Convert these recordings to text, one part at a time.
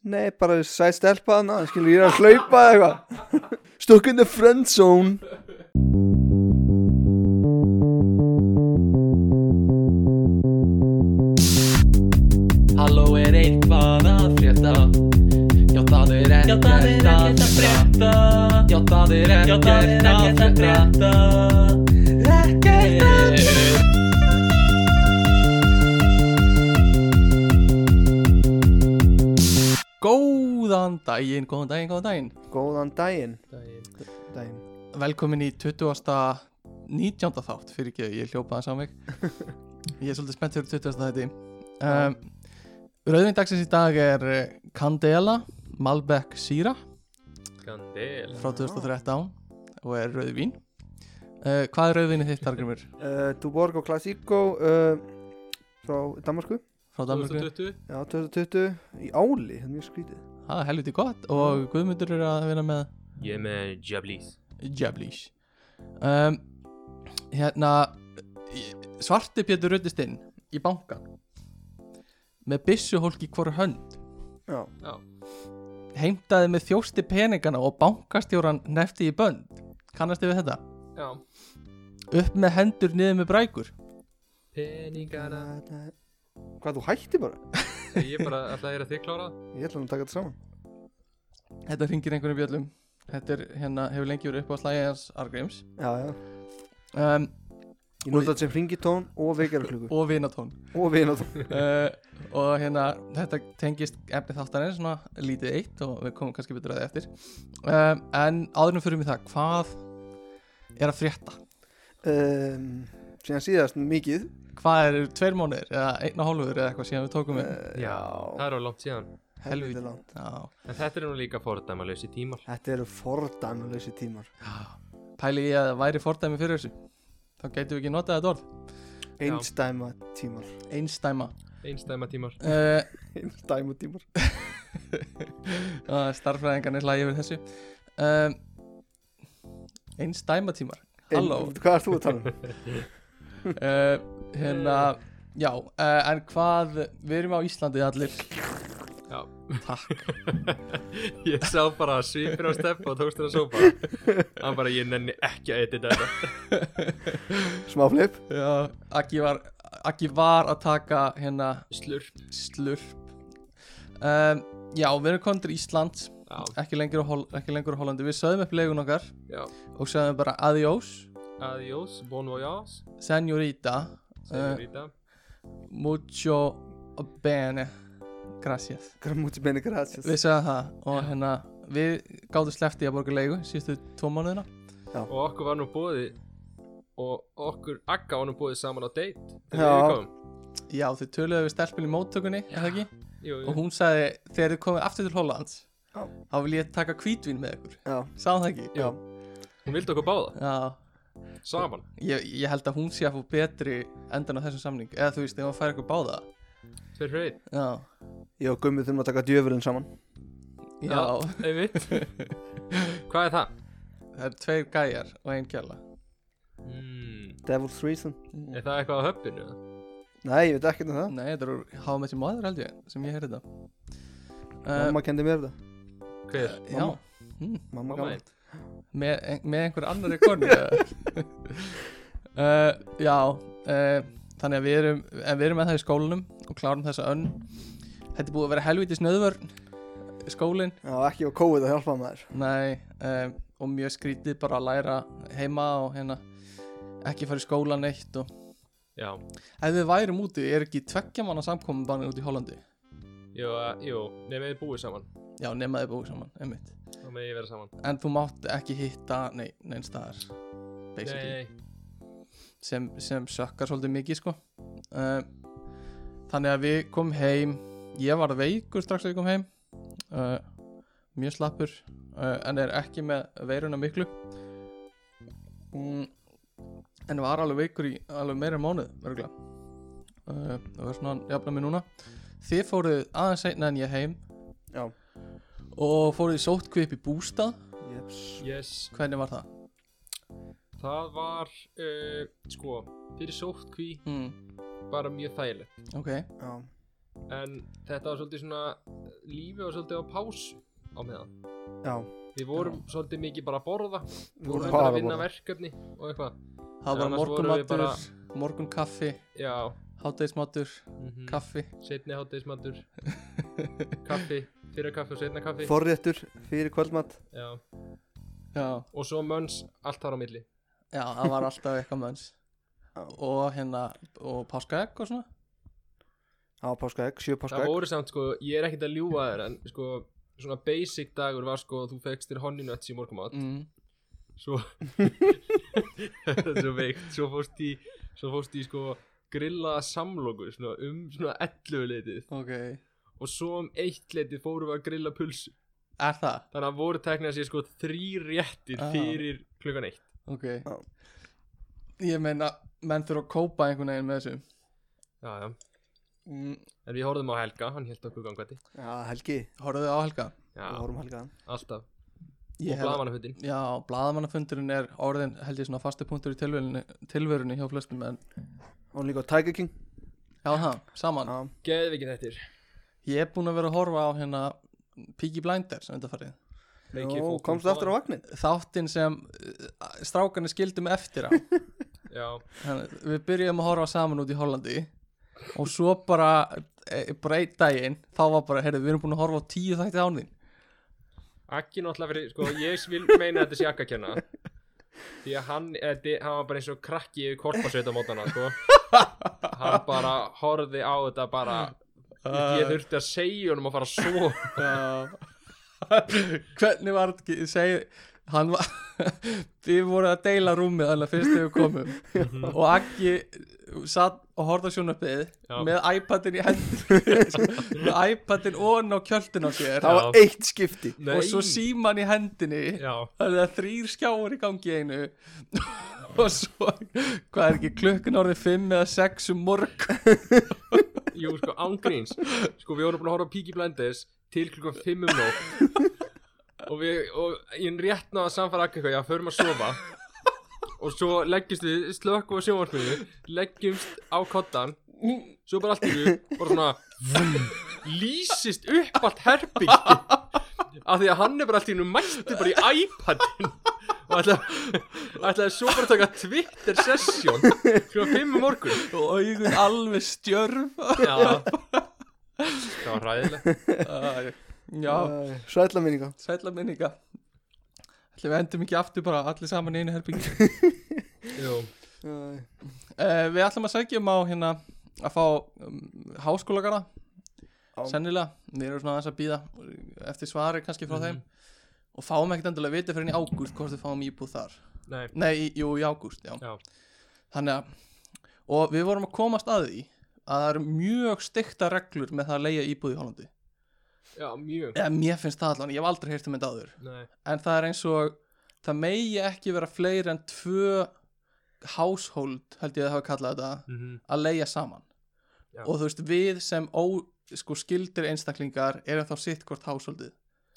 Nei, bara sæt stelpa hana, skilur ég er að hlaupa eða eitthvað Stuck in the friend zone Halló er eitthvað að frétta Já það er ekkert að frétta Já það er ekkert að frétta Ekkert að frétta Góðan daginn, góðan daginn, góðan daginn, Góðan daginn, daginn. daginn. Velkomin í 20. 19. þátt fyrir ekki, ég hljópa það sá mig Ég er svolítið spennt fyrir 20. þætti um, Rauðvinn dagsins í dag er eh, Candela Malbec Sýra Gandil frá 2013 og er rauðvín uh, Hvað er rauðvinni þitt, Argrymur? Uh, Duborg og Classico uh, frá Danmarku Frá Danmarku? 2020 Já, 2020 í áli, það er mjög skrítið Það er helviti gott og Guðmundur er að vinna með Ég er með Jablis Jablís um, Hérna ég- Svarti Pétur ruttist inn í bankan með byssuhólk í hvora hönd Já, heimtaði með þjósti peningana og bankastjóran nefti í bönd kannastu við þetta? Já Upp með hendur niður með brækur Peningana hvað þú hætti bara? Ég er bara alltaf er að þið klára Ég ætla nú að taka þetta saman Þetta ringir einhverjum bjöllum Þetta er, hérna, hefur lengi verið upp á slægi hans Argrims Já, já, um, ég nota þetta sem ringitón og vekjarklukku og vinatón og vinatón uh, og hérna þetta tengist efni þáttanir svona lítið eitt og við komum kannski betur að það eftir um, en áðurum fyrir mig það hvað er að frétta um, Síðan síðast mikið hvað eru tveir mánuðir eða einn og hálfur eða eitthvað síðan við tókum við Eh, Það er á langt síðan helviti helvíti. langt Já. En þetta er nú líka fordæmalösi tímar Þetta eru fordæmuleysi tímar pæli ég að það væri fordæmi fyrir þessu þá gætum við ekki notað þetta orð Einstæma tímar einstæma Einstæma tímar uh, Einstæma tímar starfræðingarnir hlægi yfir þessu um, einstæma tímar halló Ein- Hvað er þú að tala um? uh, hérna já, uh, en hvað við erum á Íslandi allir Já takk, Ég sá bara svipir á stepp og tókst þér að sópa Hann bara ég nenni ekki að edita þetta Smá flip já, Akki var Akki var að taka hérna Slurp slurp um, já, við erum komin til Íslands Já ekki lengur, á Hol- ekki lengur á Hollandi, við sögðum upp legun okkar Já og sögðum bara adiós Adiós Bon voyage senorita Eh. Segur Rita mucho bene gracias Mutti bene gracias við sögðum það og hérna við gáðum slefti að borga leigu síðustu tvo mánuðina Og okkur var nú bóði Og okkur Akka var nú bóði saman á date Já. Þegar við komum já, þau töluðu við stelpun í móttökunni er það ekki? Jú, og jú hún sagði þegar þið komið aftur til Hollands Já. þá vil ég taka hvítvín með ykkur Já, sagði það ekki? já Hún vildi okkur báða Já, Saman ég, ég held að hún sé að fá betri endan á þessum samning eða þú veist, ef hún fær ykkur báða Fyrir hrein Já, Ég og Gummi þurfum að taka djöfurinn saman já, einmitt Hvað er það? það er tveir gæjar og ein kjalla Mm, Devil's Reason er það eitthvað á höppinu? eða? Nei, ég veit ekkert um það Nei, þetta eru háa með sér maður held ég sem ég heyrði Eh, það Mamma kendi mér þetta Hver? Eh, Já, mamma. mm, Mamma Mamma gamla einn með, ein- með einhver annari konu eða? uh, Já, uh, þannig að við erum en við erum með það í skólanum og klárum þessa önn Þetta er búið að vera helvitis nöðvörn skólinn, Já, ekki á kóið að hjálpa maður nei um, og mjög skrítið bara að læra heima og hérna ekki fara í skólan eitt og Já, ef við værum úti, er ekki tveggja manna samkomum banni út í Hollandi jú, að- jú nefnum við búið saman já, nema þið búið saman, einmitt Þá með ég vera saman en þú mátt ekki hitta, nei, neins staðar basically, Nei, sem, sem sökkar svolítið mikið sko um, þannig að við komum heim ég var veikur strax að við komum heim uh, mjög slappur uh, en er ekki með veiruna miklu mm, en var alveg veikur í alveg meira en mánuð örgulega uh, það var svona jafna mig núna þið fóruð aðeins seinna en ég heim Já, og fóruð í sótkvið upp í bústað jeps yes hvernig var það? Það var, uh, sko, fyrir sóttkví Mm, bara mjög þægilegt ok, Já, En þetta var svolítið svona lífi og svolítið á pásu á meðan já, við vorum svolítið mikið bara að borða við Vorum vorum bara bara að að vinna borða. verkefni og eitthvað Það var annars vorum við morgunmatur, bara- morgunkaffi, já, hátæðismatur, mhm. kaffi setni hátdeismatur kaffi, fyrir kaffi og setna kaffi forréttur fyrir kvöldmatt já. Já, og svo mönns allt þar á milli já það var alltaf eitthvað mönns Já. Og hérna, og páskaegg og svona á páskaegg, sjö það páskaegg voru samt sko, ég er ekkert að ljúga þér en sko, svona basic dagur var sko þú fegst þér honninöts í morgumat mm. svo svo veikt, svo fórst í svo fórst í sko grillaða samloku svona, um svona 11 leitið Ok og svo um eitt leitið fórum við að grilla pulsu Er það? þannig að voru teknað sér sko þrý réttir Ah. fyrir klukkan eitt Ok Já. Ég meina, menn þurfa að kópa einhvern veginn með þessu já, já. mm. en við horfðum á Helga, hann held okkur gangvætti já, helgi, Horfðu á helga? já, við vorum helgaðan alltaf, Ég og hef- blamanafuttin Já, blaðamannafundurinn er orðin held ég svona fastu punktur í tilverunni, tilverunni hjá flestum en og líka á Tiger King já það, saman já, geðvikin þettir, Ég er búinn að vera að horfa á hérna Piggy Blinders undanfarið Jó, komst aftur á vagnin Þáttinn sem uh, strákarnir skildum eftir á já, Þannig, Við byrjum að horfa saman út í Hollandi og svo bara eh, bara einn daginn, þá var bara heyrðu, við erum búin að horfa á tíu þætti án þín Akki náttúrulega fyrir, sko, ég vil meina þetta sé Akka að kenna Því að hann, eh, di- hann var bara eins og krakki yfir korpasveit á mótana, sko Hann bara horfði á þetta bara Ah. Ég þurfti að segja honum að fara svo Hvernig var þetta ekki, segi hann var, við vorum að deila rúmið þannig að fyrst þegar við Mhm. komum og Aggi satt og horfði á sjónarbyðið Já. með iPadin í hendinni með iPadin ofan á kjöldin á sér það Já. var eitt skipti Nei, og svo síman í hendinni Já, það er þrýr skjáur í gangi í einu og svo hvað er ekki klukkan orðið fimm eða sex um morg jú, sko, ángríns Sko, við vorum búin að horfa á Peaky Blinders til klukkan 5 um nótt Og við, og ég rétt náða að samfara Akka eitthvað, já, förum að sofa Og svo leggjumst við, slökkum á sjónvarpinu Leggjumst á kottan svo bara allt í við bara svona vum, lýsist upp allt herbyggi af því að hann er bara allt í hennu mætti bara í iPadin og ætlaði, ætlaði svo bara að taka Twitter sesjón kljóðan 5 um morgun og augun alveg stjörf já það var ræðilegt Æ, já, Æ, sælla minninga sætla minninga ætlum við endum ekki aftur bara allir saman í einu herbyggi Jú. Æ, uh, við ætlum að sækja um á hérna að fá um, háskólagara Já. sennilega, við erum svona aðeins að býða eftir svari kannski frá þeim og fáum ekkert endilega vita fyrir henni í ágúst hvort við fáum íbúð þar nei Nei, í- jú, í ágúst, já. Já. Þannig að, og við vorum að komast að því að það eru mjög stykta reglur með það að leiða íbúð í Hollandi. já mjög Eða mér finnst það allan, ég hef aldrei heyrt um þetta áður. nei En það er eins og, það megi ekki vera fleiri en tvö household, held ég að hafa kallað þetta, mm að leiða saman. Já. Og þú veist, við sem ó, sko, skildir einstaklingar erum þá sitt hvort householdið.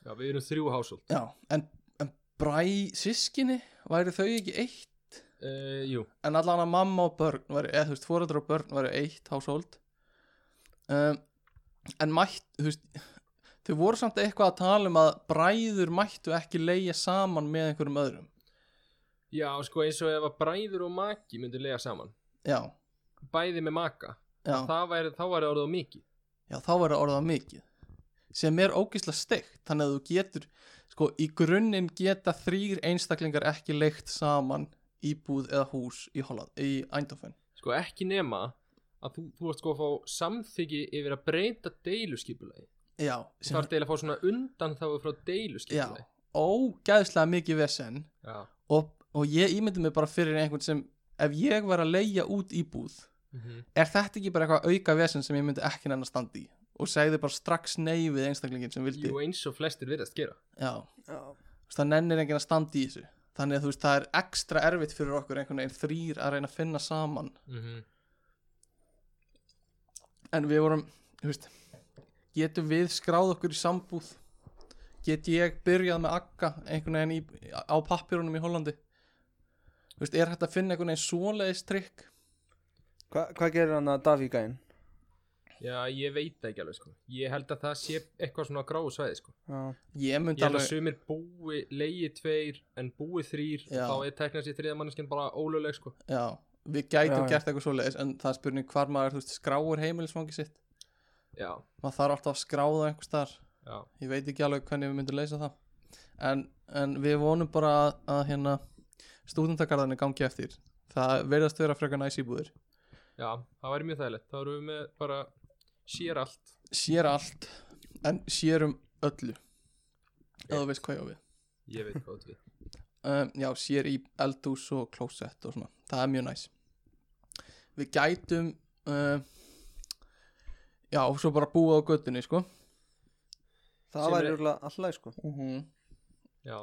já við erum þrjú hásóld Já, en, en bræ sískinni, væri þau ekki eitt? uh, jú en allan að mamma og börn væri, eða þú veist, foreldrar og börn væri eitt hásóld um, en mætt, þú veist þau voru samt eitthvað að tala um að bræður mættu ekki leigja saman með einhverjum öðrum, já sko eins og ef að bræður og maki myndu lega saman já, bæði með maka já það væri, þá væri orðið á mikið já, þá væri orðað mikið sem er ógislega steikt, þannig að þú getur sko, í grunninn geta þrýr einstaklingar ekki leigt saman íbúð eða hús í Holland, í Eindhoven sko ekki nema að þú, þú ert sko að fá samþyggi yfir að breyta deiluskipulagi já, þú þarf deil að fá svona undan þá frá já, deiluskipulagi ógæðslega mikið vesen já. og, og ég ímyndi mig bara fyrir einhvern sem ef ég var að leigja út íbúð Mhm. er þetta ekki bara eitthvað auka vesen sem ég myndi ekki nennan standa í og segði bara strax nei við einstaklingin sem vildi Jú, eins og flestir virðast gera já, já, Þú veist, það nennir enginn að standa í þessu þannig að þú veist það er ekstra erfitt fyrir okkur einhvern veginn þrýr að reyna að finna saman Mhm. en við vorum, þú veist getum við skráð okkur í sambúð get ég byrjað með akka einhvern veginn í, á pappirunum í Hollandi þú veist, er hægt að finna einhvern veginn svoleiðis trikk Hva, hvað gerir hann að Davík gæinn? Já, ég veit það ekki alveg sko Ég held að það sé eitthvað svona gráu svæði sko já, Ég Ég myndi held að alveg sumir búi leiði tveir en búi þrýr Já. þá er teknast í þriða manneskinn bara óluleg sko já, Við gætum Já, já. gert eitthvað svoleiðis En það er spurning hvar maður þú veist, skráur heimilisfangi sitt Já, Maður þarf alltaf að skráða einhvers þar já, Ég veit ekki alveg hvernig við myndum leysa það En, en við vonum bara að, að hérna, stúdentakarðanir gangi eftir Það verðast vera frekar næs íbúðir já, það væri mjög þægilegt Þá erum við með bara sér allt Sér allt En sér um öllu Eða þú veist hvað ég á við Ég veit hvað þú átt við um, já, sér í eldhús og klósett og svona, það er mjög næs við gætum uh, já, og svo bara búið á göttunni sko það Sem væri er- örugglega alltaf sko Já,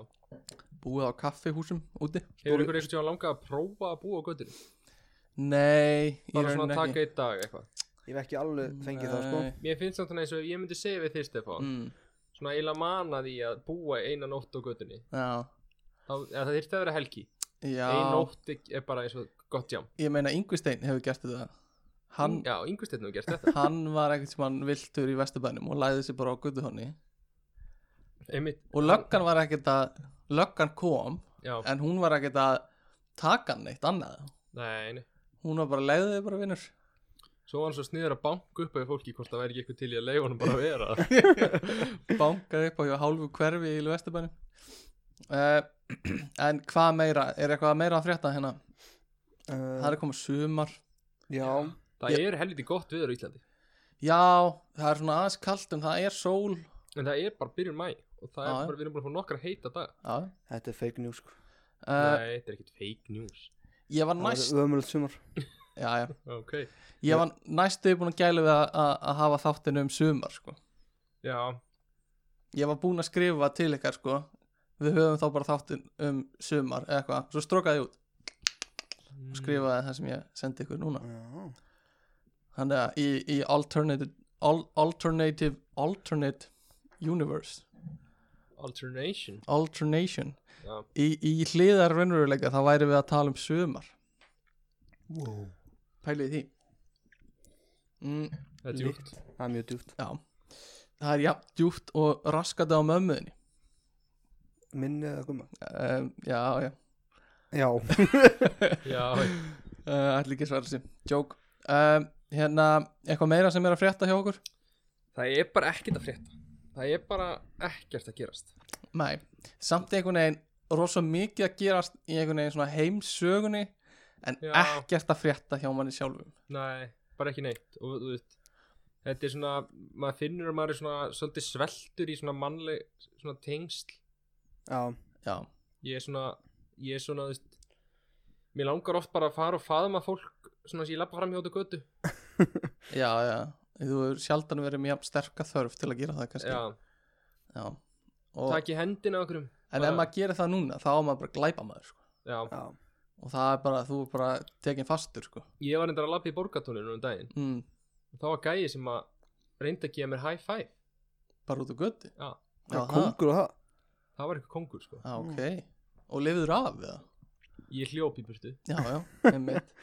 búið á kaffihúsum úti hefur ykkur eitthvað langað að prófa að búa á göttinu? nei, í Bara rauninni svona að taka ekki eitt dag eitthvað ég hef ekki alveg fengið það sko Nei. Mér finnst samt þannig eins og ef ég myndi segja við þér Stefán mm, Svona eiginlega mana því að búa eina nótt á göttinu já, Það þyrfti að vera helgi já Ein nótt er bara eins og gott jám ég meina Yngvistein hefur gert þetta hann, Já, yngvistinn hefur gert þetta hann var ekkert sem hann viltur í vesturbænum og læði sig bara á göttuhonni Einmitt, og löggan var ekkert að löggan kom, já, en hún var ekkert að taka hann eitt annað nei, nei Hún var bara leiðið þig bara vinnur Svo var hann svo sniður að banka upp á því fólki hvort það væri ekki eitthvað til í að leiða honum bara að vera það. Bankaði upp á hjá hálfu hverfi í Vesturbænum uh, En hvað meira? Er eitthvað meira að frétta hérna? Það uh, er komið sumar já, Það er helviti gott viður í Íslandi Já, það er svona aðeins kalt en það er sól En það er bara byrjun mæ og það er Já, já. bara, við erum bara fór nokkra heita dag Já þetta er fake news sko Uh, Nei, þetta er ekkit fake news ég var það næst væri ömulegt sumar já, já. Ok, Ég var næstu búin að gæla við að, að, að hafa þáttinu um sumar sko. já, Ég var búin að skrifa til ykkar sko. Við höfum þá bara þáttin um sumar eða eitthvað, svo strókaði ég út Mm, og skrifaði það sem ég sendi ykkur núna já, Þannig að í, í alternative, al, alternative alternate universe alternation alternation Já, í, í hliðar raunveruleika þá væri við að tala um sumar wow. pælið því mm, þetta er júkt það er mjög djúpt já það er jafn djúpt og raskandi á mömmuðinni minni eða gumma um, já já já, Já, uh, allir ekki svara sér joke um, hérna eitthvað meira sem er að frétta hjá okkur það er bara ekkert að frétta Það er bara ekkert að gerast Nei, samt einhvern veginn rosa mikið að gerast í einhvern veginn svona heimsögunni en Já. ekkert að frétta hjá manni sjálfum Nei, bara ekki neitt og þú veist Þetta er svona, maður finnur að maður er svona svolítið sveltur í svona mannleg svona tengsl já, Já, ég er svona ég er svona, þú veist mér langar oft bara að fara og faðma fólk svona sem ég lappa fram hjá þetta götu já, já Þú hefur sjaldan verið mjög sterka þörf til að gera það kannski já, Já. Og, takk í hendina okkur um En ef maður gerir það núna þá er maður bara glæpa maður sko. já, já, og það er bara, þú er bara tekin fastur sko. ég var reyndar að lappa í borgatóninu um daginn mm, þá var gæi sem að reynda að gefa mér high five bara út á götti já, já kongur og það það var eitthvað kongur sko Já, ok Og lifiður af við það ég hljóp í burtu, Já, já, einmitt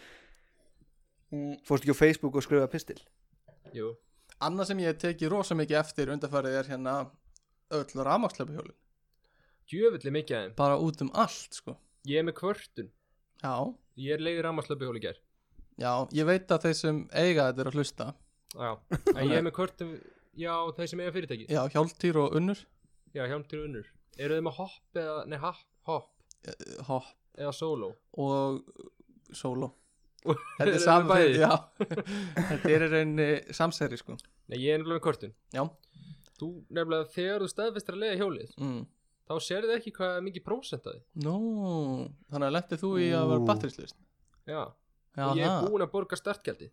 mm, fórst ekki á Facebook og skrifa pistil jú Annað sem ég hef tekið rosa mikið eftir undarfærið er hérna öll rafmaksleipahjólin djöfulli mikið aðeim, bara út um allt sko ég er með kvörtun Já, ég er leiðið rammarslöpi hóli gær já, ég veit að þeir sem eiga þetta er að hlusta já, en ég er með kvörtun já, þeir sem eiga fyrirtæki Já, hjálptýr og unnur já, hjálmtir unnur, eru þeim að hopp eða, nei, ha- hopp eh, hopp eða solo og eh, solo Þetta Eru er þau saman bæði? já, Þetta er í rauninni samsæri sko Nei, ég er nefnilega með kvörtun Já. Þú, nefnilega, þegar þú staðfestir að leiða hjólið mm. þá sérðu ekki hvað er mikið prósent að þið Nú, þannig að lentið þú í að vera Ú. batterislist Já, Já, og ég er búin að borga startgjaldi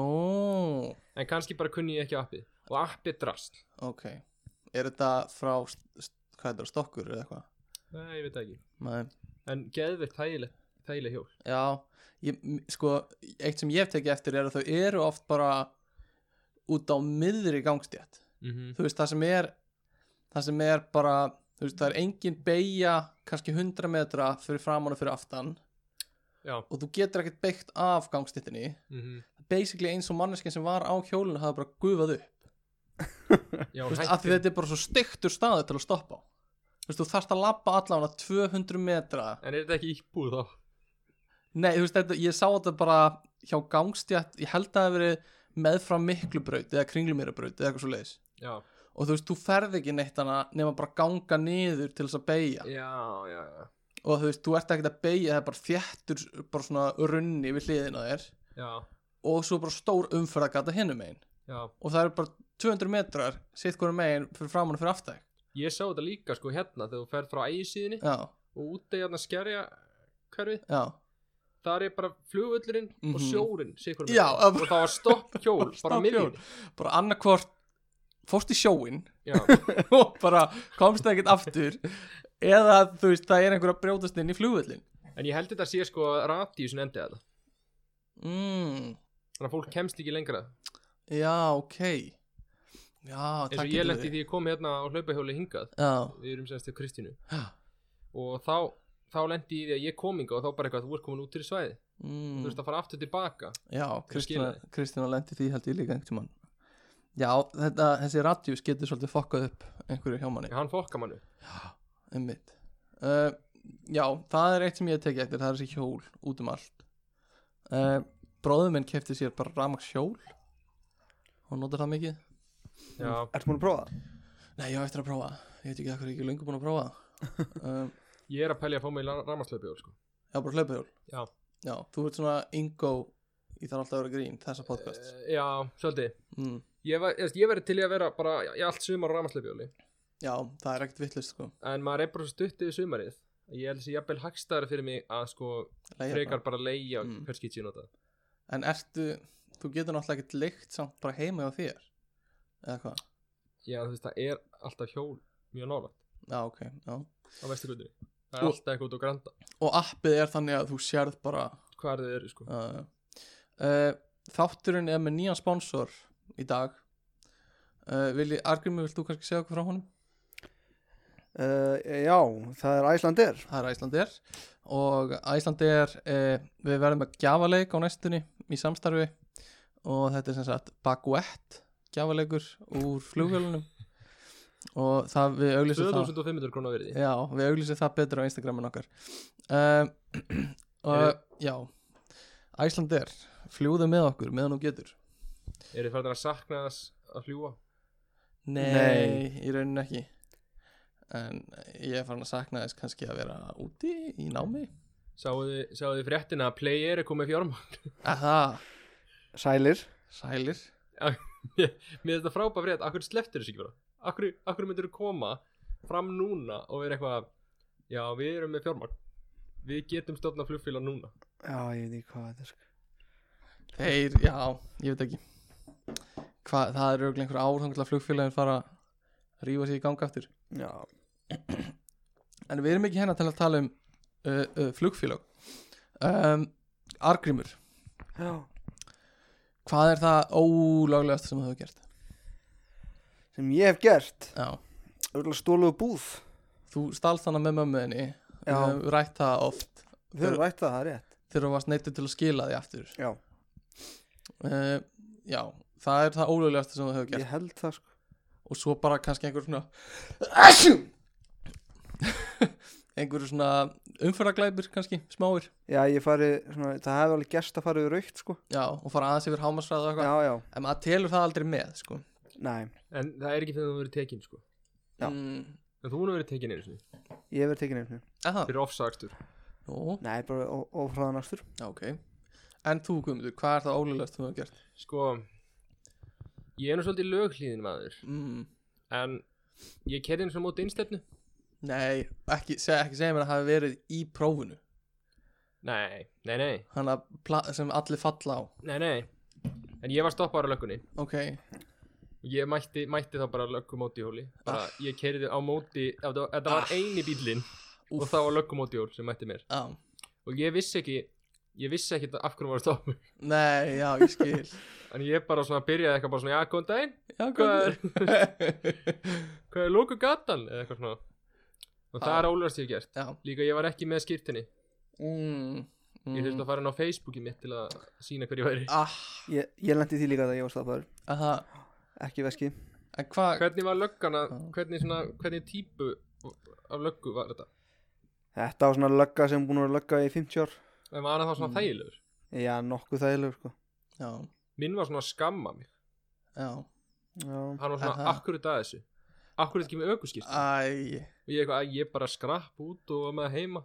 Nú, en kannski bara kunni ég ekki appið og appið drast ok Er þetta frá, st- st- hvað er þetta, stokkur eða eitthvað? Nei, ég veit það ekki Nei En geðveikt þægileg, þægileg hjól Já, ég, m- sko, eitt sem ég hef tekið eftir er að þau eru oft bara út á miðri gangstjætt. mm -hmm. Þú veist, það sem er, það sem er bara, þú veist, það er engin beigja kannski 100 metra fyrir framan og fyrir aftan já og þú getur ekkert beikt af gangstittinni mm -hmm. basically eins og manneskinn sem var á hjólinu hafði bara gufað upp já, Þú veist, hættu. af því þetta er bara svo styktur staði til að stoppa á Þú veist, þú þarft að labba allavega 200 metra en er þetta ekki íbúð þá Nei, þú veist, þetta, ég sá þetta bara hjá gangstjætt, ég held að það hafi verið meðfram miklubraut eða kringlumýrabraut eða eitthvað svo leiðis já, og þú veist, þú ferð ekki neitt hana nema bara ganga niður til þess að beigja já, já, já. og þú veist, þú ert ekkert að beigja það er bara þjættur, bara svona runni við hliðina á þér já, og svo bara stór umferðagata hinum megin já. og það eru bara 200 metrar sitt hverju megin fyrir framan og fyrir aftæk ég sá þetta líka sko hérna þegar þú ferð frá ægisíðinni Já, og út í hérna skerja hverfið já, þar er bara flugvöllurinn og Mhm. sjórin sikur Já, og það var stopp hjól bara Stopp miðjum bara annarkvort fórst í sjóin já, og bara komst ekkert aftur eða þú veist, það er einhver að brjótast inn í flugvöllin en ég held þetta sé sko radíu sem endi þetta mm, þannig að fólk kemst ekki lengra Já, ok Já, eins það og ég getur lendi því ég kom hérna á hlaupahjóli hingað Já, við erum semst til Kristínu Já. og þá, þá lendi ég í því að ég kom hingað og þá bara eitthvað þú ert komin út til svæði þú mm, veist að fara aftur tilbaka já Kristina, skil Kristina lendi því held ég líka einhvern tímann Já, þetta, þessi radjús getur svolítið fokkað upp einhverju hjá manni hann fokka mannu einmitt uh, já, það er eitt sem ég hef tekið eftir það er þessi hjól út um allt uh, bróður minn kefti sér bara ramaks hjól og notar það mikið já, Ertu múin að prófa það? nei, ég á eftir að prófa það. ég veit ekki að hverju ég er löngu búin að prófa það. um, ég er að pælja að fá mig í rammarslöpjól sko. já, bara hlaupahjól Já. já, þú ert svona ingo í þar alltaf að vera grín þessa podcast Eh, já, svolítið mm, ég, var- ég verði til í að vera bara í allt sumar á rammarslöpjóli já, það er ekkert vittlust sko en maður er bara svo stutt yfir sumarið ég held þessi jafnvel hagstæðar fyrir mig að sko Leigja frekar bara. bara leigja Mm. mm. hver skýt ég nota en ertu, þú getur náttúrulega ekkert leikt samt bara heima hjá þér eða hvað, já þú veist það er alltaf hjól mjög nálægt já, ok, já á vesturgötunni það er Og- alltaf eitthvað út á granda og appið er þannig að þú sérð bara hvað er þið eru sko uh, uh, Þátturinn er með nýjan sponsor í dag uh, Vili, Argrimi, vilt þú kannski segja okkur frá honum? Uh, já, það er Æslandir Það er Æslandir og Æslandir, uh, við verðum með gjafaleik á næstunni í samstarfi og þetta er sem sagt baguett gjafaleikur úr flugvélunum og það við auglýsum það 2500 krónu verði Já, við auglýsum það betur á Instagramin okkar um, Eru- og, Já Æslandir, fljúðu með okkur meðan þú getur er þið færðin að sakna þess að fljúa Nei, Nei. í rauninni ekki En ég er farin að sakna þess kannski að vera úti í námi sáu þið, sáu þið fréttina að play er komið fjárm Aha, Sælir sælir með þetta frábæð frétt akkur sleftir þessu ekki bara akkur, akkur myndir þú koma fram núna og vera eitthvað já við erum með fjármagn við getum stofna flugfélag núna Já, ég veit ekki hvað þetta er sko. Þeir, já, ég veit ekki Hva, Það er auðvitað einhver ár þannig að flugfélagin fara að rífa sér í ganga aftur Já, En við erum ekki hérna til að tala um uh, uh, flugfélag um, Argrímur, já hvað er það ólöglegast sem þú hefur gert? Sem ég hef gert Já, Örgulega stóluðu búð þú stálst hana með mömmuðinni Við Já. höfum rætt það oft Við höfum rætt það, það er rétt þegar þú varst neittur til að skila því aftur Já, uh, Já, það er það ólöglegasta sem þú hefur gert ég held það sko og svo bara kannski einhver svona einhver svona umfyrraglæpir kannski, smáir Já, ég fari, svona, það hefði alveg gerst að fara við raukt sko Já, og fara aðeins yfir hámasræðu og eitthvað Já, já, En maður telur það aldrei með, sko næ en það er ekki fyrir að þú verið tekin sko Já. mm, en þú hún verið tekin einu sinni Ég hef verið tekin einhvern veginn eða það? fyrir ofsakstur Nú, Nei, bara ó- ófráðan aftur já, ok En þú, Guðmundur, hvað er það ólöglegast sem þú hefur gert? sko ég er nú svolítið löglíðin maður Mm, en ég kerði eins og móti innstefnu nei, ekki, seg, ekki segja mér að hafi verið í prófinu nei, nei, nei, Hanna pla- sem allir falla á nei, nei en ég var stoppaður á löggunni Ok, og ég mætti, mætti þá bara löggum móti í hóli bara Ah. ég kerði á móti þetta var- þetta var eini bílinn og Úff. það var löggum móti í hól sem mætti mér já og ég vissi ekki ég vissi ekki af hverju var að stoppa mig. Nei, já, ég skil en ég bara svona byrjaði eitthvað bara svona já, góðan daginn, Já, hvað er, Guðmundur hvað er lóku gatan eða eitthvað svona og það Ah. er ólega stíð gert Já líka ég var ekki með skýrtinni mm, Ég þurfti að fara inn á Facebooki mitt til að sína hverju væri ah, Ég, ég lendi því líka það ég var slappaður að það, Ekki veski en hvað Hvernig var löggana, Ah. hvernig, svona, hvernig típu af löggu var þetta? Þetta var svona lögga sem búin að vera lögga í 50 ár En var hann þá svona Mm. þægilegur? Já, nokkuð þægilegur sko já, Minn var svona að skamma mig já, Já, Hann var svona Aha. Ah. akkurat að þessu Akkurat ekki með aukuskist æ Og ég eitthvað, "Æ, ég bara skrapp út og var með það heima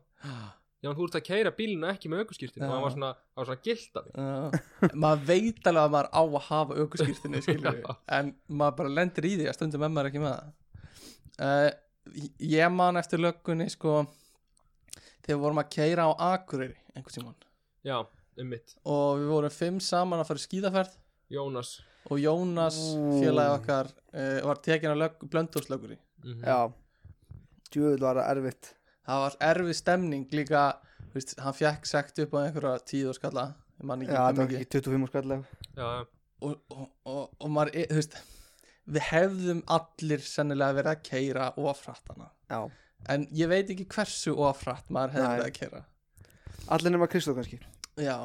Já, en þú ert að kæra bílina ekki með aukuskirtin Já. Og hann var svona, hann var svona gilt af mig Já. maður veit alveg að maður á að hafa aukurskýrtinu skilur Já. en maður bara lendir í því að stundum með maður ekki með það uh, ég man eftir löggunni sko þegar við vorum að keira á Akureyri einhvern tímann Já, um mitt, og við vorum fimm saman að fara í skíðaferð Jónas og Jónas Ú. félagi okkar uh, var tekin að lög, blöndúslöggunni mm já Djúvel var það erfitt það var erfið stemning líka þú veist, hann fjekk sekt upp á einhverja tíð og skalla ég man Já, ekki hvað það var mikið. ekki 25 skallega Já, og, og, og, og maður, er- þú veist við hefðum allir sennilega verið að keira ofrattana Já, en ég veit ekki hversu ofratt maður hefði Nei. verið að keira allir nema Kristóf kannski já,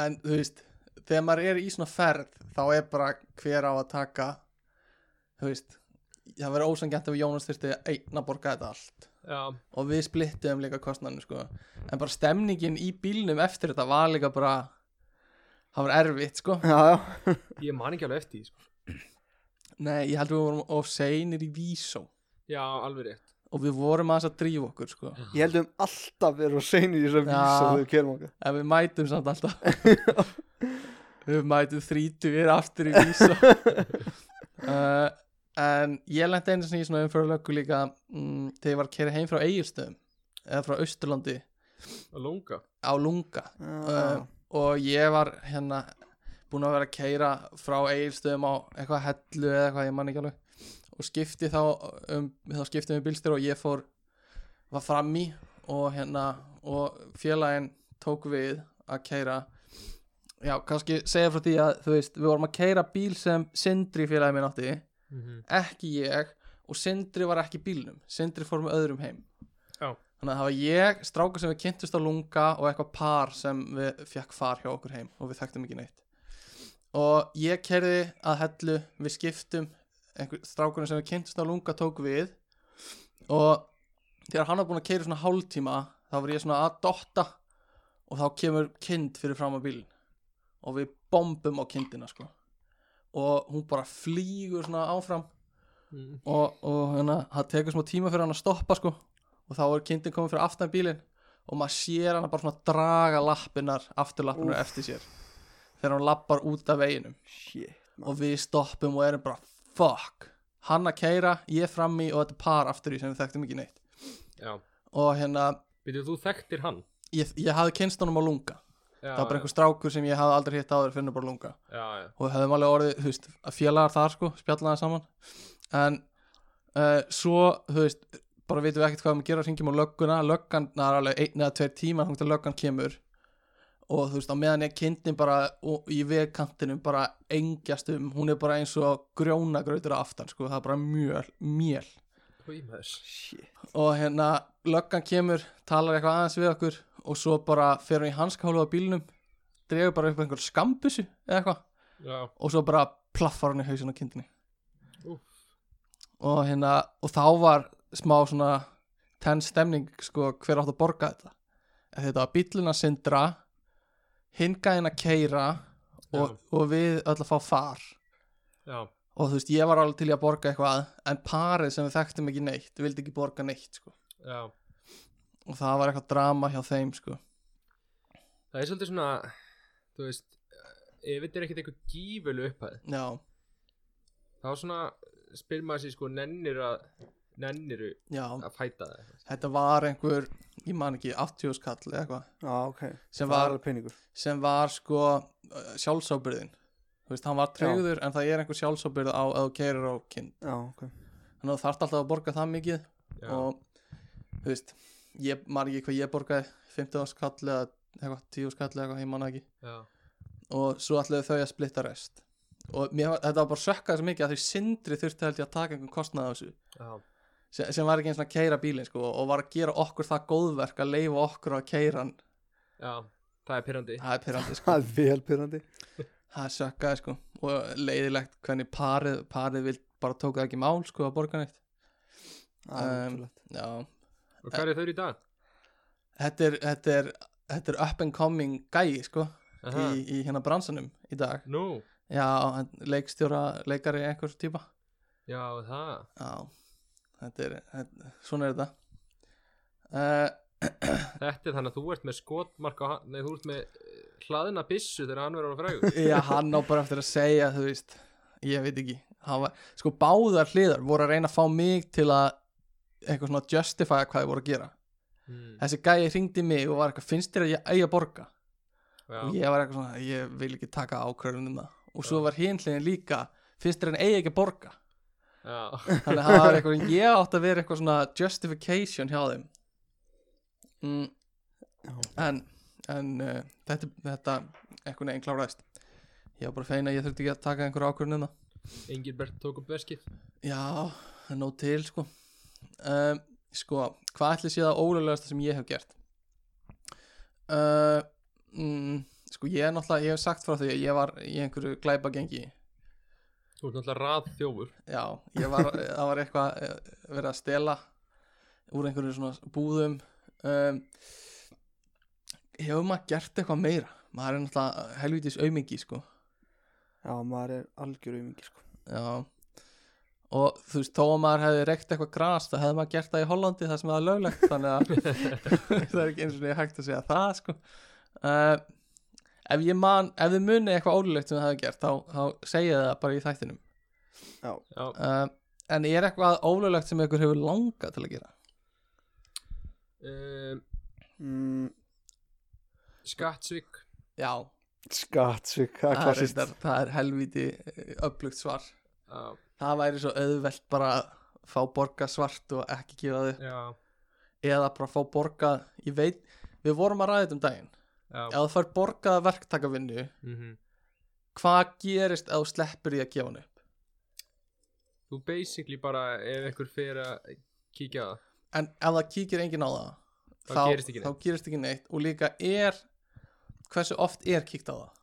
en þú veist þegar maður er í svona ferð þá er bara hver á að taka þú veist það verið ósangjant ef Jónas þurfti einn að borga þetta allt já, og við splittum líka kostnarnir sko en bara stemningin í bílnum eftir þetta var líka bara það var erfitt sko Já, já ég man ekki alveg eftir því sko. nei, ég held við vorum of seinir í Vísó Já, alveg rétt og við vorum aðeins að drífa okkur sko. Ég heldum alltaf verið að segna í þess að vísa Já. þegar við kerum okkar en við mætum samt alltaf við mætum þrítu við erum aftur í vísa uh, en ég lendi einu sinni í svona umfjörlöku líka mm, þegar ég var að kera heim frá Egilstöðum eða frá Austurlandi Að lunga á Lunga Já, uh, og ég var hérna búin að vera að keira frá Egilstöðum á eitthvað hellu eða eitthvað ég man ekki alveg og skipti þá um, þá skipti við bílstyr og ég fór var fram í og hérna og félagin tók við að keira já, kannski segja frá því að þú veist, við vorum að keira bíl sem Sindri félagin minn átti Mhm. ekki ég og Sindri var ekki í bílnum Sindri fór með öðrum heim Já. þannig að það var ég, strákur sem við kynntust á lunga og eitthvað par sem við fekk far hjá okkur heim og við þekktum ekki neitt og ég kerði að hellu við skiptum einhver, strákurinn sem við kynntust á lunga tók við og þegar hann var búin að keira svona hálftíma þá var ég svona að dotta og þá kemur kind fyrir fram á bílinn og við bombum á kindina sko og hún bara flýgur svona áfram mm. og, og hérna, það tekur smá tíma fyrir hann að stoppa sko og þá er kindin komin fyrir aftan bílinn og maður sér hann bara svona draga lappinnar afturlappinnar Úff. eftir sér þegar hann lappar út af veginum shit og við stoppum og erum bara fuck, hann að keira, ég frammi og þetta par aftur í sem við þekktum ekki neitt Já, og hérna, býttu þú þekktir hann ég, ég hafði kynst honum á lunga já, það var bara einhver strákur sem ég hafði aldrei hitt áður fyrir bara á lunga Já, já, og við höfum alveg orðið, þú veist, að félagar þar sko, spjallaði saman en uh, svo, þú veist bara vitum við ekkert hvað við erum að gera, syngjum á lögguna löggan, það er alveg einn eða tveir tíma hún til löggan kemur og þú veist, á meðan ég kynntin bara og, í vegkantinum bara engjast um hún er bara eins og grjónagrautur af aftan, sko, það er bara mjöl, mjöl hvað í maður Shit og hérna, löggan kemur talar eitthvað aðeins við okkur og svo bara fer hún í hanskálið á bílnum dregur bara upp einhver skambissu eða eitthvað Já, og svo bara plaffar hann í hausinn á kindinni Úff. og hérna og þá var smá svona tenn stemning sko hver átt að borga þetta Ef þetta var bíllinn að syndra hingaðin að keira og, og við öll að fá far já, og þú veist ég var alveg til í að borga eitthvað en parið sem við þekktum ekki neitt vildi ekki borga neitt sko já og það var eitthvað drama hjá þeim sko Það er svolítið svona, þú veist eh, Ef þetta er ekkert eitthvað gífölu upphæð já, Þá svona spyr maður sér sko nennir að Nenniru já, að fæta það þetta var einhver ég man ekki, 80 skall eða eitthvað Já, ok sem Það var er alveg peningur sem var sko uh, sjálfsábyrðin þú veist, hann var tryggður en það er einhver sjálfsábyrð á að þú keirir á kind Já, ok þannig að þú þarft alltaf að borga það mikið Já, og þú veist, ég man ekki hvað ég borgaði 15 skall eða eitthvað 10 skall eða eitthvað, ég man það ekki já, og svo ætluðu þau að splitta rest og mér, var- þetta var bara sökkað svo mikið að þau sindri þurfti held ég að taka einhvern kostnað af þessu já, sem, sem var ekki eins og að keira bílinn sko og var að gera okkur það góðverk að leifa okkur að keira hann já það er pyrrandi það er pyrrandi sko. Það er vel pyrrandi það er sökkaði sko og leiðilegt hvernig parið, parið vil bara tóka það ekki í mál sko að borga neitt Það er Um, ótrúlegt. já, og hvað er þau í dag? þetta er, þetta er, þetta er up and coming gæi sko Aha. í, í hérna bransanum í dag Nú, já, hann leikstjóra, leikari einhvers típa já það já, þetta er, þetta, svona er þetta uh, Þetta er þannig að þú ert með skotmarka Nei, þú ert með eh, hlaðina byssu þegar hann verður á frægu já, hann á bara eftir að segja þú veist, ég veit ekki hann var, sko báðar hliðar voru að reyna að fá mig til að eitthvað svona justify hvað þið voru að gera mm, þessi gæi hringdi í mig og var eitthvað finnst þér að ég eigi að borga og Já, ég var eitthvað svona, ég vil ekki taka ákvörðunum það og svo var hinlegin líka finnst þér að hann eigi ekki að borga já, þannig að það var eitthvað, ég átti að vera eitthvað svona justification hjá þeim mm, en, en uh, þetta, þetta eitthvað neginn kláraðist ég var bara fein að ég þurfti ekki að taka einhver ákvörðunum það engin Bert tók upp veskið já, það er nóg til sko um, sko, hvað ætli sé það ólega sem ég hef gert uh, mm, sko ég er náttúrulega, ég hef sagt frá því að ég var í einhverju glæpagengi Þú ert náttúrulega rað þjófur Já, ég var, það var eitthvað eh, verið að stela úr einhverju svona búðum um, Hefur maður gert eitthvað meira? Maður er náttúrulega helvitis aumingi, sko Já, maður er algjör aumingi sko. Já Og þú veist, þó að maður hefði reykt eitthvað gras það hefði maður gert það í Hollandi það sem það er löglegt þannig að það er ekki eins og niður hægt að segja það, sko uh, Ef ég man, ef þið muni eitthvað ólulegt sem það hefði gert þá, þá segja það bara í þættinum Já, uh, En er eitthvað ólulegt sem ykkur hefur langað til að gera? um, mm, Skattsvík Já, Skatsvík, það er það er, klassist reyndar, það er helvíti upplugt svar Já, Það væri svo auðvelt bara að fá borga svart og ekki gefa þau já, eða bara fá borga, ég veit við vorum að ræða þetta um daginn já ef þú fær borgaða verktakavinnu mhm. hvað gerist ef þú sleppur því að gefa hann upp Þú basically bara ef einhver fer að kíkja á það en ef það kíkir enginn á það Þá gerist ekki þá gerist ekki neitt og líka er hversu oft er kíkt á það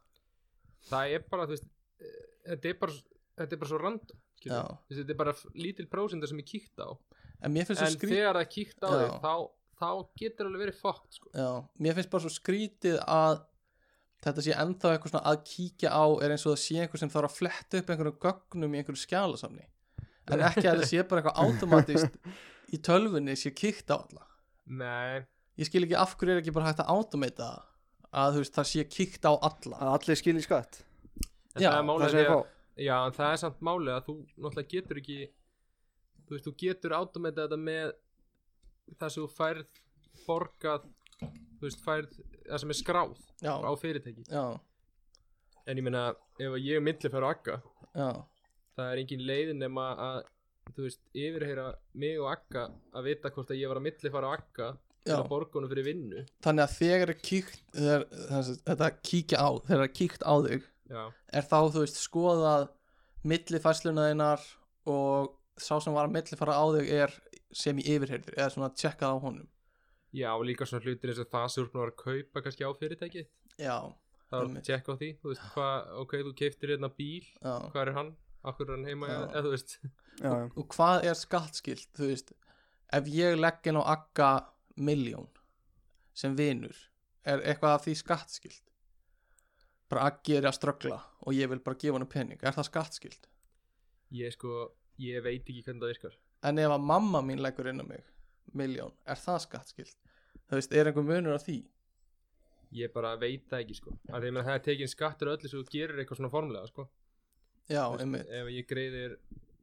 Það er bara, þú veist eh, Þetta er bara, þetta er bara svo random skilur Já. við. Þú veist, Þetta er bara f- lítil prósenda sem ég kíkt á en mér finnst svo En skrítið þegar það kíkt á Já. þig þá, þá getur alveg verið fótt sko. Já, mér finnst bara svo skrítið að þetta sé ennþá eitthvað svona að kíkja á er eins og það sé einhver sem þarf að fletta upp einhverjum gögnum í einhverju skjálasamni en ekki að þetta sé bara eitthvað automatist í tölvunni sé kíkt á alla Nei, ég skil ekki af hverju er ekki bara hægt að automata það að þú veist það sé kíkt á alla Að allir skilji skatt en það er Já, Það málið sem ég að, fá Já, en það er samt málið að þú náttúrulega getur ekki Þú veist, þú getur automata þetta með Það sem þú færð borgað Þú veist, færð Það sem er skráð Já, á fyrirtæki já, En ég meina, ef ég myndli fyrir Agga já, það er engin leið nema að þú veist, yfirheyra mig og Akka að vita hvort að ég var að milli fara á Akka til já að borga honum fyrir vinnu þannig að þegar er kíkt þegar, þessi, þetta kíkja á þegar er kíkt á þig já, er þá, þú veist, skoðað millifærsluna þeinar og sá sem var að millifæra á þig er sem í yfirheyrður, eða svona tjekkað á honum já og líka svona hlutir eins og það sem þú erum að kaupa kannski á fyrirtæki já, það er Einmitt. að tjekka á því, þú veist hvað ok, þú keiftir hérna bíl, já hvað er hann akkur er hann heima, Já. eða eða þú veist Já, já, og hvað er skattskilt, þú veist ef ég legg inn á akka miljón sem vinur er eitthvað af því skattskilt bara akki er að ströggla og ég vil bara gefa hann pening, er það skattskilt ég sko, ég veit ekki hvernig það virkar en ef að mamma mín leggur inn á mig miljón, er það skattskilt þú veist, er einhver munur á því ég bara veit það ekki sko að því að það er tekin skattur á öllu sem þú gerir eitthvað svona formlega sko já, Þú veist, einmitt, ef ég greiðir,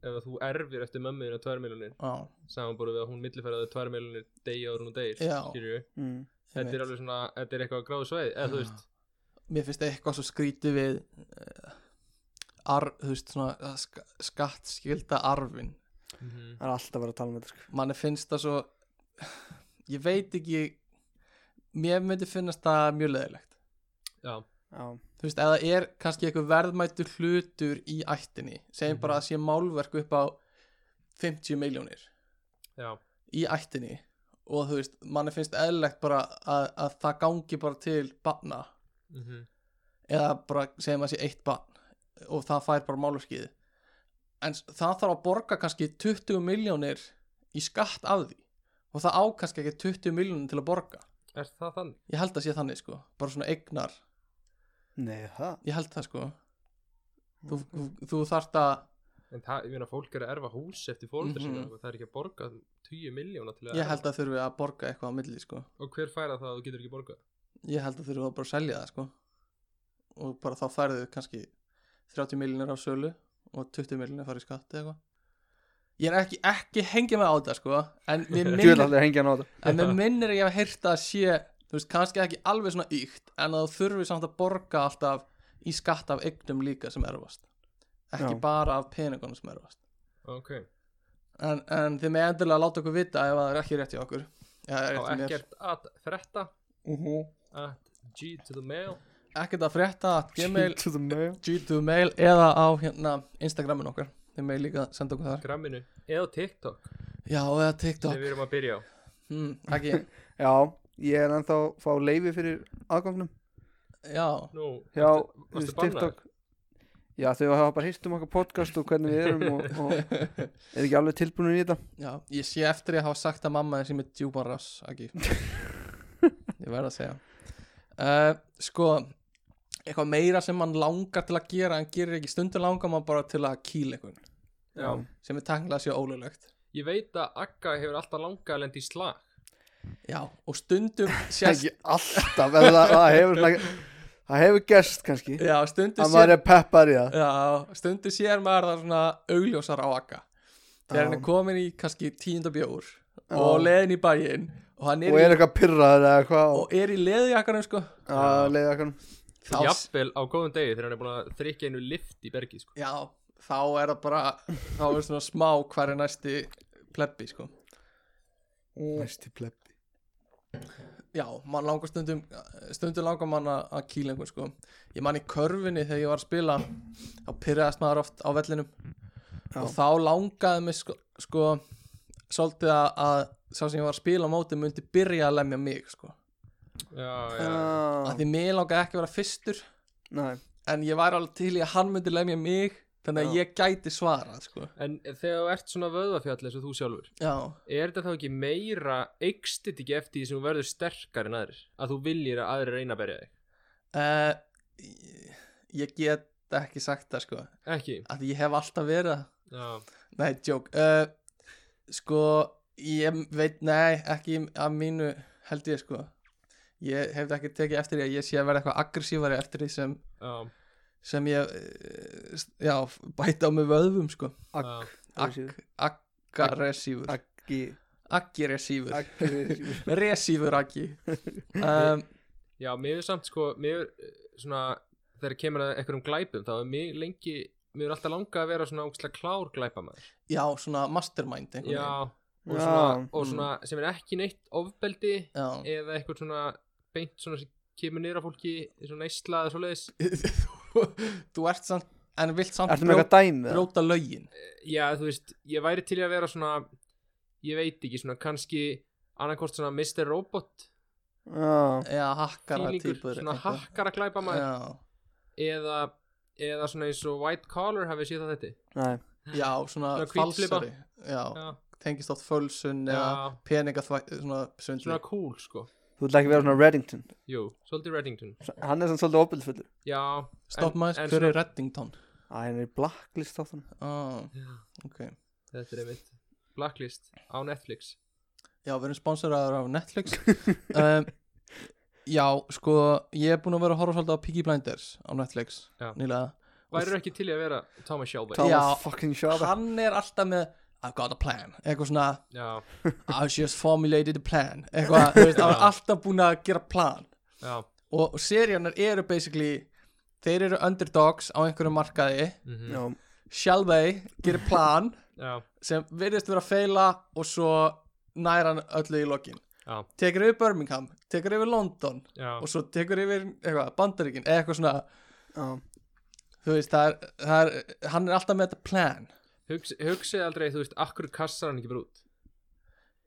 ef að þú erfir eftir mömmuðinu 2 miljonir já samanbúrið við að hún millifæraði 2 miljonir degi ára og deyr Já. skilju, mm. þetta Einmitt. er alveg svona þetta er eitthvað gráðu sveið, eða þú Já. veist mér finnst eitthvað svo skrítið við uh, ar, þú veist svona eh, sk skattskilda arfin Mhm. Það er alltaf verið að tala um þetta sko. manni finnst það svo ég veit ekki mér myndi finnast það mjög leðilegt já, Já, þú veist, eða er kannski eitthvað verðmættur hlutur í ættinni, segjum Mhm. bara að sé málverk upp á 50 miljónir já, í ættinni og þú veist, manni finnst eðlilegt bara að, að það gangi bara til barna mhm. eða bara segjum að sé eitt barn og það fær bara máluskið en s- það þarf að borga kannski 20 miljónir í skatt af því og það á kannski ekki 20 miljónir til að borga Er það þannig? ég held að sé þannig sko, bara svona eignar Nei, það ég held það sko þú, þú, þú þarft að En það, ég meina, fólk er að erfa hús eftir fólkdur mm Mhm. og það er ekki að borga 10 miljóna til að ég held að þurfi að borga eitthvað á milli sko Og hver færa það að þú getur ekki borgað? ég held að þurfa bara að selja það sko og bara þá færðu kannski 30 miljonir af sölu og 20 miljonir farið í skatt eða eitthvað ég er ekki, ekki hengið með á þetta sko en mér Djöðl minnir, allir hengja hann á þetta en mér minnir að ég hef heyrt að sé þú veist, kannski ekki alveg svona ykt en að þú þurfi samt að borga alltaf í skatt af eignum líka sem erfast ekki Já. bara af peningunum sem erfast Ok, en, en þið með endilega láta okkur vita ef það er ekki rétt í okkur eða á rétt í mér ekkert að þretta uh -huh. at g to the mail ekkert að frétta gmail To the mail G2 mail eða á hérna Instagramin okkar Þið með líka senda okkur þar gramminu eða á TikTok Já, sem eða TikTok við erum að byrja á mm, Ekki, Já, ég er ennþá að fá leifi fyrir aðgangnum já Nú, Já, varstu- varstu við TikTok Já, þau hafa bara hýrt um okkar podcast og hvernig við erum og, og er ekki alveg tilbúinir í þetta Já, ég sé eftir ég hafa sagt að mamma þín sem er djúpan rass Ekki Ég verð að segja uh, Sko, eitthvað meira sem mann langar til að gera en gerir ekki stundur langar mann bara til að kýla einhvern Já. sem er tanglega að sé ólulegt Ég veit að Akka hefur alltaf langað að lenda í slag Já, og stundum sést Ekki alltaf, en það, það hefur svona- það hefur gerst kannski Já, stundum að maður er peppar í það Já, stundu sér maður það svona augljósar á akka Já. þegar hann er komin í kannski tíunda bjór Já. og leðin í bæinn og hann er, og er í, eitthvað pyrraður eða eitthvað og og er í leðjakkanum sko að leiða eitthvað þá, Jafnvel á góðum degi þegar hann er búin að þrykja einu lift í bergi sko. já, þá er það bara þá er svona smá hver er næsti plebbi sko næsti plebbi já, mann langar stundum stundum langar mann að að kýla einhvern sko ég man í körfunni þegar ég var að spila þá pyrraðast maður oft á vellinum Já. og þá langaði mig sko, sko svolítið að, að sá sem ég var að spila á móti myndi byrja að lemja mig sko Já, já, að ah, því mig langaði ekki að vera fyrstur nei, en ég væri alveg til í að hann myndi lemja mig þannig að Já. ég gæti svarað sko En þegar þú ert svona vöðvafjall eins og þú sjálfur já, Er þetta þá ekki meira eikstið ekki eftir því sem þú verður sterkar en aðrir Að þú viljir að aðrir reyna að berja þig uh, ég, ég get ekki sagt það sko Ekki að ég hef alltaf verið það Já, Nei, joke uh, Sko, ég veit, nei, ekki að mínu held ég sko Ég hef ekki tekið eftir því að ég sé að vera eitthvað aggressífari eftir því sem, já, sem ég, eh, s- já, bæta á mig vöðvum sko Agg. já Ag, Aggressífur. Aggressífur ekki Aggressífur ekki Resífur aggi um, Já, mér er samt sko Mér er svona Þegar kemur að einhverjum glæpum Þá er mér lengi Mér er alltaf langað að vera svona ógstlega klár glæpamaður Já, svona mastermind einhvern Já veginn. Og svona, Já. og svona sem er ekki neitt ofbeldi Já eða eitthvað svona beint svona sem kemur niður á fólki eins og neysla eða svoleiðis Þú- Þú ert samt, en vilt samt Ertu með brjó- eitthvað dæmi? eða? brjóta lögin já þú veist, ég væri til í að vera svona ég veit ekki, svona kannski annarkort svona Mr. Robot Já, Já, hakkara fílingur, típur svona eitthvað. hakkar að glæpa maður Já eða, eða svona eins og White Collar hafið séð það þetta nei Já, svona Svona hvítflipa. falsari Já, já, tengist oft fölsun eða já, peningaþvæ, svona svindli svona cool sko Þú vill ekki vera svona Reddington jú, svolítið Reddington Hann er svona svolítið opildfullur já, Stopp en- maður, en hver svona- er Reddington? Æ, hann er í blacklist þáttunum Ah, ok þetta er einmitt Blacklist á Netflix Já, við erum sponsoraður af Netflix um, Já, sko, ég er búin að vera að horfa svolítið á Piggy Blinders á Netflix Já. nýlega væri ekki til í að vera Thomas Shelby Thomas Já. fucking Shelby Hann er alltaf með I've got a plan Eitthvað svona já, I've just formulated a plan Eitthvað, þú veist, hann er Já. alltaf búin að gera plan já, Og, og seríanar eru basically Þeir eru underdogs á einhverju markaði mhm, Já, Shelby gerir plan já, sem virðist vera að feila og svo næra hann öllu í lokin já, tekur yfir Birmingham, tekur yfir London já. og svo tekur yfir eitthvað, Bandaríkin eða eitthvað svona, já þú veist það er, það er, hann er alltaf með þetta plan Hugs, hugsið aldrei, þú veist, akkur kassar hann ekki bara út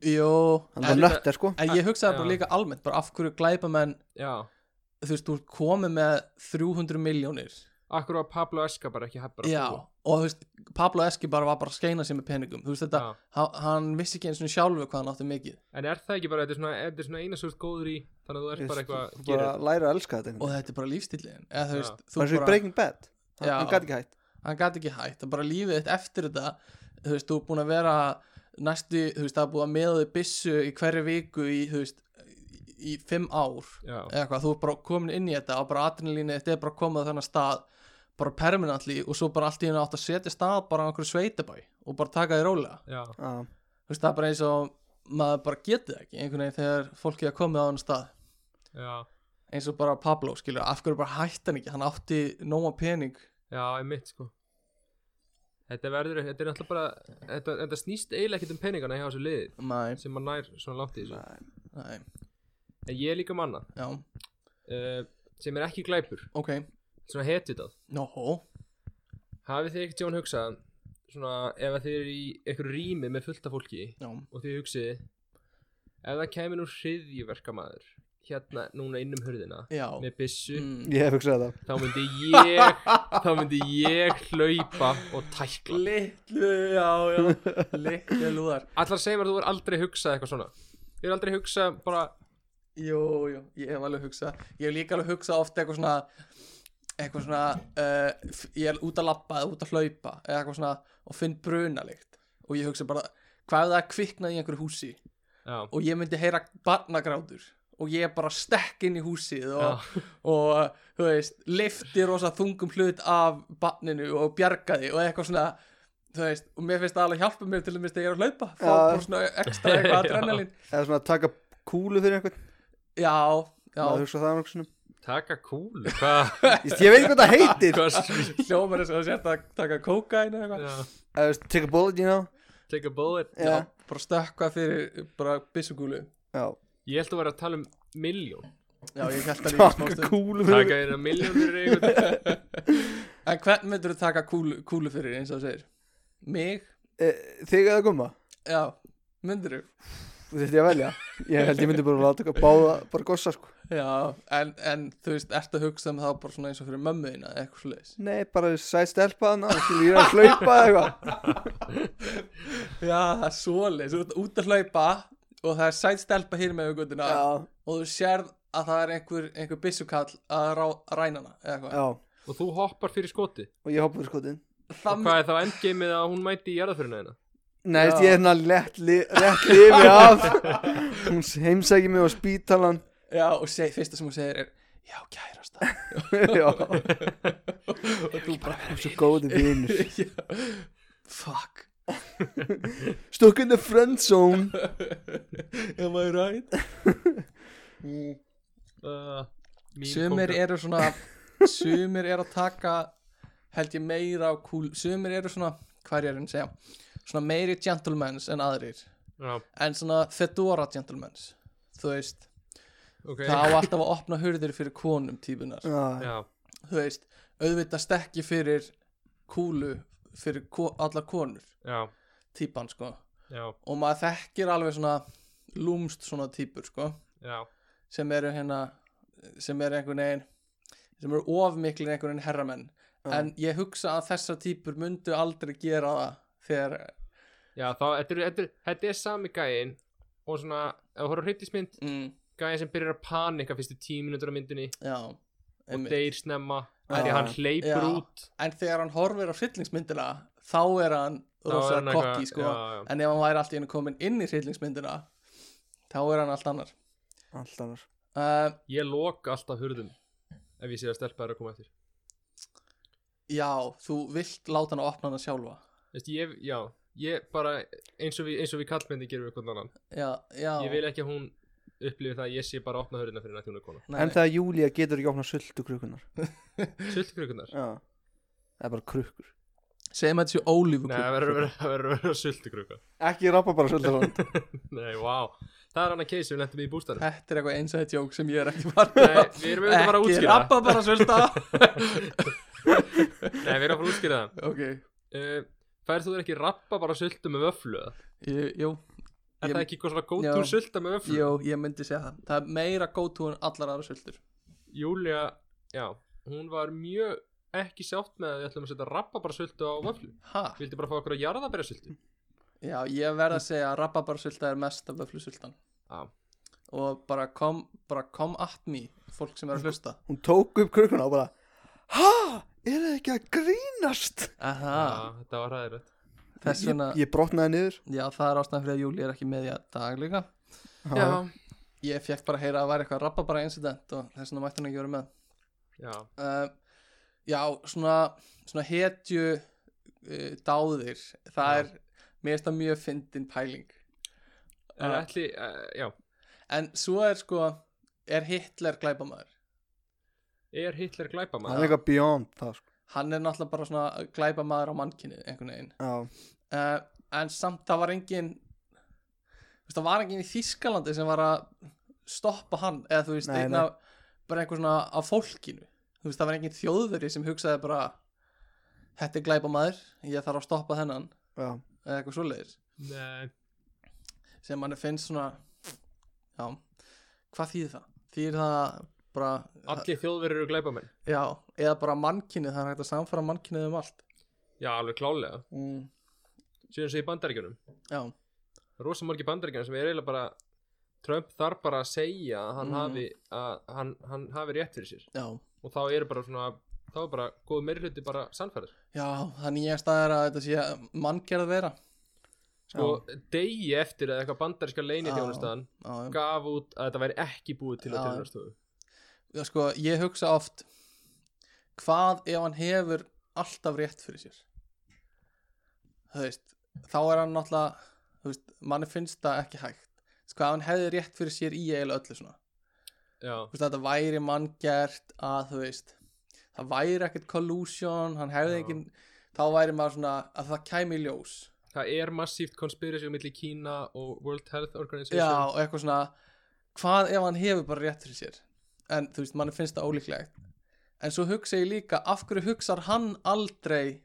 Jó, hann en, var líka- nötter sko en ég hugsaði bara Já. líka almennt bara af hverju glæpamenn já, þú veist, þú ert komið með 300 miljónir akkur var Pablo Escobar ekki hefbar Já, og þú veist, Pablo Escobar var bara að skeina sér með peningum þú veist þetta, Já. ha- hann vissi ekki eins og sjálfur hvað hann átti mikið en er það ekki bara, þetta er svona, þetta er svona eina svo þú ert góður í þannig að þú ert bara eitthvað að bara gera að læra að elska þetta og einhvern veginn. þetta er bara lífstillin eða þú Já. veist, þú bara svo í bara, Breaking Bad hann, Já. hann gæti ekki hætt hann gæti ekki hægt það er bara lífið þitt eftir þetta þú veist, þú er búin að vera næstu, þú veist, það er búin að meða þig byssu í hverju viku í, þú veist í- í fimm ár Já. eða hvað, þú er bara komin inn í þetta og bara atrinlínu þetta er bara komið á þennan stað bara permanently og svo bara allt í henni átt að setja stað bara á einhverju sveitabæ og bara taka þér rólega já, Já. þú veist, það er bara eins og maður bara getið ekki einhvern veginn þegar fólki er komið á hann stað já, eins og bara Pablo, skilur, af hverju bara hætti hann ekki hann átti nóma pening já, einmitt sko þetta verður, þetta er náttúrulega bara þetta, þetta snýst eiginlega ekkert um peningana hjá þessu liði Nei, sem maður nær svona langt í þessu Nei. nei, en ég er líka manna já, uh, sem er ekki glæpur, ok svona hetjutað Nó, hafið þið ekkert sjón hugsað svona ef að þið eru í einhverju rými með fullta fólki já, og þið hugsið ef það kemur nú hriðjuverkamaður hérna núna innum hurðina já með byssu mm. ég hef hugsað það þá myndi ég þá myndi ég hlaupa og tækla Litlu, já, já, litlu lúðar allar segir mér að þú er aldrei hugsað eitthvað svona ég er aldrei hugsað bara Jú, jú, ég hef alveg hugsað Ég hef líka alveg hugsað ofta eitthvað svona eitthvað svona uh, f- ég er út að labba eða út að hlaupa eða eitthvað svona og finn brunalikt og ég hugsa bara, hvað ef það kviknaði í einhverju húsi já, og ég myndi heyra barnagrátur og ég bara stekk inn í húsið og, og uh, þú veist, lifti rosa þungum hlut af barninu og bjargaði og eitthvað svona þú veist, og mér finnst það alveg hjálpa mér til að minnst að ég er að hlaupa fá Já. bara svona ekstra eitthvað Já. adrenalin eða svona að taka kúlu fyrir einhvern já, já, maður hugsað það nokkuð sinnum taka kúlu hvað Ég- ég veit ekki hvað það heitir hvað svík hljómar þess að sért að taka kókain eða eitthvað Eða, veist, take a bullet you know take a bullet já, já, bara stökkva fyrir bara byssugúlu já. ég held að vera að tala um miljón já, ég held að líka taka smástum kúlu fyrir taka þér að miljón fyrir einhvern en hvern myndur þú taka kúlu, kúlu fyrir eins og þú segir mig, Eh, þig eða gumma já, myndur þú þú þurfti að velja ég held ég myndi bara láta ykkur báða bara gossa sko Já, en, en þú veist, ertu að hugsa um það bara svona eins og fyrir mömmuðina eða eitthvað slags nei bara sæt stelpaðan og skilur ég er að hlaupa eða eitthvað Já, það er svoleiðis, þú ert út að hlaupa og það er sæt stelpa hér með augundina já, og þú sérð að það er einhver, einhver byssukall að rá, ræna hana eða eitthvað já og þú hoppar fyrir skoti og ég hoppaði skotin og Þann, hvað er þá endgameið að hún mæti í jarðaförina þeina Nei, veist, Já. ég er hérna lett, li, lett lifi af Hún heimsækir mig á spítalan Já, og seg, fyrsta sem hún segir er Já, kærast það Já, Og þú bara svo góði vinur Já, Fuck Stuck in the friend zone Am I right? uh, mín Sumir kóngur. eru svona Sumir eru að taka held ég meira á kúl Sumir eru svona, hvað er ég að segja Svona meiri gentlemans en aðrir já, En svona fedora gentlemans Þú veist ok Það á alltaf að opna hurðir fyrir konum típunar Já, já, Þú veist, auðvitað stekki fyrir kúlu Fyrir ko allar konur já, Típan sko já, Og maður þekkir alveg svona Lúmst svona típur sko já sem eru hérna sem eru einhvern veginn sem eru ofmiklir einhvern veginn herramenn Já. en ég hugsa að þessar típur myndu aldrei gera það þegar já, þá, þetta er, þetta er, þetta er sami gæin og svona, ef þú horfður hryllismynd mm, gæin sem byrjar að panika fyrstu tíu mínútur á myndinni já, og einmitt. deyr snemma Já. af því hann hleypur Já. út en þegar hann horfir á hryllingsmyndina þá er hann Þá er rosa hann eitthvað- kokki sko. já, já. en ef hann væri alltaf inn komin inn í hryllingsmyndina þá er hann allt annar allt annar uh, ég loka alltaf hurðum ef ég sé að stelpa er að koma eftir já, þú vilt láta hann að opna hana sjálfa Veist, ég, já, ég bara eins og við, eins og við kallmyndi gerum við hvernig annan já, já ég vil ekki að hún upplifi það að ég sé bara að opna hurðina fyrir nætti hún er kona nei, En þegar Júlía getur ekki opnað sultukrukunar sultukrukunar Já Það er bara krukkur segjum að þetta Nei, séu það ólífukrukkur verður að vera- það verður að vera sultukruka Ekki rappa bara sultukrukunar Nei, vá Það er hann að keisi, við lentum í bústanum Þetta er eitthvað einsæði djók sem ég er ekki varð Nei, við erum auðvitað bara að útskýra það. rappa bara svölda Nei, við erum að fara að útskýra það Eh, Ok, uh, Færð þú þér ekki rappa bara sultu með vöflu? eða? ég, jú, Er Ég- það ekki eitthvað svona Já. góttúr sulta með öflum? Jó, ég myndi segja það Það er meira go-to en allar aðra sultur Júlia, já, hún var mjög ekki sátt með að við ætlum að setja rababara sultu á vöflu. Ha? Vildi bara fá okkur að jarðabera sultu. Já, ég verð að segja að rababarsulta er mest af öflusultan Já. Og bara kom, bara kom at me Fólk sem er að hlusta hún tók upp krökkuna og bara ha, er það ekki að grínast Aha, Já, þetta var ræðilegt. þess vegna ég, ég brotnaði niður Já, það er ástæðan fyrir að Júli er ekki með í að dagleika Já. Ég fekk bara að heyra að það væri eitthvað rababara incident Og þess vegna mætti hann ekki vera með já, uh, já, svona, svona hetju uh, dáðir Já. það er, mér finnst það mjög fyndin pæling en uh, ætli, uh, já, en svo er sko er Hitler glæpamaður er Hitler það glæpamaður? er eitthvað beyond það sko. hann er náttúrulega bara svona glæpamaður á mannkinni einhvern veginn já, uh, en samt það var engin þú veist, það var engin í Þískalandi sem var að stoppa hann eða þú veist, Nei, einn nei. af bara einhver svona af fólkinu þú veist, það var engin þjóðveri sem hugsaði bara þetta er glæpamaður, ég þarf að stoppa þennan já. eða eitthvað svoleiðis Nei, sem mann finnst svona já, hvað þýðir það? þýðir það bara allir þjóðverður eru glæpamenn. já, eða bara mannkynnið, það er hægt að samfara mannkynið um allt Já, alveg klálega. mm. Síðan svo í bandaríkjunum. já, rosa margir bandaríkjana sem er eiginlega bara Trump þarf bara að segja að hann, Mhm. hafi, að hann, hann hafi rétt fyrir sér já, og þá eru bara svona þá er bara góð meiri hluti bara sannfæður já það nýjast að er að þetta sé manngerð vera sko degi eftir að eitthvað bandaríska leini þjónustan já, já. gaf út að þetta væri ekki búið til Já. að þjónustofu já, sko, ég hugsa oft hvað ef hann hefur alltaf rétt fyrir sér þú veist þá er hann náttúrulega þú veist, manni finnst það ekki hægt sko, ef hann hefði rétt fyrir sér í eiginlega öllu svona já, þú veist, þetta væri manngert að þú veist, það væri ekkert collusion, hann hefði Já. engin þá væri maður svona að það kæmi í ljós það er massíft konspirasi um milli Kína og World Health Organization já, og eitthvað svona hvað ef hann hefur bara rétt fyrir sér en þú veist, mann finnst það ólíklegt en svo hugsa ég líka, af hverju hugsar hann aldrei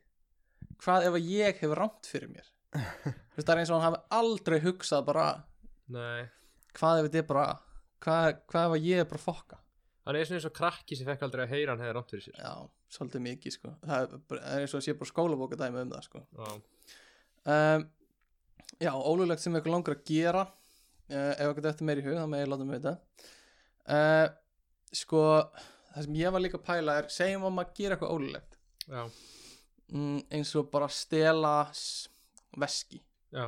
hvað ef að ég hefur rámt fyrir mér þú veist, það er eins og hann hafi aldrei hugsað bara, nei hvað ef þetta er bara hvað, hvað ef að ég er bara að fokka hann er svona eins og krakki sem fekk aldrei að heyra hann hefði rátt fyrir sér já, svolítið mikið sko það er, bara- það er eins og að sé bara skólabóka dæmi um það sko já, um, já, ólulegt sem eitthvað langar að gera uh, ef eitthvað eftir meir í hug þá með ég láta mig vita uh, sko það sem ég var líka að pæla er segjum að maður gera eitthvað ólulegt já, mm, eins og bara stela s- veski já,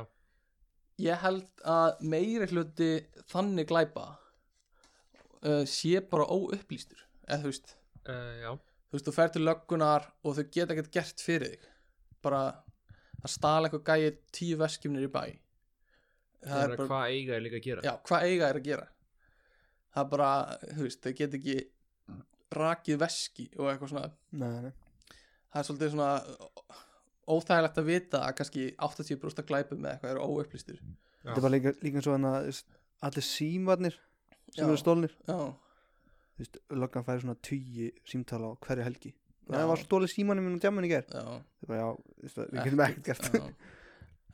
ég held að meiri hluti þannig glæpa uh, sé bara óupplýstur eða þú veist uh, já. þú veist, þú fer til löggunar og þau geta ekkert gert fyrir þig bara að stala eitthvað gæi tíu veskjumnir í bæ það, Það er bara, hvað eiga er líka að gera já, hvað eiga er að gera það er bara, þú veist, þau geta ekki rakið veski og eitthvað svona Nei, nei. það er svolítið svona ó- óþægilegt að vita að kannski 80% af glæpum með eitthvað eru óupplýstur Já. þetta var líka, líka svo hann að allir símarnir sem Já. eru stólnir já, löggan færi svona tugi símtala á hverju helgi Já. það var stólið símanum minn og djaman í ger já, það bara já, þú veist það, við getum ekkert gert já.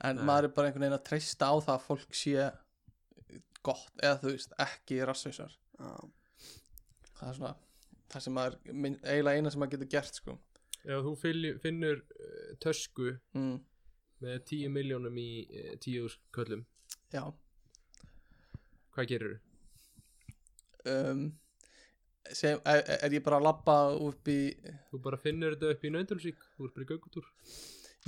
en Nei. maður er bara einhvern veginn að treysta á það að fólk sé gott eða þú veist, ekki rassvísar Já. það er svona það sem maður, minn, eiginlega eina sem maður getur gert sko. ef þú fylg- finnur uh, tösku mm, með 10 miljónum í 10 uh, köllum já hvað gerir um, sem, er, er ég bara að labba upp í þú bara finnur þetta upp í nöndulsík þú ert bara í göngutúr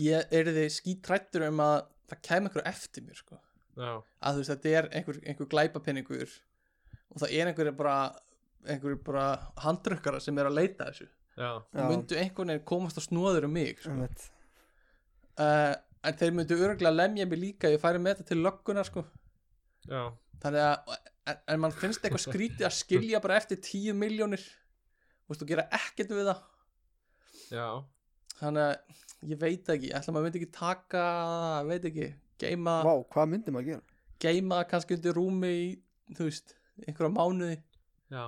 ég er þið skítrættur um að það kemur einhver eftir mér sko. já, að þú veist þetta er einhver, einhver glæpapinningur og það er einhver bara einhver bara handrukkara sem er að leita að þessu já, Já, og myndu einhvern veginn komast á snóður um mig sko. einmitt. uh, en þeir myndu örgulega lemja mig líka ef ég færi með þetta til lögguna sko. já, þannig að en, en mann finnst eitthvað skrítið að skilja bara eftir 10 miljónir þú veist, og gera ekkert við það já þannig að ég veit ekki, ætla maður myndi ekki taka ég veit ekki, geima vá, hvað myndi maður gera geima kannski undir rúmi í, þú veist, einhverja mánuði já,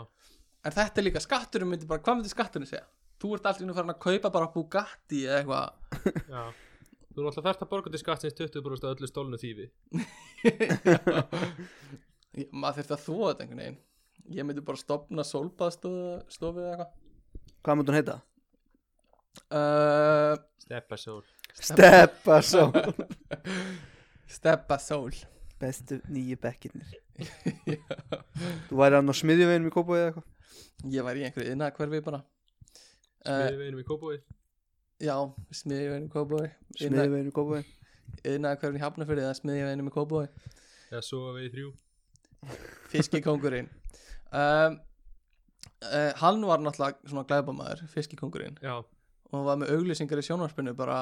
en þetta er líka, skatturinn myndi bara, hvað myndi skatturinn segja? Þú ert alltaf farin að kaupa bara Bugatti eða eitthvað já þú náttúrulega þarft að borga til skattsins 20% af öllu stólnu þýfi Ég- maður þurfti að þúa þetta einhvern veginn ég myndi bara stopna sólbaðstofu eða eitthvað Hvað myndi hún heita? uh, Steppa sól Steppa sá steppa sól Bestu nýju bekkirnir Já. Þú væri hann á smiðjuveginum í Kópavíð eða eitthvað ég var í einhverju innakverfi bara uh, Við veginum í kópói já, smiðjöfinn í Kóbói Smiðjuveginum í Kópavíð innakverfin í Hafnafyrði eða smiðjöfinn í Kóbói Já, svo við þrjú fiskikongurinn um, uh, hann var náttúrulega svona glæbamaður, fiskikongurinn Já, og var með auglýsingar í sjónvarpinu bara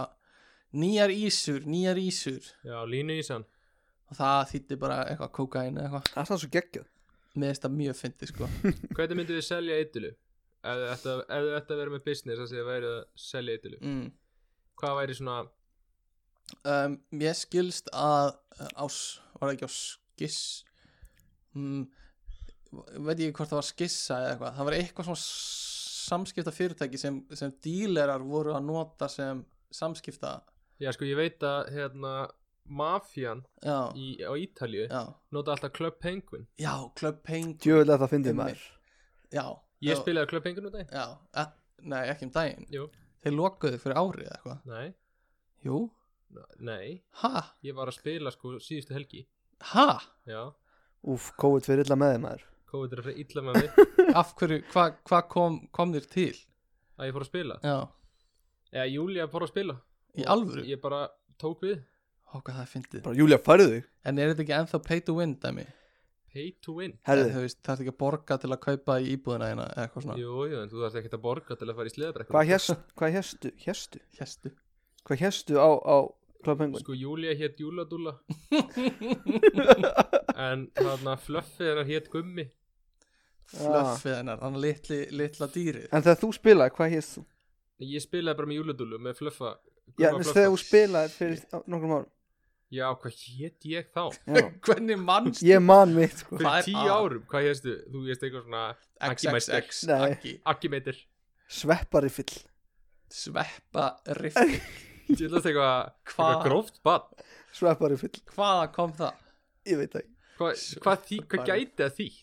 nýjar ísur, nýjar ísur já, línu í sann og það þýtti bara eitthvað kókain eða eitthvað Það er sann svo geggjað með þetta mjög fyndi sko Hvernig myndu við selja eitulu? Ef þú ætti að- ef þú ætti að vera með business að segja væri að selja eitulu mm. Hvað væri svona um, ég skilst að uh, ás, var það ekki á skiss mm, veit ég ekki hvort það var skissa eða eitthvað það var eitthvað svona samskipta fyrirtæki sem, sem dílerar voru að nota sem samskipta Já, sko, ég veit að hérna Mafjan já, í, á Ítalju já, nota alltaf Club Penguin já, Club Paint Djöfulega það fyndið maður já, Ég já, spilaði Club Penguin út af já, e, nei, ekki um daginn Jú. þeir lokuðu fyrir árið eða eitthvað Nei, jú, nei, ha, ég var að spila sko síðustu helgi ha Já, Úf, COVID fyrir illa með þig maður COVID er að illa með mig af hverju, hvað hva kom, kom þér til að ég fór að spila já, Eða Júlía fór að spila í Og alvöru Ég bara tók við Ó, hvað það er fyndið Bara Júlia, færðu þig En er þetta ekki ennþá pay to win, dæmi? Pay to win Eða, Herðu, Þú veist, þarf ekki að borga til að kaupa í íbúðina þína eða eitthvað svona Jú, jú, en þú þarft ekkert að borga til að fara í sleðabrekku hvað hérstu, hvað hérstu, hérstu Hérstu Hvað hérstu á, á Club Penguin? Sko, Júlía hétt Júladúla En þarna Fluffið hennar hétt Gummi Ah. Fluffið hennar, hann litli, litla dýrið En þegar þú spilaði, hvað hérstu? Ég spilaði bara með Júladúlu, með Fluffa Já, en Gumma Fluffa. þegar þú spilaði fyrir á- nokkrum árum Já, hvað hétt ég þá? Já, Hvernig manns Ég man mitt, sko Hvað er Fyrir tíu að? árum, hvað hérstu? Þú hérstu eitthvað svona Aggi XXX, Nei. Aggi Aggimeter Sveppari fyll Sveppa riffi Ég ætlaðist eitthvað Hva? eitthvað gróft bann Sveppari fyll, Hvaða kom það? ég veit það ekki Hva, hvað, þý, hvað Bara- gæti að því?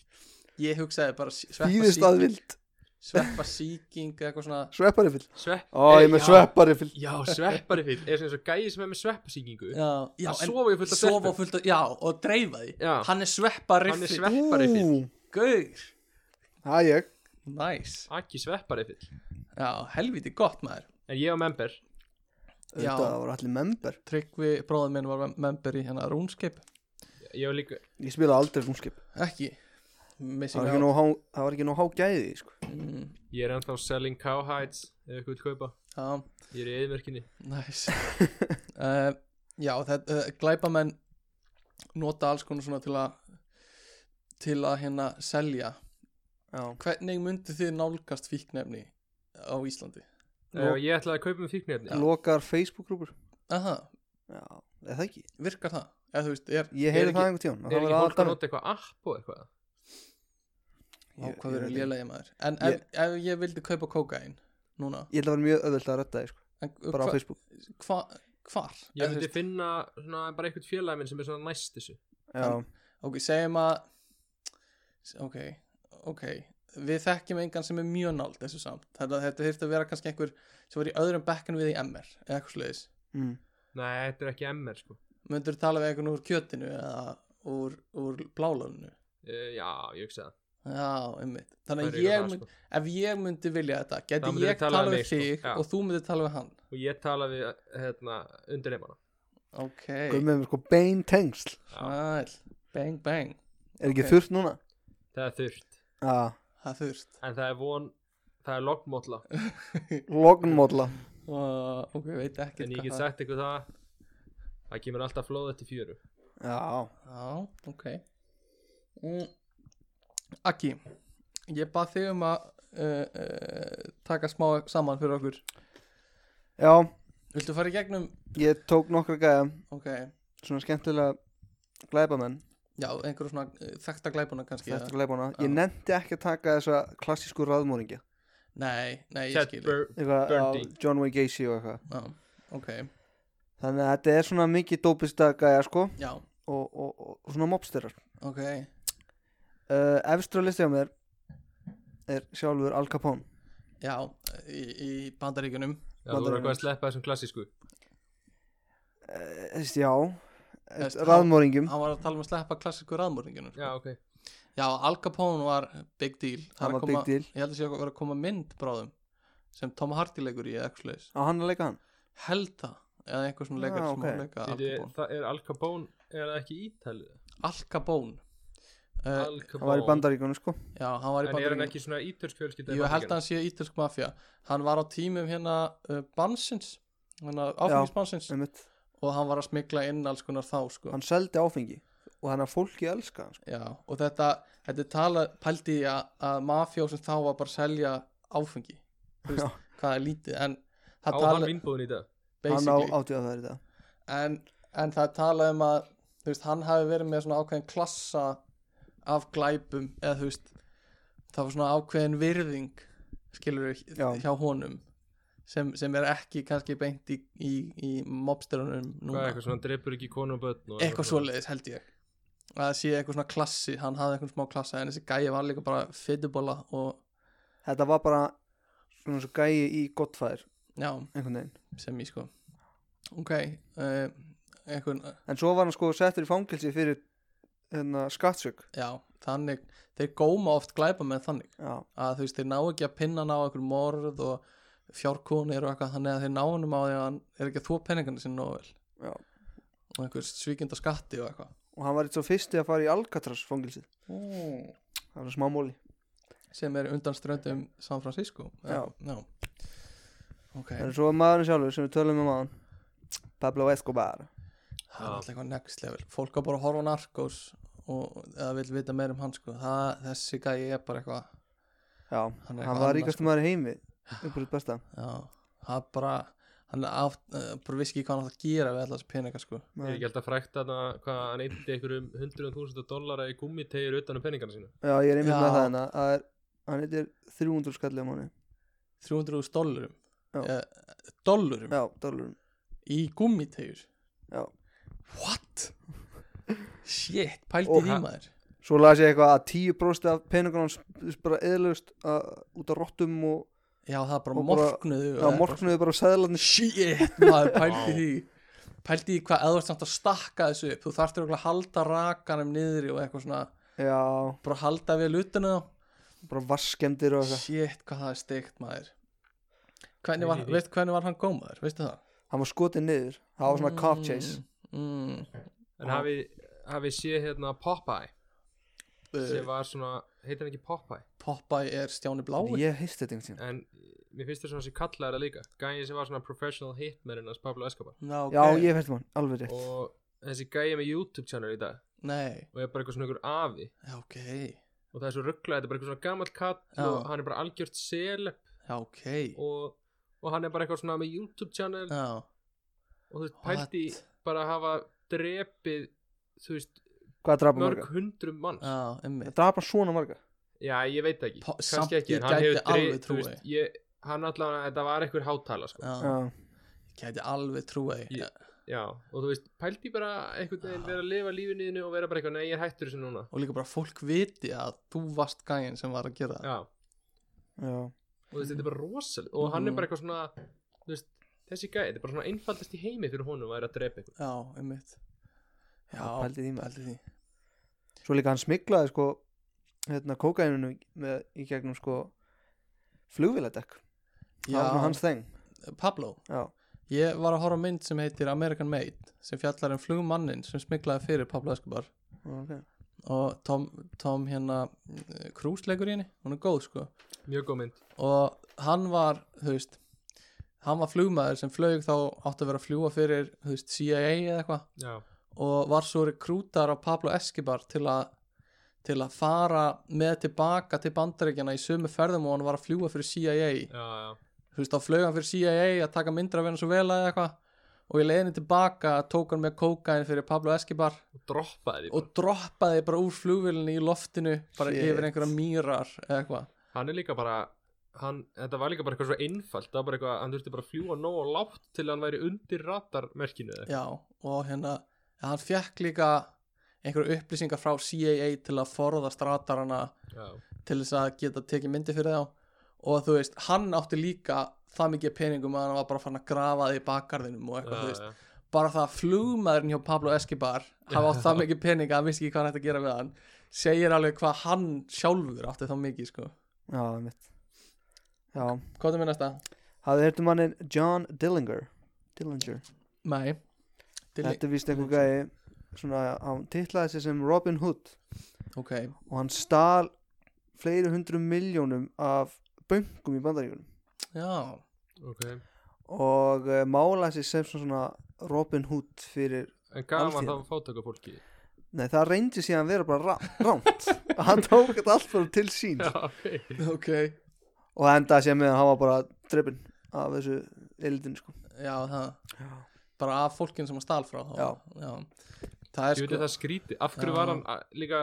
Ég hugsaði bara sí- sveppa Þýðist að síking vild, Sveppa síking eða eitthvað svona sveppari fyll Svepp Ó, ég er með Já. sveppari fyll Já, sveppari fyrir Er svona eins og gæði sem er með sveppasýkingu Já, já Að sofa í fullt af Sofa sveppum. fullt af, já, og dreifa því Já. Hann er sveppa riffi Hann er sveppari fyrir Gaur Það er ég Næs Akki sveppari fyrir Já, helviti gott maður En ég á member Já. Þetta voru allir member Tryggvi bróðum minn var mem- member í hérna Rúnskip Ég á líka Ég spilaði aldrei rúmskip Ekki Það Missing var ekki out nóg há- það var ekki nóg hágæði sko. Mm, Ég er ennþá selling cowhides Ef ykkur vil kaupa Já, Ég er í eðmerkinni næs uh, Já, þetta uh, glæpamenn nota alls konar svona til að til að hérna selja Já. Hvernig myndu þið nálgast fíknefni á Íslandi? Lo- Ég ætlaði að kaupa um með fíknirni Lokar Facebook-grúpur Aha, Já, eða það ekki virkar það? Eða þú veist, er Ég Er heyri ekki- það einhvern tíðan Er ekki fólk að nota eitthvað app og eitthvað á hvað verður Ég lélegi maður En ef, ef ég vildi kaupa kókain núna ég held að vera mjög öðvöld að retta þig sko. en, Bara á hva, Facebook hva, Hvar? Eða Ég þú myndi veist- finna svona, bara eitthvað félagi minn sem er svona næst þessu Já, Ok, segjum að Ok, ok Við þekkjum engan sem er mjög nált þessu samt Þetta, þetta þurfti að vera kannski einhver sem var í öðrum bekkinu við í MR eða eitthvað sliðis mm. Nei, þetta er ekki MR sko Möndur tala við einhvern úr kjötinu eða úr, úr blálöfnu uh, Já, ég hugsa það Já, einmitt Það sko. Þannig er að ég eitthvað, mynd, ef ég myndi vilja þetta Þá geti myndirðu ég tala við tala við mig, sko. þig Já. og þú myndir tala við hann Og ég tala við hérna, undirneimana Ok, Guð með mér sko bein tengsl sæl Bang, bang, Er ekki Ok. þurft núna? Það er þurft Já, það þurft En það er von Það er lognmótla lognmódla og, Ok, veit ekki En ég get sagt ykkur það Það kemur alltaf flóð eftir fjöru Já, Já, ok mm. Akki Ég bað þig um að uh, uh, taka smá saman fyrir okkur já Viltu fara í gegnum? Ég tók nokkra gæja Ok, Svona skemmtilega glæpamenn já, einhverjum svona uh, þekkta glæpuna kannski Þetta eða- glæpana Ég Já. nefndi ekki að taka þessa klassísku raðmóringi Nei, nei, ég Ted skil Bur Eitthvað á Bundy. John Wayne Gacy og eitthvað Já, ok Það þannig að þetta er svona mikið dópista gæja sko Já, og, og, og, og svona mobsterar ok uh, efstur að listi á mér er sjálfur Al Capone Já, í, í bandaríkjunum Já, þú voru eitthvað að sleppa þessum klassísku uh, þessi, já Veist, eh, raðmóringum Hann var að tala um að sleppa klassíku raðmörningunum Já, ok Já, Al Capone var big deal Það Hann er að var koma- big deal. Ég held að sé að vera að koma mynd bráðum sem Tom Hardy leikur í eða eitthvað slags á hann að leika hann Held það, eða einhver svona leikar Já, sem okay. ok. leika Al Bíddu, Capone Það Eh, er Al Capone, er það ekki ítalið? Al Capone uh, Al Capone hann var í bandaríkunum sko Já, hann var í En er hann bandaríkjunum ekki svona ítölsk fjölskylda í Ég held að Bandaríkjunum? hann sé ítalsk mafja Hann var á tímum hérna uh, bansins hérna áfengisbansins einmitt. og hann var að smikla inn alls konar þá sko. hann seldi áfengi og þannig að fólki elska hann sko. Já, og þetta, þetta er tala pældi í að, að mafjó sem þá var bara að selja áfengi Já. Þú veist, hvað er lítið en það Á hann tala vinnbúðin í dag hann á basically átíða það er þetta en, en það tala um að þú veist, hann hafi verið með svona ákveðin klassa af glæpum eða þú veist, það var svona ákveðin virðing skilur Já. hjá honum sem, sem er ekki kannski beint í, í, í mobsterunum Hvað er núna eitthvað svona, hann drepur ekki konu og börn og eitthvað svoleiðis held ég að það sé eitthvað svona klassi, hann hafði eitthvað smá klassa en þessi gæi var líka bara fittubola og þetta var bara svona svo gæi í gottfæðir já, einhvern veginn sem ég sko ok uh, eitthvað, en svo var hann sko settur í fangelsi fyrir hérna, skattsök já, þannig þeir góma oft glæpa með þannig já, að þú veist, þeir ná ekki að pinna hann á eitthvað morð og fjárkúnir og eitthvað þannig að þeir ná hann á því að hann er ekki að þvó peningana sinni nógu vel já. og einhver svíkinda skatti og eitthvað og hann var eitt svo fyrsti að fara í Alcatraz fangelsið mm. það var smá móli sem er undan ströndum San Francisco Já. já. ok, en svo er maðurinn sjálfur sem við tölum um aðan Pablo Escobar það er Já. alltaf eitthvað next level fólk á bara að horfa á narkos og eða vil vita meir um hann sko það, þessi gæi er bara eitthvað já, Hann hann, er eitthvað annað, var ríkast maður í heimi uppur besta já, það er bara hann er aft, uh, bara viski hvað hann átt að gera við alltaf þessi peninga sko Ég er ekki held að frækta þarna hvað hann eitti einhverjum 100.000 dollara í gummitegir utan um peningana sína já, ég er einmitt Já. með það hérna það er, hann heitir 300 skalli á mánu 300.000 dollurum Já. uh, dollurum já, dollarum í gummitegjur já. what? shit, pældi Og því hann- maður svo las ég eitthvað að 10% af peningunum hans bara eðlust út á rottum og já, það er Og bara bara- morgnuðu já, morgnuðu bara seðlarnir shit maður pældi Vá. því pældi því hvað eða þú ert samt að stakka þessu upp þú þarftir örugglega að halda rakanum niðri og eitthvað svona já, bara halda við lutinu bara vasskemdir og eitthvað shit hvað það er steikt maður hvernig var, veist, hvernig var hann gómaður veistu það hann var skotið niður, það var svona cop chase mm, mm, En hafi, hafi sé hérna Popeye sem uh, var svona, heitir hann ekki Popeye Popeye er stjáni blái ég heist þetta einhvern tímann. en eh, mér finnst það svona sem kallar það líka gæði sem var svona professional hitman hans Pablo Escobar Ná, ok. já, ég hef hægt mann, alveg rétt og þessi gæði með YouTube channel í dag nei, og er bara eitthvað svona ykkur afi já, ok og það er svo ruggla, þetta er bara eitthvað svona gammal kall Já. og hann er bara algjört seleb já, ok og, og hann er bara eitthvað svona með YouTube channel já, og þú veist, pælti í What? bara að hafa drepið, þú veist, hvað drapa mörg marga? hundrum manns já, emmi drapa svona marga Já, ég veit það ekki, Po- samt kannski ekki ég en hann gæti hefur drið- alveg þú trúið. veist, ég, Hann allavega, þetta var einhver hátala sko. já, já, ég gæti alveg trúið Ég- Já, og þú veist, pældi bara einhvern veginn vera að lifa lífinu þínu og vera bara eitthvað, nei, ég er hættur þessu núna og líka bara fólk viti að þú varst gæin sem var að gera það Já, og já, þú veist, þetta er bara rosal og hann er bara eitthvað svona, þú veist þessi gæði, þetta er bara svona einfaldast í heimi fyrir honum að vera að drepa einhvern já, einmitt já, pældi því maður. pældi því. svo líka hann smiklaði sko hérna kókaininu með, í gegnum sko flugvéladekk það var Já, svona hans þeng Pablo, já, ég var að horfa á mynd sem heitir American Made sem fjallar um flugmannin sem smiklaði fyrir Pablo Escobar ok og Tom, Tom hérna Krús leikur í henni, hún er góð sko Mjög góð mynd og hann var, þú veist hann var flugmaður sem flög þá átti að vera að fljúa fyrir, þú veist, CIA eða eitthvað Já, og var svo rekrútar af Pablo Escobar til að til að fara með tilbaka til bandaríkjana í sömu ferðum og hann var að fljúa fyrir CIA já, já, þú veist, þá flög hann fyrir CIA að taka myndra af hennar svo vel eða eitthvað og í leiðinni tilbaka tók hann með kókain fyrir Pablo Escobar og droppaði því og droppaði bara úr flugvélinni í loftinu bara Shit. yfir einhverja mýrar eða eitthvað Hann er líka bara, hann, þetta var líka bara eitthvað svo einfalt það var bara eitthvað, hann þurfti bara að fljúa nógu látt til hann væri undir radarmerkinu eða eitthvað. Já, og hérna hann fekk líka einhverju upplýsingar frá CIA til að forðast ratarana já, til þess að geta tekið myndi fyrir þá og þú veist, hann átti líka það mikið peningum að hann var bara fann að grafa þig í bakgarðinum og eitthvað, þú veist já, já. bara það að flugmaðurinn hjá Pablo Escobar hafa átt það mikið peninga, hann vissi ekki hvað hann ætti að gera við hann segir alveg hvað hann sjálfur átti þá mikið, sko já, mitt já, Hvað er mér næsta? hafði hértu mannin um John Dillinger Dillinger Nei Þetta er víst einhver gæi svona, hann titlaði sig sem Robin Hood Ok, og hann stal fleiri hundru miljónum af böngum í bandaríkunum já, ok og uh, málaði sig sem svona Robin Hood fyrir en gaf hann Alþýða. þá fátaka fólki nei það reyndi síðan vera bara ra- rámt hann tók þetta allt fyrir til sín já, ok ok og það endaði síðan með að hann var bara drefin af þessu elitin sko. Já, það Já. bara af fólkinn sem hann stál frá þá. Já. já Það er ég veit sko að það skríti, af hverju Já. var hann að- líka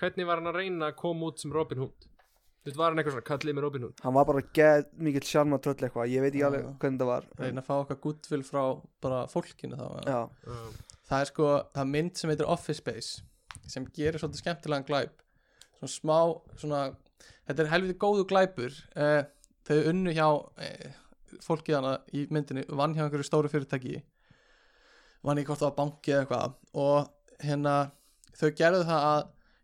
hvernig var hann að reyna að koma út sem Robin Hood þú veit, var hann eitthvað svona kallið með Robin Hood hann var bara geð mikill sjarma tröll eitthvað ég veit ekki Já. alveg hvernig það var reyna að fá okkar gúttvill frá bara fólkinu þá eða? já, já, það er sko, það er mynd sem heitir Office Space sem gerir svolítið skemmtilegan glæp svona smá, svona þetta er helviti góðu glæpur eh, þau unnu hjá eh, fólkið hana í myndinni, vann hjá einhverju stóru fyrirtæki vann í hvort það var banki eða eitthvað og hérna, þau gerðu það að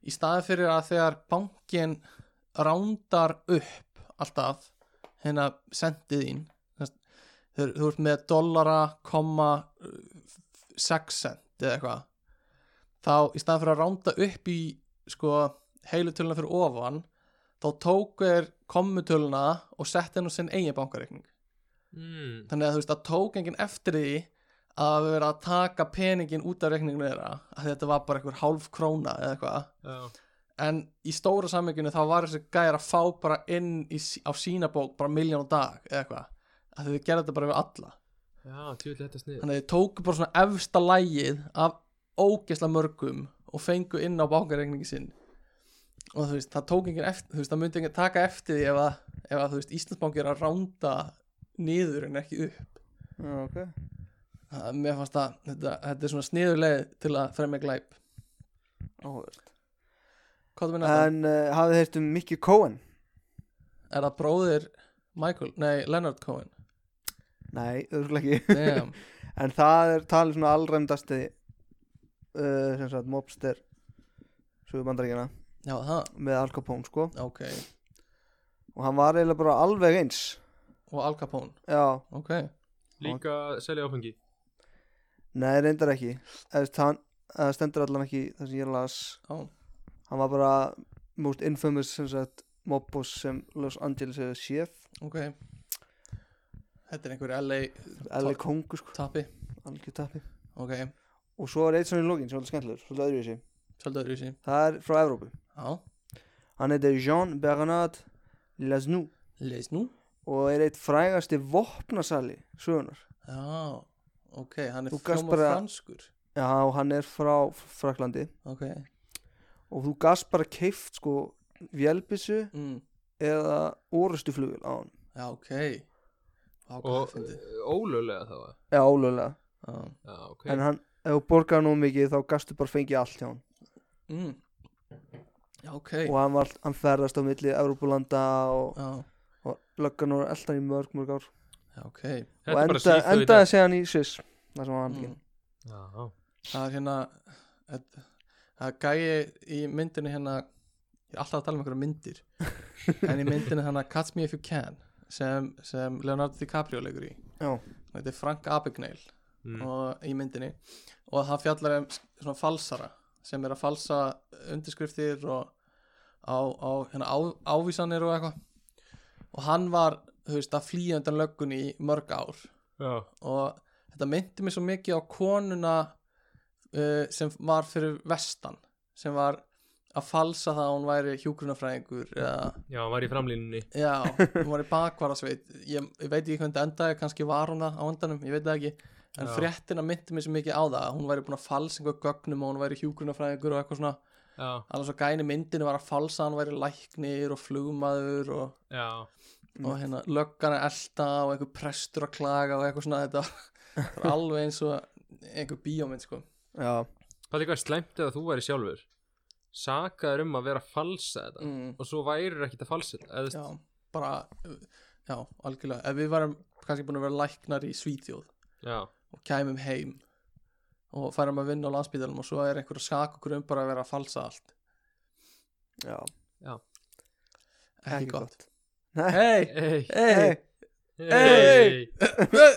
í staði fyrir að þegar bankin rándar upp alltaf, hérna sendið ín þú þú ert með dollara, komma 6 cent eða eitthvað þá í staðan fyrir að ránda upp í sko heilutöluna fyrir ofan þá tók er kommutöluna og setti henn á sinn eigin bankareikning mm. þannig að þú veist að tók enginn eftir því að vera að taka peningin út af reikninginu þeirra að þetta var bara einhver hálf króna eða eitthvað já. en í stóra sammynginu þá var þessi gæjar að fá bara inn í, sí- á sína bók bara miljón á dag eða eitthvað að þau gerði þetta bara við alla já, tjóðlega þetta snið þannig að þið tóku bara svona efsta lægið af ógesla mörgum og fengu inn á bankareikningi sinn og þú veist, það tók enginn eftir þú veist, það myndi enginn taka eftir því ef að, ef að þú veist, Íslandsbanki er að ránda niður en ekki upp já ok það, mér fannst að þetta, þetta er svona sniðurleið til að fremja glæp Áhugavert. hvað þú minna það? en uh, hafið heyrt um Mickey Cohen Er það bróðir Michael, nei, Leonard Cohen nei, öðruglega ekki Damn, en það er talið svona allræmdasti uh, sem sagt mobster sögur bandaríkina já það, með Al Capone sko ok og hann var eiginlega bara alveg eins og Al Capone, já, ok líka að selja áfengi nei reyndar ekki Eðst, hann, það stendur allan ekki það sem ég las já, hann var bara most infamous sem sagt mobbos sem Los Angeles hefur séð ok þetta er einhver LA LA kongu sko, tapi, algjör tappi ok og svo er eitt svona í lókin, svolítið skemmtilegur svolítið öðruvísi, svolítið öðru í sín það er frá Evrópu já, hann heitir Jean Bernard Lasnou leys nú og er eitt frægasti vopnasali sögunar já, ok, hann er Þú gast fjóma bara- franskur já, hann er frá Fraklandi ok, og þú gast bara keift sko vélbissu mm. eða orustuflugil á hann já, ok Vá, hvað og það fyndi ólöglega þá eða? eða álöglega, já, ok en hann ef þú borgar nú mikið þá gastu bara fengið allt hjá hann mm. já, ok og hann, var, hann ferðast á milli Evrópulanda og, já, og löggan og eldan í mörg mörg ár já, ok og þetta er bara enda, svíþjóð í dag endaði segja hann í Sviss þar sem hann mm. mm. já, það er hérna þetta- það gæi í myndinu hérna ég er alltaf að tala um einhverja myndir en í myndinu hérna Catch Me If You Can sem, sem Leonardo DiCaprio leikur í já, hann heitir Frank Abagnale Mm. og, í myndinni og það fjallar um s- svona falsara sem er að falsa undirskriftir og á, á, hérna, á, ávísanir og eitthvað og hann var þú veist, að flýja undan löggunni í mörg ár já, og þetta myndi mig svo mikið á konuna uh, sem var fyrir vestan sem var að falsa það að hún væri hjúgrunafræðingur eða já, hann var í framlínunni Já, hún var í bakvarðasveit ég, ég veit ekki hvernig þetta endaði, kannski var hún það á endanum, ég veit það ekki en Já. fréttina myndi mér svo mikið á það að hún væri búin að falsa einhver gögnum og hún væri hjúgrunafræðingur og eitthvað svona, já, annars svo gæni myndinu var að falsa að hann væri læknir og flugmaður og já, og hérna löggan að elta og einhver prestur að klaga og eitthvað svona þetta var alveg eins og einhver bíómynd sko já, Það er líka slæmt eða þú væri sjálfur Sakaður um að vera að falsa þetta mm, Og svo værir ekkert að falsa þetta eða, þú já, veist, bara uh, já, algjörlega, ef við varum kannski búin að vera læknar í Svíþjóð já. og kæmum heim og færum að vinna á landsbytalum og svo er einhver að saka okkur um bara að vera að falsa allt já, ekki, Ekki gott, nei, hei, Hey, hei nei Hey!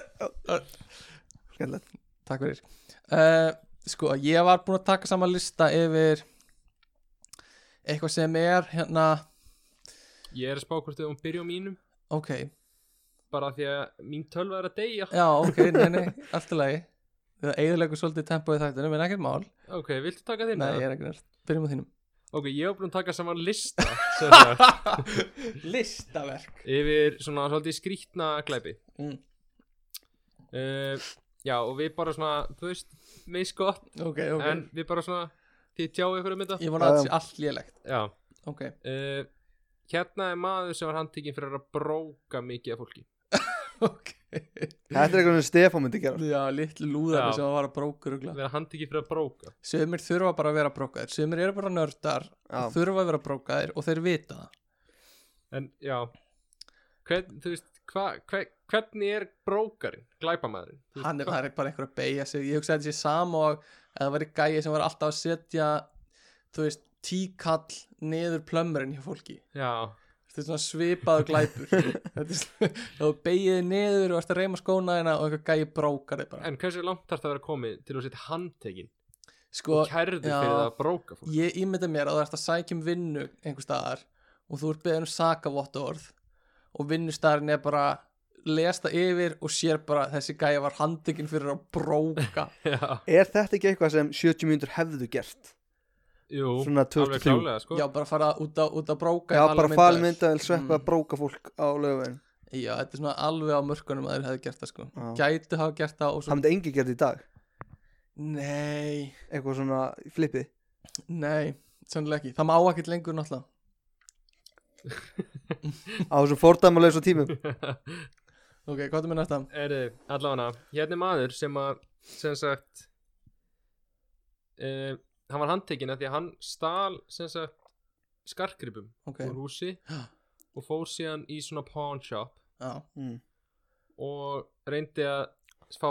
skemmtilegt, Takk fyrir uh, Sko, ég var búin að taka saman lista yfir eitthvað sem er hérna, Ég er að spá hvort þau um byrja á mínum ok Bara því að mín tölva er að deyja Já, ok, nei, nei, allt í lagi Það eigðurlegur svolítið tempóið þættinu, menn ekkert mál Ok, viltu taka þinn? Nei, ég er ekkert, um byrjum á þínum Ok, ég hef búin að taka saman lista sem sagt, Listaverk Yfir svona svolítið skrýtna glæpi Mm. uh, Já, og við bara svona Þú veist, miskott Ok, ok En við bara svona Þið tjáu ykkur um þetta Ég vona að Já, þetta sé allt lélegt Já Ok, uh, Hérna er maður sem var handtekinn fyrir að bróka mikið af fólki ok þetta er eitthvað sem Stefán myndi gera Já, litlu lúðar Já. sem var að bróka rugla Verða handtekinn fyrir að bróka Sumir þurfa bara að vera brókaðir Sumir eru bara nördar Já. og þurfa að vera brókaðir og þeir vita það En já Hvern, Þú veist, hva, hver, hvernig er brókarinn? Glæpamaðurinn? Þú veist, hann er, hva- hann er bara einhver að beigja sig ég hugsa að þetta sé sama og að það væri gæi sem var alltaf að setja þú veist, tíkall niður plömmurinn hjá fólki Já, þetta er svona svipaður glæpur þetta er svona, þú beigið niður og ert að reyma skóna þína og einhver gæi brókar þig bara en hversu langt þarf það að vera komið til að setja handtekinn sko, og kærðu já. fyrir það að bróka fólk? ég ímynda mér að þú ert að sækja um vinnu einhver staðar og þú ert beðin um sakavottorð og vinnustaðarinn er bara les það yfir og sér bara að þessi gæi var handikinn fyrir að bróka Já, er þetta ekki eitthvað sem 70 mínútur hefðu gert jú, svona alveg 2003 klálega sko já, bara fara út að, út að bróka í já, bara falmyndavél. falmyndaðil sveppa Mm. að bróka fólk á lögvegin Já, þetta er svona alveg á mörkunum að þeir hefðu gert það sko Já. Gætu hafa gert það og það svo myndi engi gert í dag Nei, eitthvað svona flippi nei, sannlega ekki Það má ekkert lengur náttúrulega á þessum fordæmalauðsum tímum Ok, hvað er með næsta? Er allavega, hérna er maður sem að, sem sagt, uh, hann var handtekinn af því að hann stal, sem sagt, skarkripum Ok, úr húsi Já. og fór síðan í svona pawn shop já, mm. og reyndi að fá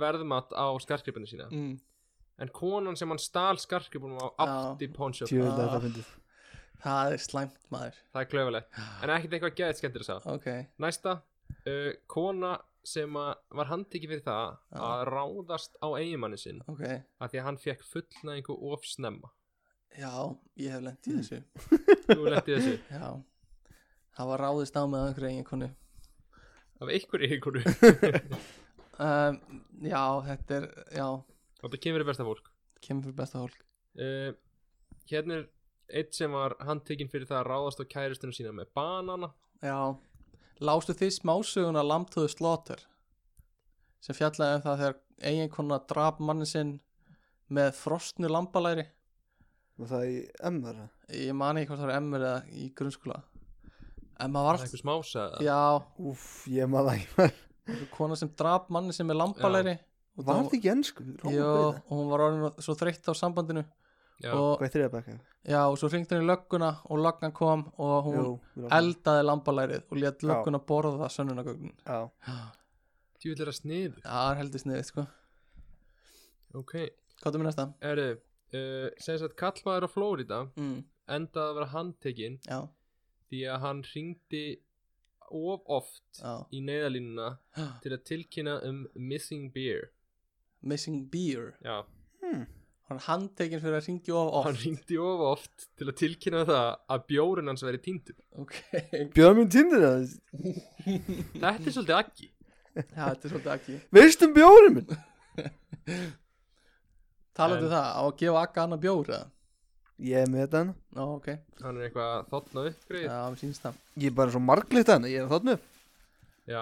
verðmatt á skarkripinu sína. mm. En konan sem hann stal skarkripunum á Já. átti pawn shop, Tjöfull að Ah. það fyndið það er slæmt maður það er klauðilegt. En ekkert eitthvað geðið skemmtir þess að. Ok, Næsta, uh, kona sem að var handtekinn fyrir það Já. að ráðast á eiginmanni sinn ok, af því að hann fekk fullnæðingu of snemma já, ég hef lent í þessu þú lenti þessu Já, það var ráðist á með einhverju eiginkonu af einhverju einhverju um, Já, þetta er, já, þetta kemur í besta fólk kemur fyrir besta hólk uh, hérna er eitt sem var handtekinn fyrir það að ráðast á kæristunum sína með banana Já, lástu þið smásöguna Lamtöðu Slaughter sem fjallaði um það þegar eiginkona drap mannin sinn með frostnu lambalæri og það í emmer ég mani ekki hvort það var emmur eða í grunnskóla en maður það var er einhver smása já. já, úf, ég maður það ekki einhver kona sem drap mannin sinn með lambalæri og var það það ekki ennsku? já, og hún var orðin svo þreytt á sambandinu Já. og, hvað er þriðabækka? já, og svo ringdi hún í lögguna og löggan kom og hún eldaði lambalærið og lét Já. lögguna borða það sönnunagögnin já, djúvill er að snið það er heldur sniðið sko ok, hvað er mér næsta? eru uh, sem sagt kallmaður á Flórida Mm, endaði að vera handtekinn já, því að hann ringdi of oft já í neyðalínuna til að tilkynna um missing beer Missing Beer já, hann er handtekinn fyrir að ringja of hann oft ringdi of oft til að tilkynna það að bjórun hans væri týndur ok, Björn minn tindir það þetta er svolítið aggi Já, þetta er svolítið ekki veistum bjórin um minn talaðu En- það, á að gefa akka annað bjór eða? ég er með þetta hann. Ó, ok, hann er eitthvað að þotna upp greið já, já, mér sýnst það ég er bara svo marglitt hann, ég er þarna upp já,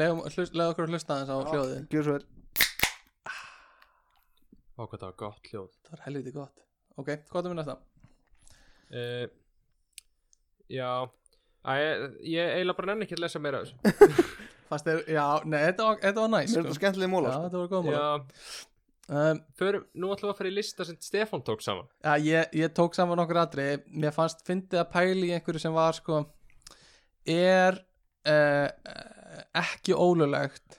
Legum- hlust- leiðu okkur að hlusta aðeins á hljóðið gjör svo verið Ó, hvað það var gott hljóð það var helviti gott ok, hvað er mér næsta? uh, Eh, já Æ, ég, ég eiginlega bara nenni ekki að lesa meira af þessu. Fast er, já, nei, þetta var, þetta var næs Mér er sko. þetta skemmtilega Já, móla sko. þetta var góð mál Já, um, förum, nú ætlum við að fara í lista sem Stefán tók saman Já, ég, ég tók saman okkur atri Mér fannst fyndið að pæli í einhverju sem var sko Er uh, ekki ólulegt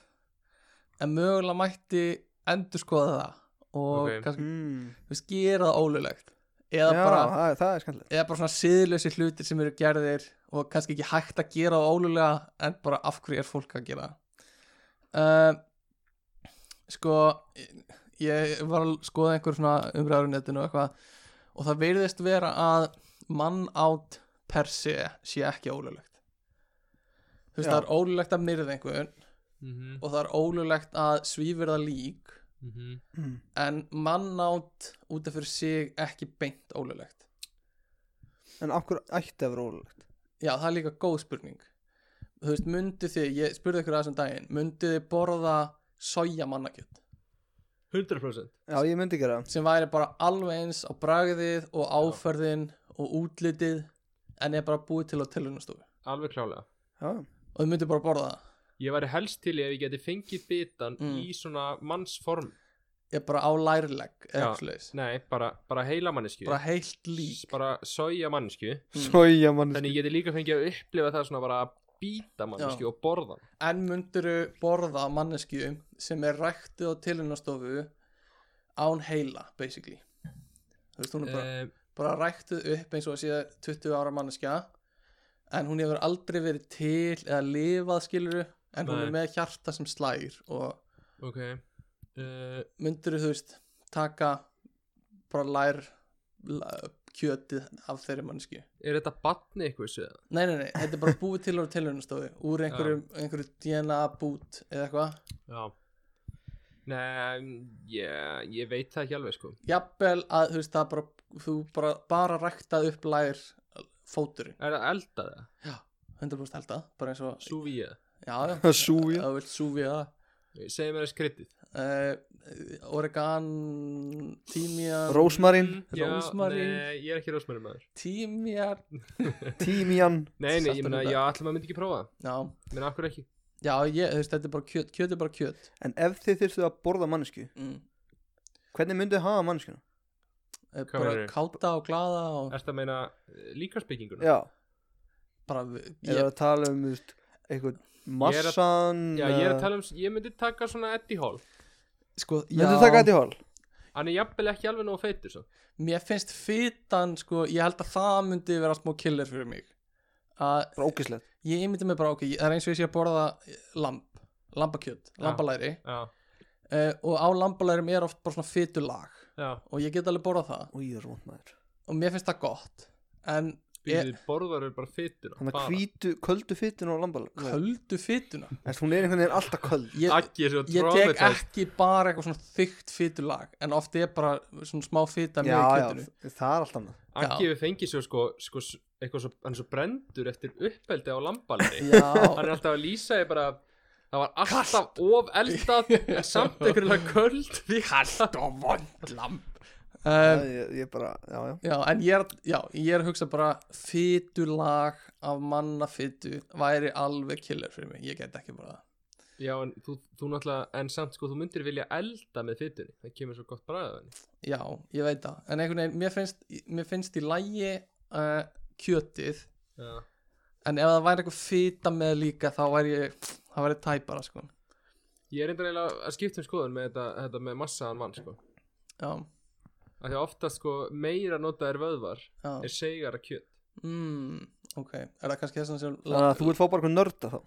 En mögulega mætti endurskoða það Og Ok. kannski, mm. þú veist, gera það ólulegt Eða Já, bara það, það er skemmtilegt eða bara svona siðlösi hlutir sem eru gerðir og kannski ekki hægt að gera og ólulega en bara af hverju er fólk að gera uh, sko ég var að skoða einhver svona umræður í netinu og eitthvað og það virðist vera að mann átt per se sé ekki ólulegt þú veist Já. það er ólulegt að myrða einhvern mm -hmm. og það er ólulegt að svífurða lík mhm. mm. en mann átt út af fyrir sig ekki beint ólulegt En okkur ætti að vera ólulegt Já, það er líka góð spurning Þú veist, myndið þið, ég spurði ykkur aðeins um daginn Myndið þið borða soja mannakjöt 100% Já, ég myndi gera það sem væri bara alveg eins á bragðið og áferðin og útlitið en er bara búið til á telunastofu Alveg klálega Já, og þið myndið bara borða það Ég væri helst til ef ég geti fengið bitan Mm. í svona mannsform er bara á lærileg Já. eða slags Nei, bara, bara heila mannesku bara heilt lík Mm. Bara soja mannesku Soja mann Þannig ég geti líka fengið að upplifa það svona bara að býta mannesku og borða hana. en myndiru borða mannesku sem er ræktið á telunastofu án heila, basically þú veist, hún er bara Eh, bara ræktuð upp eins og að sé 20 ára manneskja en hún hefur aldrei verið til eða lifað skiluru en hún er Nei. með hjarta sem slær og Ok uh, myndur þú veist taka bara lær la- kjötið af þeirri mannesku Er þetta batni eitthvað séð? nei, nei, nei, þetta er bara búið til ára tilunastofu úr einhverju, einhverju DNA bút eða eitthvað Já Nei, ég, ég veit það ekki alveg sko jafnvel að þú veist það bara þú bara, bara ræktað upp lær fóturinn, Er það eldað það? 100% held að bara eins og, Súvíða? já, já, Súja það vilt súfið það Segðu mér það skrittið uh, Oregon Tímjan Rósmarín, Já, Hm? Rósmarín. Nei, ég er ekki rósmarin maður Tímjan tímjan Nei, nei, ég meina, Saltaðu já, allir maður myndi ekki prófa það Já, Menn, af hverju ekki? já ég, þú veist, þetta er bara kjöt Kjöt er bara kjöt En ef þið þyrstu að borða mannesku mm. Hvernig myndið hafa manneskuna? Eh, Hvað Eh, Bara meinarðu? káta og glada og Ertu að meina líkarsbygginguna? Já, bara við- ég er ég, að tala um þú veist, eitthvað Ég er að- massan Já, ég er að tala um, ég myndi taka svona Eddie Hall Sko, já Myndið taka þetta í hól? Hann er jafnvel ekki alveg nógu feitur svo Mér finnst fytan, sko Ég held að það myndi vera smá killer fyrir mig Að Bara ógislegt ég myndi mig bara, ok ég- Það er eins og ég sé að borða lamp Lambakjöt, Já. lambalæri Já, uh, Og á lambalærim er oft bara svona fytulag já Og ég get alveg borðað það Új, það er vond maður Og mér finnst það gott En Býðið borðar eru bara feitur Þannig að hvítu, köldu fytun og lambal köldu fytuna Þess, hún er einhvern veginn alltaf köld ég, Akki er svo ég tek traumatæst ekki bara eitthvað svona þykkt fytulag en oft er bara svona smá fyta með Já, já, kjötinu það er alltaf annað Akki hefur fengið svo sko, sko s- eitthvað svo, hann er svo brendur eftir uppeldi á lambalæri Hann já, er alltaf að lýsa ég bara Það var alltaf of eldað en samt einhverjulega köld Kallt og vond lamp um, um, ég, ég bara, já, já já, en ég er, já, ég er að hugsa bara fytulag af mannafytu væri alveg killer fyrir mig, ég get ekki bara það Já, en þú, þú náttúrulega, en samt sko, þú myndir vilja elda með fytunni, það kemur svo gott bræðið henni. já, ég veit það, en einhvern veginn mér finnst, mér finnst í lægi uh, kjötið, Já. en ef það væri eitthvað fyta með líka þá væri ég, það væri tæpara sko, Ég er reyndar eiginlega að skipta um skoðun með þetta, þetta með massaðan mann, sko. já, Af því að ofta, sko, meira nota er vöðvar, já er segara kjöt. Mm, ok, er það kannski þess að sem Þannig að þú vilt fá bara eitthvað nörda þá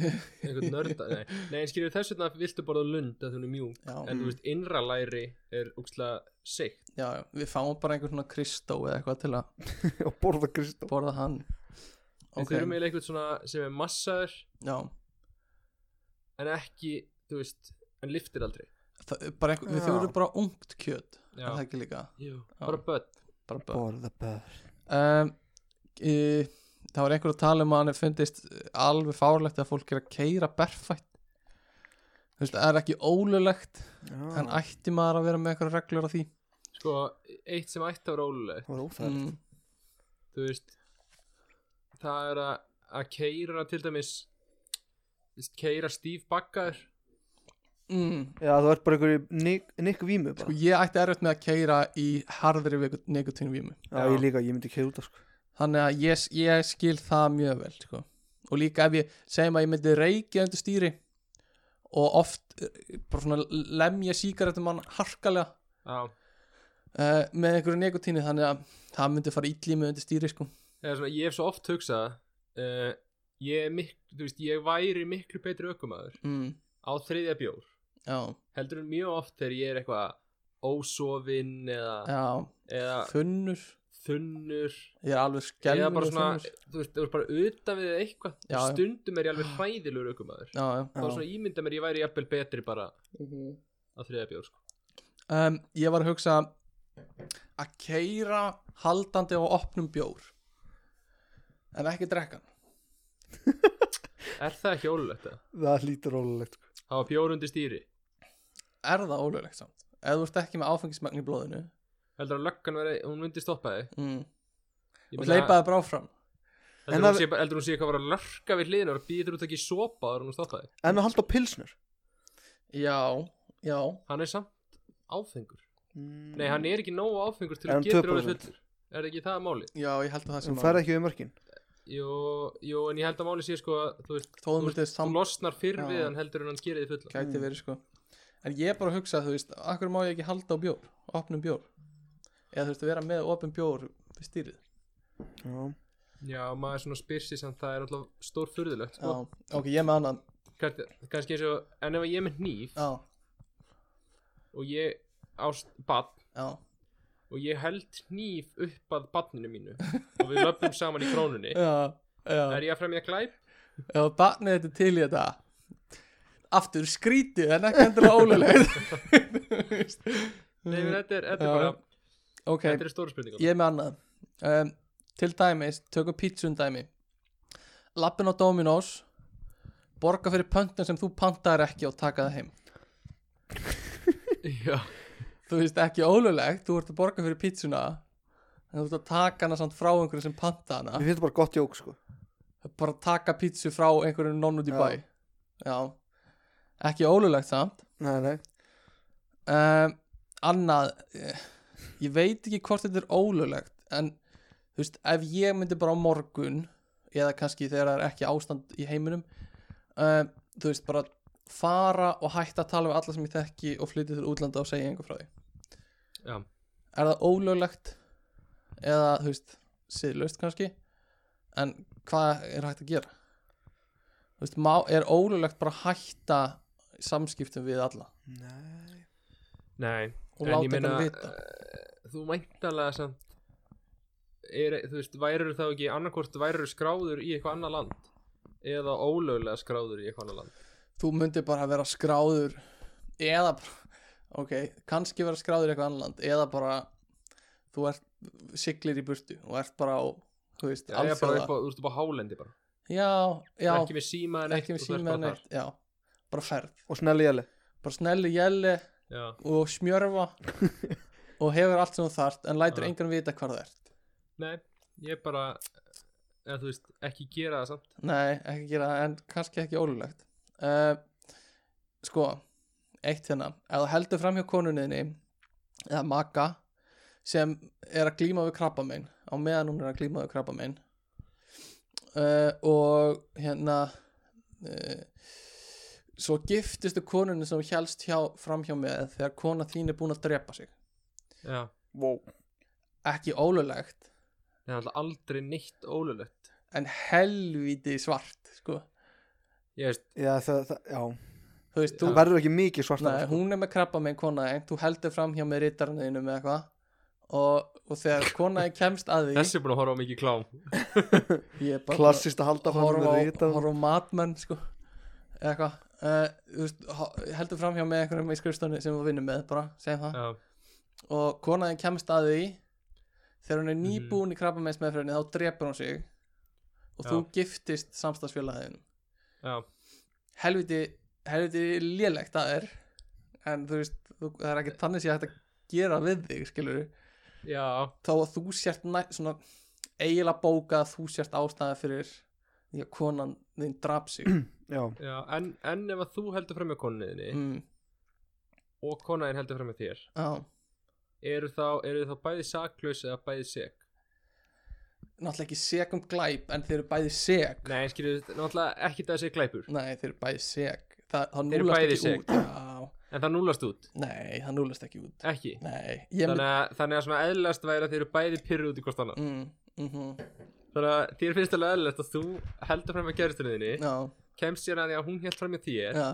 Einhvern nörda, nei. Nei, en skilur þess vegna viltu borða lund að hún er mjúk, já, en þú veist, innra læri er úkslega seikt. já, já, við fáum bara einhvern svona Kristó eða eitthvað til að Og borða kristó borða hann Okay. Við Ok, þurfum eiginlega eitthvað svona sem er massaður, já en ekki, þú veist, en liftir aldrei. það, er bara einhver, Við Já. þurfum bara ungt kjöt er Já, Það ekki líka Jú. Já. bara börn. bara börn. Borða bör um, í, Það var einhver að tala um að hann er fundist alveg fárlegt að fólk er að keira berfætt Þú veist, það er ekki ólulegt en Já, ætti maður að vera með eitthvað reglur á því Sko, eitt sem ætti að vera ólulegt, það var óþægilegt mm, þú veist það er að að keira til dæmis veist, keira stíf bakkaður mm. Já, þú ert bara einhverju Nick, Nick Vímu bara. Sko ég ætti erfitt með að keira í harðri neikutínvímu já, ég líka, ég myndi keira út af sko. Þannig að ég, ég skil það mjög vel sko. Og líka ef ég segjum að ég myndi reykja undir stýri og oft eh, bara svona lemja sígarettum mann harkalega Já. uh, með einhverju neikutíni þannig að það myndi fara illi með undir stýri sko. eða svona ég hef svo oft hugsað uh, ég, er mik, þú veist, ég væri miklu betri ökumæður mm, á þriðja bjór Já, heldur en mjög oft þegar ég er eitthvað ósofinn eða, já, eða þunnur þunnur Ég er alveg eða skelvinur bara svona, þú veist, þú veist bara utan við eitthvað Já, já. stundum er ég alveg hræðilegur ökumæður Já, já þá svona ímynda mér ég væri jafnvel betri bara á þriðja bjór sko. um, ég var að hugsa að keira haldandi á opnum bjór en ekki drekkan er það ekki ólulegt það? Það lítur rólulegt sko. hafa bjór undir stýri er það ólöglegt samt ef þú ert ekki með áfengismagn í blóðinu heldur að löggan veri, hún myndi stoppa þig mm. Ég og meina, hleypaði bara áfram heldur En hún að- sé- heldur hún sé eitthvað að vera að lörka við hliðinu og býður út ekki í sopa og hún stoppa þig En að halda pilsnur já, já, hann er samt áfengur mm. nei hann er ekki nógu áfengur til Er hann að getur 2%? orðið fullur er ekki það máli já, ég held að það Sem sem fer Mm. ekki við mörkin jú, jú en ég held að máli sé sko að þú Mm. veist þóðum þetta þú samt losnar fyrr Já. við hann heldur en hann gerir þig fullan gæti verið sko en ég er bara að hugsa, þú veist, akkur má ég ekki halda á bjór opnum bjór eða þú veist að vera með opnum bjór við stýrið Já, já maður svona spyrsi samt það er alltaf stór furðulegt já, sko. ok, ég er með annan Kannski- kannski eins og en ef ég er með hníf já, og ég ást bad já, og ég held hníf upp að badninu mínu og við löpum saman í krónunni já, já. er ég að fremja glæp? Ef að barnið þetta er til í þetta Aftur skrítið en ekki endilega ólega Nei, menn, þetta er, þetta er Mm. Já. bara, Ok, þetta er stóra spurningar ég er með annað um, Til dæmis, tökum pítsun um dæmi Lappin á Dominos Borga fyrir pöntin sem þú pantaðir ekki og taka það heim Já, Þú veist ekki ólulegt, þú ert að borga fyrir pítsuna En þú ert að taka hana samt frá einhverju sem panta hana mér finnst það bara gott jók sko. Bara taka pítsu frá einhverju nonn út í Já. bæ Já Ekki ólulegt samt Nei, nei, um, annað eh, ég veit ekki hvort þetta er ólöglegt en þú veist, ef ég myndi bara á morgun eða kannski þegar það er ekki ástand í heiminum um, þú veist, bara fara og hætta að tala við alla sem ég þekki og flytja til útlanda og segja einhver frá því já, er það ólöglegt eða, þú veist, siðlaust kannski en hvað er hægt að gera þú veist, má, er ólöglegt bara að hætta samskiptum við alla nei. nei og en ég láta meina, þetta vita eh, Þú mæntalega samt er, Þú veist, værur þá ekki annarkvort værur skráður í eitthvað annað land eða ólöglega skráður í eitthvað annað land þú myndir bara vera skráður eða bara, ok, kannski vera skráður í eitthvað annan land eða bara þú ert, siglir í burtu og ert bara á, þú veist, Það er bara alþjóða upp á, þú veist, upp á hálendi bara já, já, Ekki með síma en ekki með síma eða neitt já, bara ferð, Og snelli jæli bara snelli jæli Já, og smjörfa og hefur allt sem þú þart en lætur Já. engan vita hvar það ert nei, ég bara eða þú veist, ekki gera það samt nei, ekki gera það en kannski ekki ólulegt uh, sko eitt hérna, ef þú heldur fram hjá konunniðni eða maka sem er að glíma við krabbamein á meðan hún er að glíma við krabbamein uh, og hérna uh, svo giftistu konunni sem þú helst hjá, fram hjá með þegar kona þín er búin að drepa sig Já, wow. ekki ólulegt það er alltaf aldrei neitt ólöglegt en helvíti svart sko. Ég veist, Já, það, það, já. þú veist, þú það verður ekki mikið sko. svarta sko. Nei, hún er með krabba með kona einn, þú heldur fram hjá með rittarniðinu með eitthvað og, og þegar kona einn kemst að því þessi er búin að horfa á mikið klám ég er bara Klassist að halda að fram horfa með á, rita horfa á matmenn sko, eða eitthvað uh, þú veist, ho- heldur fram hjá með einhverjum í skrifstunni sem þú vinnum með bara, segjum það Já, og kona einn kemst að því þegar hún er Mhm. nýbúin í krabba með smeðfröðinni þá drepur hún sig og þú giftist samstagsfélagin já, helviti, helviti lélegt það er en þú veist, þú, það er ekki þannig sé hægt að gera við þig, skilur já þá að þú sért næ, svona eiginlega bókað að þú sért ástæða fyrir því að konan þinn draf sig Mm. já, Já, en, en ef að þú heldur fram með konuðinni mm, og konaðin heldur fram með þér á, eru þá, eru þá bæði saklaus eða bæði seg náttúrulega ekki seg um glæp en þeir eru bæði seg Nei, skilju, náttúrulega ekki það að segja glæpur Nei, þeir eru bæði seg Þa, það Þeir eru núlast bæði ekki sek. út já, En það núlast út, Nei, það núlast ekki út ekki Nei, ég Þannig mynd að, þannig að svona eðlast væri að þeir eru bæði pyrru út í hvort annað mm, mm -hmm, Þannig að þér finnst alveg eðlast að þú heldur fram með gerðstunni þinni Já, kemst sér að því að hún held fram með þér já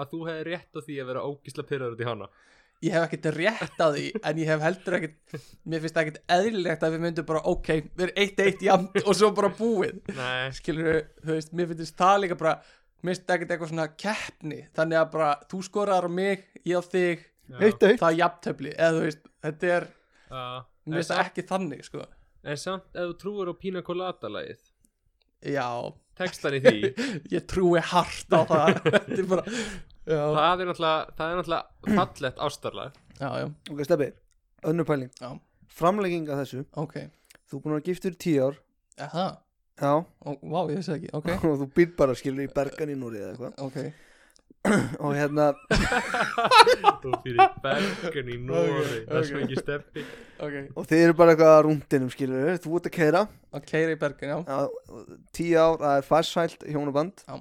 að þú hefði rétt á því að vera ógisla pyrraður út í hana ég hef ekkert rétt að því en ég hef heldur ekkert mér finnst ekkert eðlilegt að við myndum bara ok, við erum eitt eitt jamt og svo bara búið Nei, skilur þú veist, mér finnst það líka bara mér finnst ekkert eitthvað svona keppni þannig að bara þú skorar á mig, ég á þig eitt eitt það er jafntöfli, eða þú veist þetta er, Já, mér en, finnst það ekki þannig sko, en samt ef þú trúir á Pina Colada lagið já textan í því ég trúi hart á það þetta er bara, já, það er náttúrulega, það er náttúrulega fallett ástarlag já, já, ok, steppi, önnur pæling Já. framlegging að þessu, ok þú er búin að vera giftur í tíu ár eða, já, Ó, vá, ég vissi það ekki, ok og þú býr bara skilur í bergan í núri eða eitthvað ok, og hérna, Þú fyrir bergun í Nóri Ok, Það er ok. svo ekki steppi ok, og þið eru bara eitthvað á rúndinum skilur, eh? þú ert að keira ok, Reybergin, já tíu ár, það er farsælt hjónaband Já.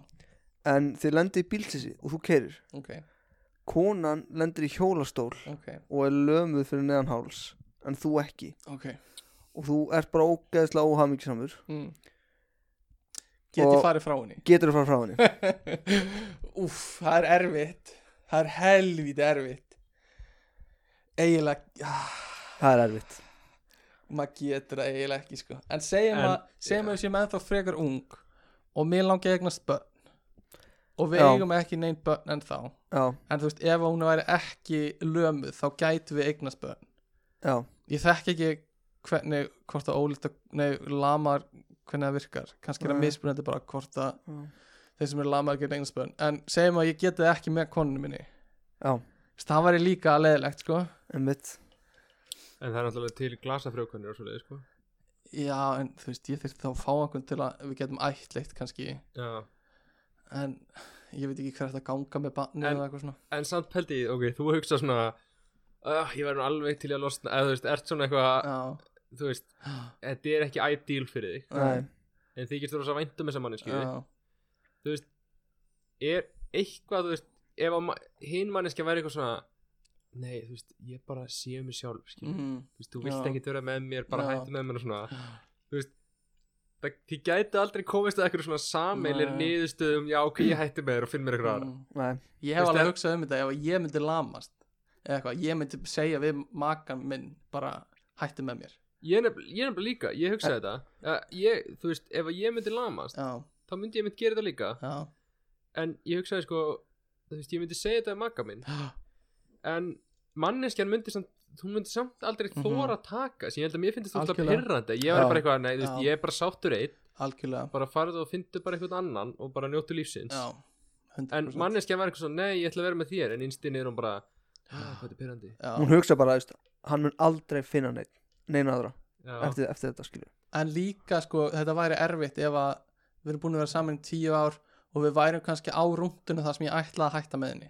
en þið lendir í bílsísi og þú keirir ok, konan lendir í hjólastól ok, og er lömuð fyrir neðan háls en þú ekki ok og þú ert bara ógeðslega óhamingisamur mm. Get Og- ég farið frá henni getur að fara frá henni Úff, það er erfitt Það er helvít erfitt Eiginlega ah, það er erfitt Maður getur það eiginlega ekki sko En segjum En- að Segjum að við séum ennþá frekar ung Og mér langi að eignast börn Og við Já. eigum ekki neinn börn en þá já, En þú veist, ef hún væri ekki lömuð Þá gætu við eignast börn já, Ég þekki ekki hvernig Hvort að ólita, nei, lamar Hvernig það virkar, kannski er það Nei. mismunandi bara Hvort að já, þeir sem eru lamaður getur eigin spönn en segjum að ég geti það ekki með konunni minni já. Þess, það væri líka leðilegt sko einmitt En það er náttúrulega til glasafrjókunir og svoleið sko. já en þú veist ég þurfti þá að fá einhvern til að við getum ættleitt kannski Já. en ég veit ekki hver þetta ganga með banni En- eða eitthvað svona En samt pældi, ég, ok, þú hugsa svona uh, Ég verður alveg til í að losna Eða þú veist, ert svona eitthvað já, Þú veist, þetta er ekki ideal fyrir þig Nei. En þið getur þess að væntum þessa manni skilur já, Þú veist, er eitthvað, þú veist Ef að ma- hin manneski væri eitthvað svona Nei, þú veist, ég bara séu mig sjálf skilur mm, Þú veist, þú vilt Já. ekkert vera með mér, bara Já. hættu með mér og svona Þú veist það, Þið gæti aldrei komist að eitthvað svona sameilir Nei. niðurstöðum Já, ok, ég hætti með þér og finn mér eitthvað aðra mm. Nei. ég hef Veistu, alveg hugsað um þetta ef að ég myndi lamast eða eitthvað ég myndi segja við makan minn bara hætti með mér Ég er nefnilega ég er nefnilega líka, ég hugsaði þetta að ég, Þú veist, ef að ég myndi lamast já, Þá myndi ég myndi gera þetta líka já En ég hugsaði sko, þú veist, ég myndi segja þetta um makka minn En manneskjan myndi samt Hún myndi samt aldrei Mhm. þóra að taka Sér ég held að mér finnst þetta alltaf Algjörlega. pyrrandi Ég var Já. bara eitthvað, nei, þú veist, Já. ég er bara sáttur einn algjörlega Bara farið og fyndu bara eitthvað annan Og bara njóttu lífsins já, 100% En manneskja var eitthvað svona, nei, ég ætla að vera með þér En innstinn er hún bara, "Ah, hvað er pyrrandi já. hún hugsa bara, veist, hann mun aldrei finna neitt neina aðra eftir, eftir þetta skilur en líka sko þetta væri erfitt ef að við erum búin að vera saman í tíu ár og við værum kannski á rúndunum þar sem ég ætla að hætta með henni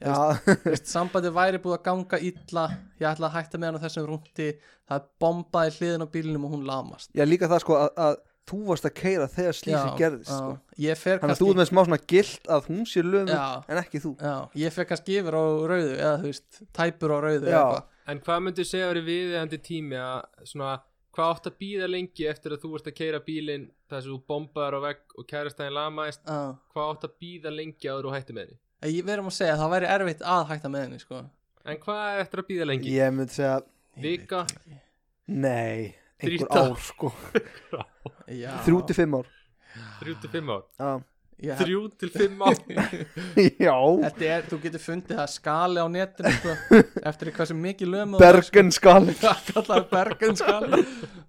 Ég já, Þú veist, sambandi væri búið að ganga illa ég ætla að hætta með henni á þessum rúndi það bombaði hliðin á bílinum og hún lamast já, líka það sko að, að þú varst að keira þegar slísi Já, gerðist já. sko. ég fer þannig að þú kannski ert með smá svona gilt að hún sé lömuð Já. en ekki þú já, ég fer kannski yfir á rauðu eða þú veist, tæpur á rauðu Já. eða eitthvað. En hvað myndu segja verið viðeigandi tími að svona, hvað átt að býða lengi eftir að þú ert að keira bílinn þar sem þú bombaður á vegg og kærastæðin lamaðist Já. hvað átt að býða lengi áður og hætti með henni En ég verðum að segja að það væri erfitt að hætta með henni sko. En hvað er eftir að býða lengi? ég myndi segja, Ég veit Vika? það ekki. nei einhver Þrýta. ár sko Já. þrjú til fimm ár Þrjú til fimm ár já, Ég held- Þrjú til fimm ár já. Þetta er, þú getur fundið það skali á netinu sko, eftir hvað sem mikið lömu Bergen skal kallaði bergen skali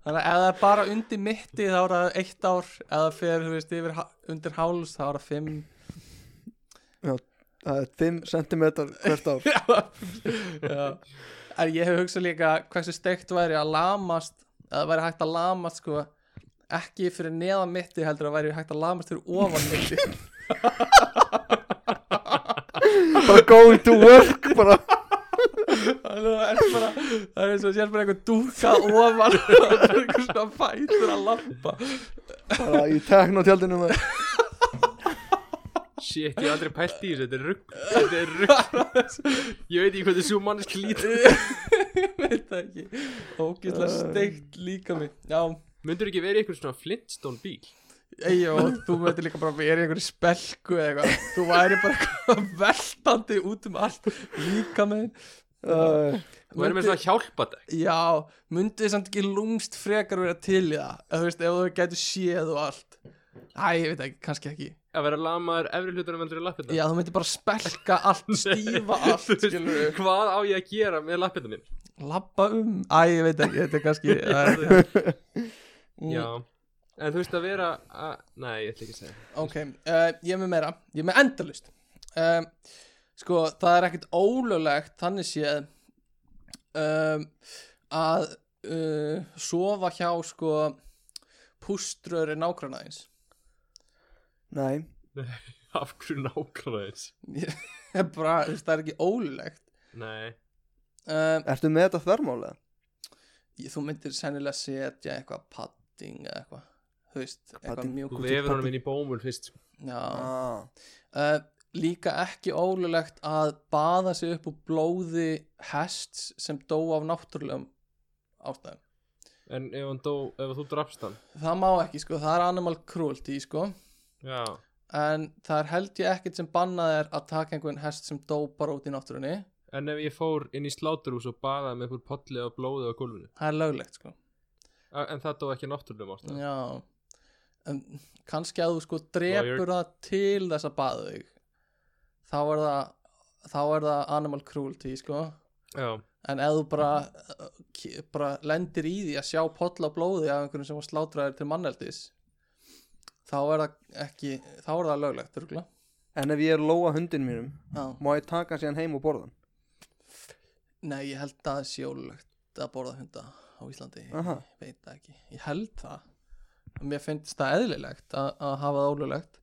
þannig að ef það er bara undir mitti þá er það eitt ár eða fyrir, þú veist, yfir, ha- undir háls þá er það fimm Það er 5 cm hvert ár Já. en ég hef hugsað líka hversu steikt væri að lamast að það væri hægt að lamast sko ekki fyrir neðan mitti heldur að væri hægt að lamast fyrir ofan mitti bara going to work bara þannig að það er bara það er eins og sér bara einhver dúka ofan og það er einhver svona fætur að lampa bara í tekn á tjaldinu maður. Shit, ég hef aldrei pælt í þessu, þetta er rugg Þetta er rugg Ég veit ekki hvað þessu mannesk lítur ég veit það ekki ógislega steikt líka mig já, Mundur ekki verið eitthvað svona Flintstone bíl? Eyjó, þú möttu líka bara verið í einhverju spelku eða eitthvað, þú væri bara eitthvað veltandi út um allt líka með Æ, Þú verður með svona hjálpadæk Já, myndið þið samt ekki lúmst frekar vera til í það eða þú veist, ef þú gætu séð og allt Æ, ég veit ekki, kannski ekki Að vera lamaður efri hlutunum heldur í lappindan Já, þú myndir bara spelka allt, stífa allt, skilur við Hvað á ég að gera með lappindan minn? Lappa um, æ, ég veit ekki, þetta er kannski það er- Mm, Já En þú veist að vera að... Nei, ég ætla ekki að segja Ok, uh, ég er með meira, ég er með endalust um, Sko, það er ekkert ólöglegt þannig séð um, að uh, sofa hjá sko púströri nágrannaðins nei, Af hverju nákvæmlega þess Það er bara, þú veist, það er ekki ólöglegt Nei um, ertu með þetta þvermálega? ég- Þú myndir sennilega setja eitthvað padding eða eitthvað Þú veist, eitthvað Padding? Þú mjög vefur honum inn í bómul fyrst sko. Já, Ah. Uh, líka ekki ólulegt að baða sig upp úr blóði hests sem dó af náttúrulegum ástæðum. En ef, hann dó, ef þú drafst hann Það má ekki sko, það er animal cruelty sko, Já en það er held ég ekkert sem bannað er að taka einhvern hest sem dó bara út í náttúrunni, En ef ég fór inn í sláturhús og baðaði með einhver polli og blóði á gólfinu það er löglegt sko. A- En það dó ekki náttúrulega ástæðan Já, en kannski að þú sko Lawyer. drepur það til þess að baða þig, þá er það, þá er það animal cruelty sko. Já, en ef þú bara, uh, ki- bara lendir í því að sjá potla á blóði af einhverjum sem var slátraður til manneldis þá er það ekki þá er það löglegt örugglega. en ef ég er lóa hundin mínum Já. má ég taka hann síðan heim og borða hann? nei ég held að það sé ólöglegt að borða hunda á Íslandi Aha. ég veit það ekki, ég held það mér finnst það eðlilegt að, að hafa það ólöglegt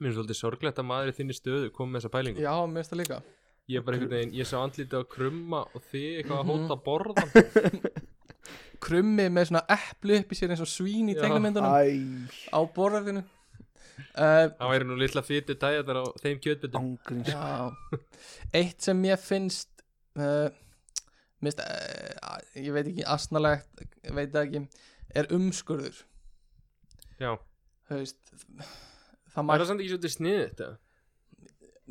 mér er svolítið sorglegt að maður í þinni stöðu kom með þessa pælingu já, mér finnst það líka Ég er bara einhvern veginn, ég sá andlítið á krumma og þið eitthvað að Mhm. hóta að borða krummi með svona epli upp í sér eins og svín í Já. tegnumyndunum Æ, á borðinu uh, Það væri nú litla fytu dæðar á þeim kjötbyttum ángríns Já, eitt sem ég finnst uh, mist, uh, ég veit ekki asnalegt, ég veit það ekki er umskurður Já, þú veist, maður það er mæl, það samt ekki svolítið snið þetta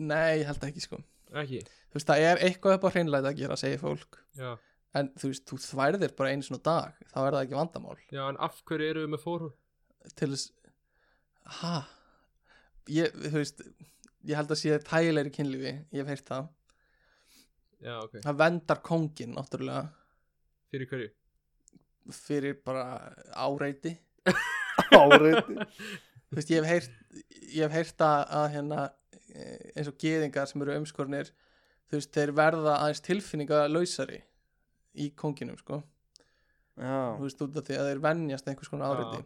nei, ég held það ekki sko Ekki, þú veist, það er eitthvað upp á hreinlega að gera, segir fólk já, en þú veist, þú þværðir bara einu svona dag þá er það ekki vandamál já, en af hverju eru við með fórhúð? til þess, ha ég, þú veist ég held að sé tægilegri kynlífi, ég hef heyrt það Já, ok, það vendar kóngin, náttúrulega fyrir hverju? fyrir bara áreiti árið þú veist, ég hef heyrt ég hef heyrt að, að hérna eh, eins og geðingar sem eru umskornir þú veist, þeir verða aðeins tilfinninga lausari í konginum sko, já, þú veist, út af því að þeir venjast einhvers konar áriði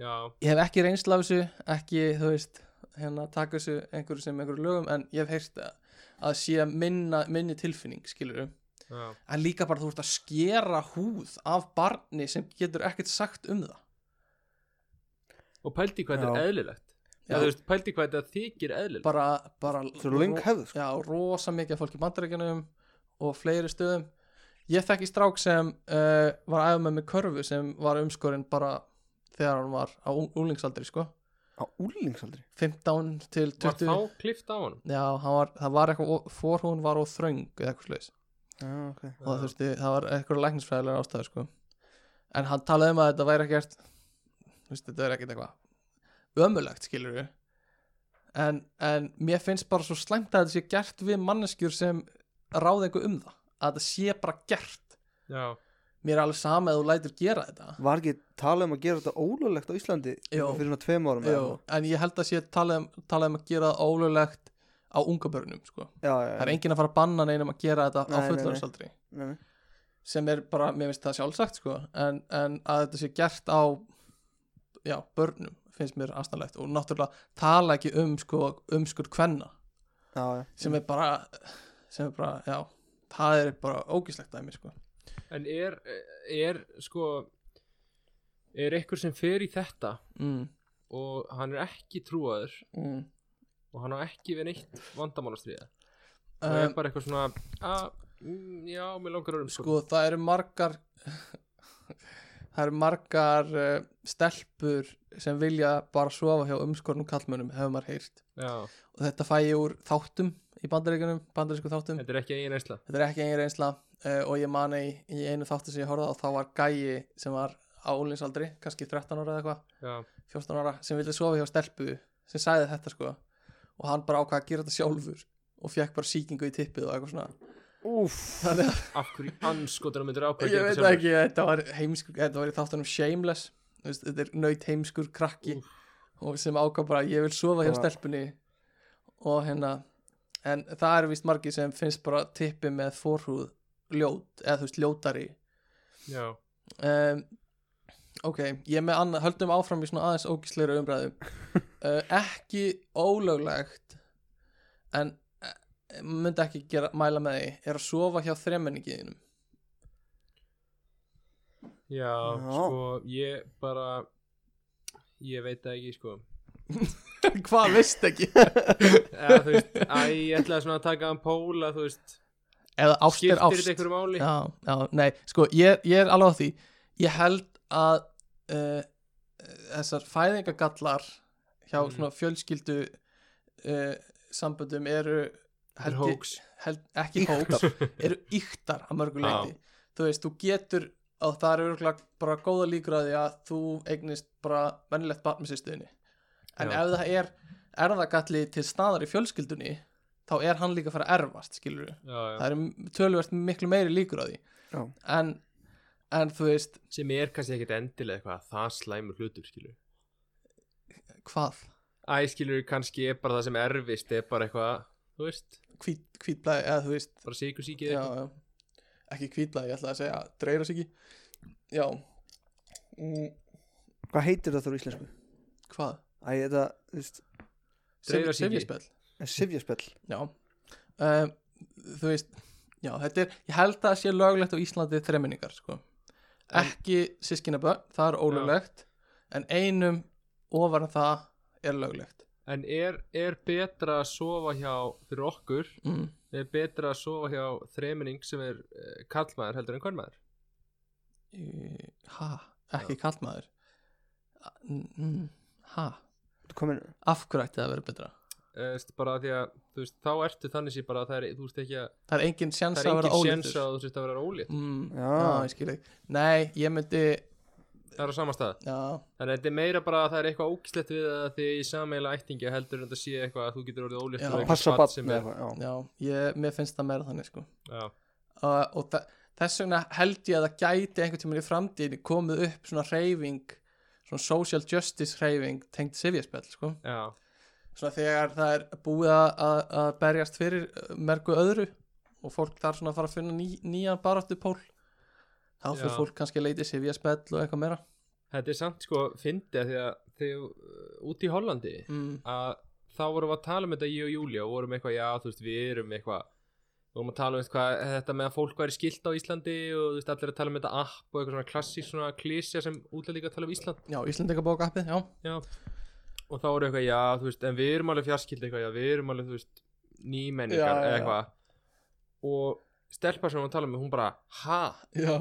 Já, ég hef ekki reynsla af þessu, ekki þú veist, hérna taka þessu einhverju sem einhverju lögum, en ég hef heyrt að, að sé minna, minni tilfinning skilur já, en líka bara þú ert að skera húð af barni sem getur ekkert sagt um það og pældi hvað þetta Já. er eðlilegt Já, Já. þú veist, pældi hvað þetta þykir eðlilegt bara, bara það er löng hefð sko. já, rosa mikið af fólk í bandaríkjanum og fleiri stöðum ég þekki strák sem uh, var aðeins með með körfu sem var umskorinn bara þegar hann var á ung- unglingsaldri sko, á úlingsaldri 15 til Var 20 þá klift á honum? já, hann var, það var eitthvað fórhún var á þröng eða eitthvað slags já, okay. og það þurfti, það var eitthvað læknisfræðilega ástæður sko. en hann talaði um að þetta væri ekkert þú veist, þetta er ekkert eitthvað ömulegt skilur við en, en mér finnst bara svo slæmt að þetta sé gert við manneskjur sem ráði einhver um það að þetta sé bara gert Já, mér er alveg sama að þú lætur gera þetta var ekki talað um að gera þetta ólulegt á Íslandi Jó. fyrir svona tveim árum eða Jú, en ég held að sé talaði um, talaði um að gera það ólulegt á unga börnum sko. eitthvað. já, já, já. það er enginn að fara að banna neinum að gera þetta á Nei, nei, nei. fullorðsaldri Nei, nei. sem er bara, mér finnst það sjálfsagt sko, en, en að þetta sé gert á já, börnum finnst mér astanlegt og náttúrulega tala ekki um sko, umskur kvenna já, já. sem er bara sem er bara, já, það er bara ógislegt dæmi sko. en er, er sko er einhver sem fer í þetta mm, og hann er ekki trúaður mm. og hann á ekki við neitt vandamálastriða það er Um, bara eitthvað svona að, mm, já, mér langar að um sko, sko, það eru margar það eru margar uh, stelpur sem vilja bara sofa hjá umskornum kallmönnum hefur maður heyrt já, og þetta fæ ég úr þáttum í bandaríkunum, bandarísku þáttum þetta er ekki eigin einsla þetta er ekki einu reynsla uh, og ég mani í, í einu þáttu sem ég horfði á þá var gæi sem var á úlinsaldri kannski 13 ára eða eitthvað, já, 14 ára sem vildi sofa hjá stelpu sem sagði þetta sko og hann bara ákvað að gera þetta sjálfur og fekk bara sýkingu í tippið og eitthvað svona Úf, þannig að af hverju anskotunum myndir ákvæða ég veit það ekki, þetta var heimskur þetta var í þáttunum Shameless þú veist, þetta er nöyt heimskur krakki og sem ákvað bara, ég vil sofa hjá Bara- stelpunni og hérna en það er vist margir sem finnst bara tippi með forhúð ljót, eða þú veist, ljótari já, um, ok, ég er með annað höldum áfram í svona aðeins ógisleira umræðu uh, ekki ólöglegt en eh, myndi ekki gera, mæla með því er að sofa hjá þremenningiðinum já, Já. sko ég bara ég veit það ekki sko hvað veist ekki eða þú veist, að ég ætlaði svona að taka hann póla, þú veist, eða ást skiptir er ást þetta einhverju máli já, já, nei, sko, ég, ég er alveg á því ég held að uh, þessar fæðingagallar hjá Mm. svona fjölskyldu uh, samböndum eru Þetta er held, ég- hoax. held, ekki hóks eru yktar að mörgu leiti þú veist, þú getur og það eru örugglega bara góða líkur að því að þú eignist bara venjulegt barn með sýstuðinni en Já. ef það er erðagalli til staðar í fjölskyldunni þá er hann líka að fara að erfast, skilur við já, já. það eru tölvert miklu meiri líkur á því Já. en, en þú veist sem er kannski ekkit endilega eitthvað það slæmur hlutur, skilur hvað, Æ, skilur, kannski er bara það sem erfist er bara eitthvað, þú veist hvít, hvítblæði eða þú veist bara sikursíkið já, eitthvað já. ekki hvítblæði, ég ætla að segja dreira sig ekki já, mm, hvað heitir það þá í íslensku? hvað Æ, þetta, þú veist, Sif- Dreyrasýki. sifjaspell sifjaspell já um, þú veist já, þetta er, ég held að það sé löglegt á Íslandi þreminningar sko. En- ekki sískinaböð, það er ólöglegt en einum ofar en það er löglegt en er, er betra að sofa hjá fyrir okkur, mm. er betra að sofa hjá þreminning sem er uh, kallmaður heldur en hvernmaður Í- Eh, ha, ekki kallmaður A- mm, ha, Þú komin, af hverju ætti það að vera betra uh, bara því að, þú veist, þá ertu þannig sér bara að það er, þú veist ekki að það er engin það sjans er að vera engin séns ólítur að þú sért að vera ólít mm, Já. já, ég skil ekki nei, ég myndi það er á sama stað já, þannig að þetta er meira bara að það er eitthvað ógislegt við það því í sammeila ættingja heldur en þetta sé eitthvað að þú getur orðið Já. ólítur passa barn sem eða er eitthvað, já. já, ég, mér finnst það meira þannig sko já, uh, og þa- þess vegna held ég að það gæti einhvern tímann í framtíðin komið upp svona reyfing svona social justice reyfing tengt sifjaspell sko já, svona þegar það er búið að, að- að berjast fyrir uh, mergu öðru og fólk þar svona að fara að finna ný, nýjan baráttu pól þá fyrir Já. fólk kannski að leita sér við að spell og eitthvað meira þetta er samt sko fyndið af því að þegar uh, út í Hollandi mm, að þá vorum við að tala um þetta ég og Júlia og vorum eitthvað, já þú veist, við erum eitthvað við vorum að tala um eitthvað, þetta með að fólk væri skilt á Íslandi og þú veist, allir að tala um þetta app og eitthvað svona klassísk svona klísja sem útlendingar tala um Ísland já, Íslandingabók appið, já já. og þá voru eitthvað, já þú veist, en við erum alveg fjarskild eitthvað, já við erum alveg, þú veist, nýmenningar Já, já, eða já. eitthvað og stelpa sem við vorum að tala um, hún bara, ha, já,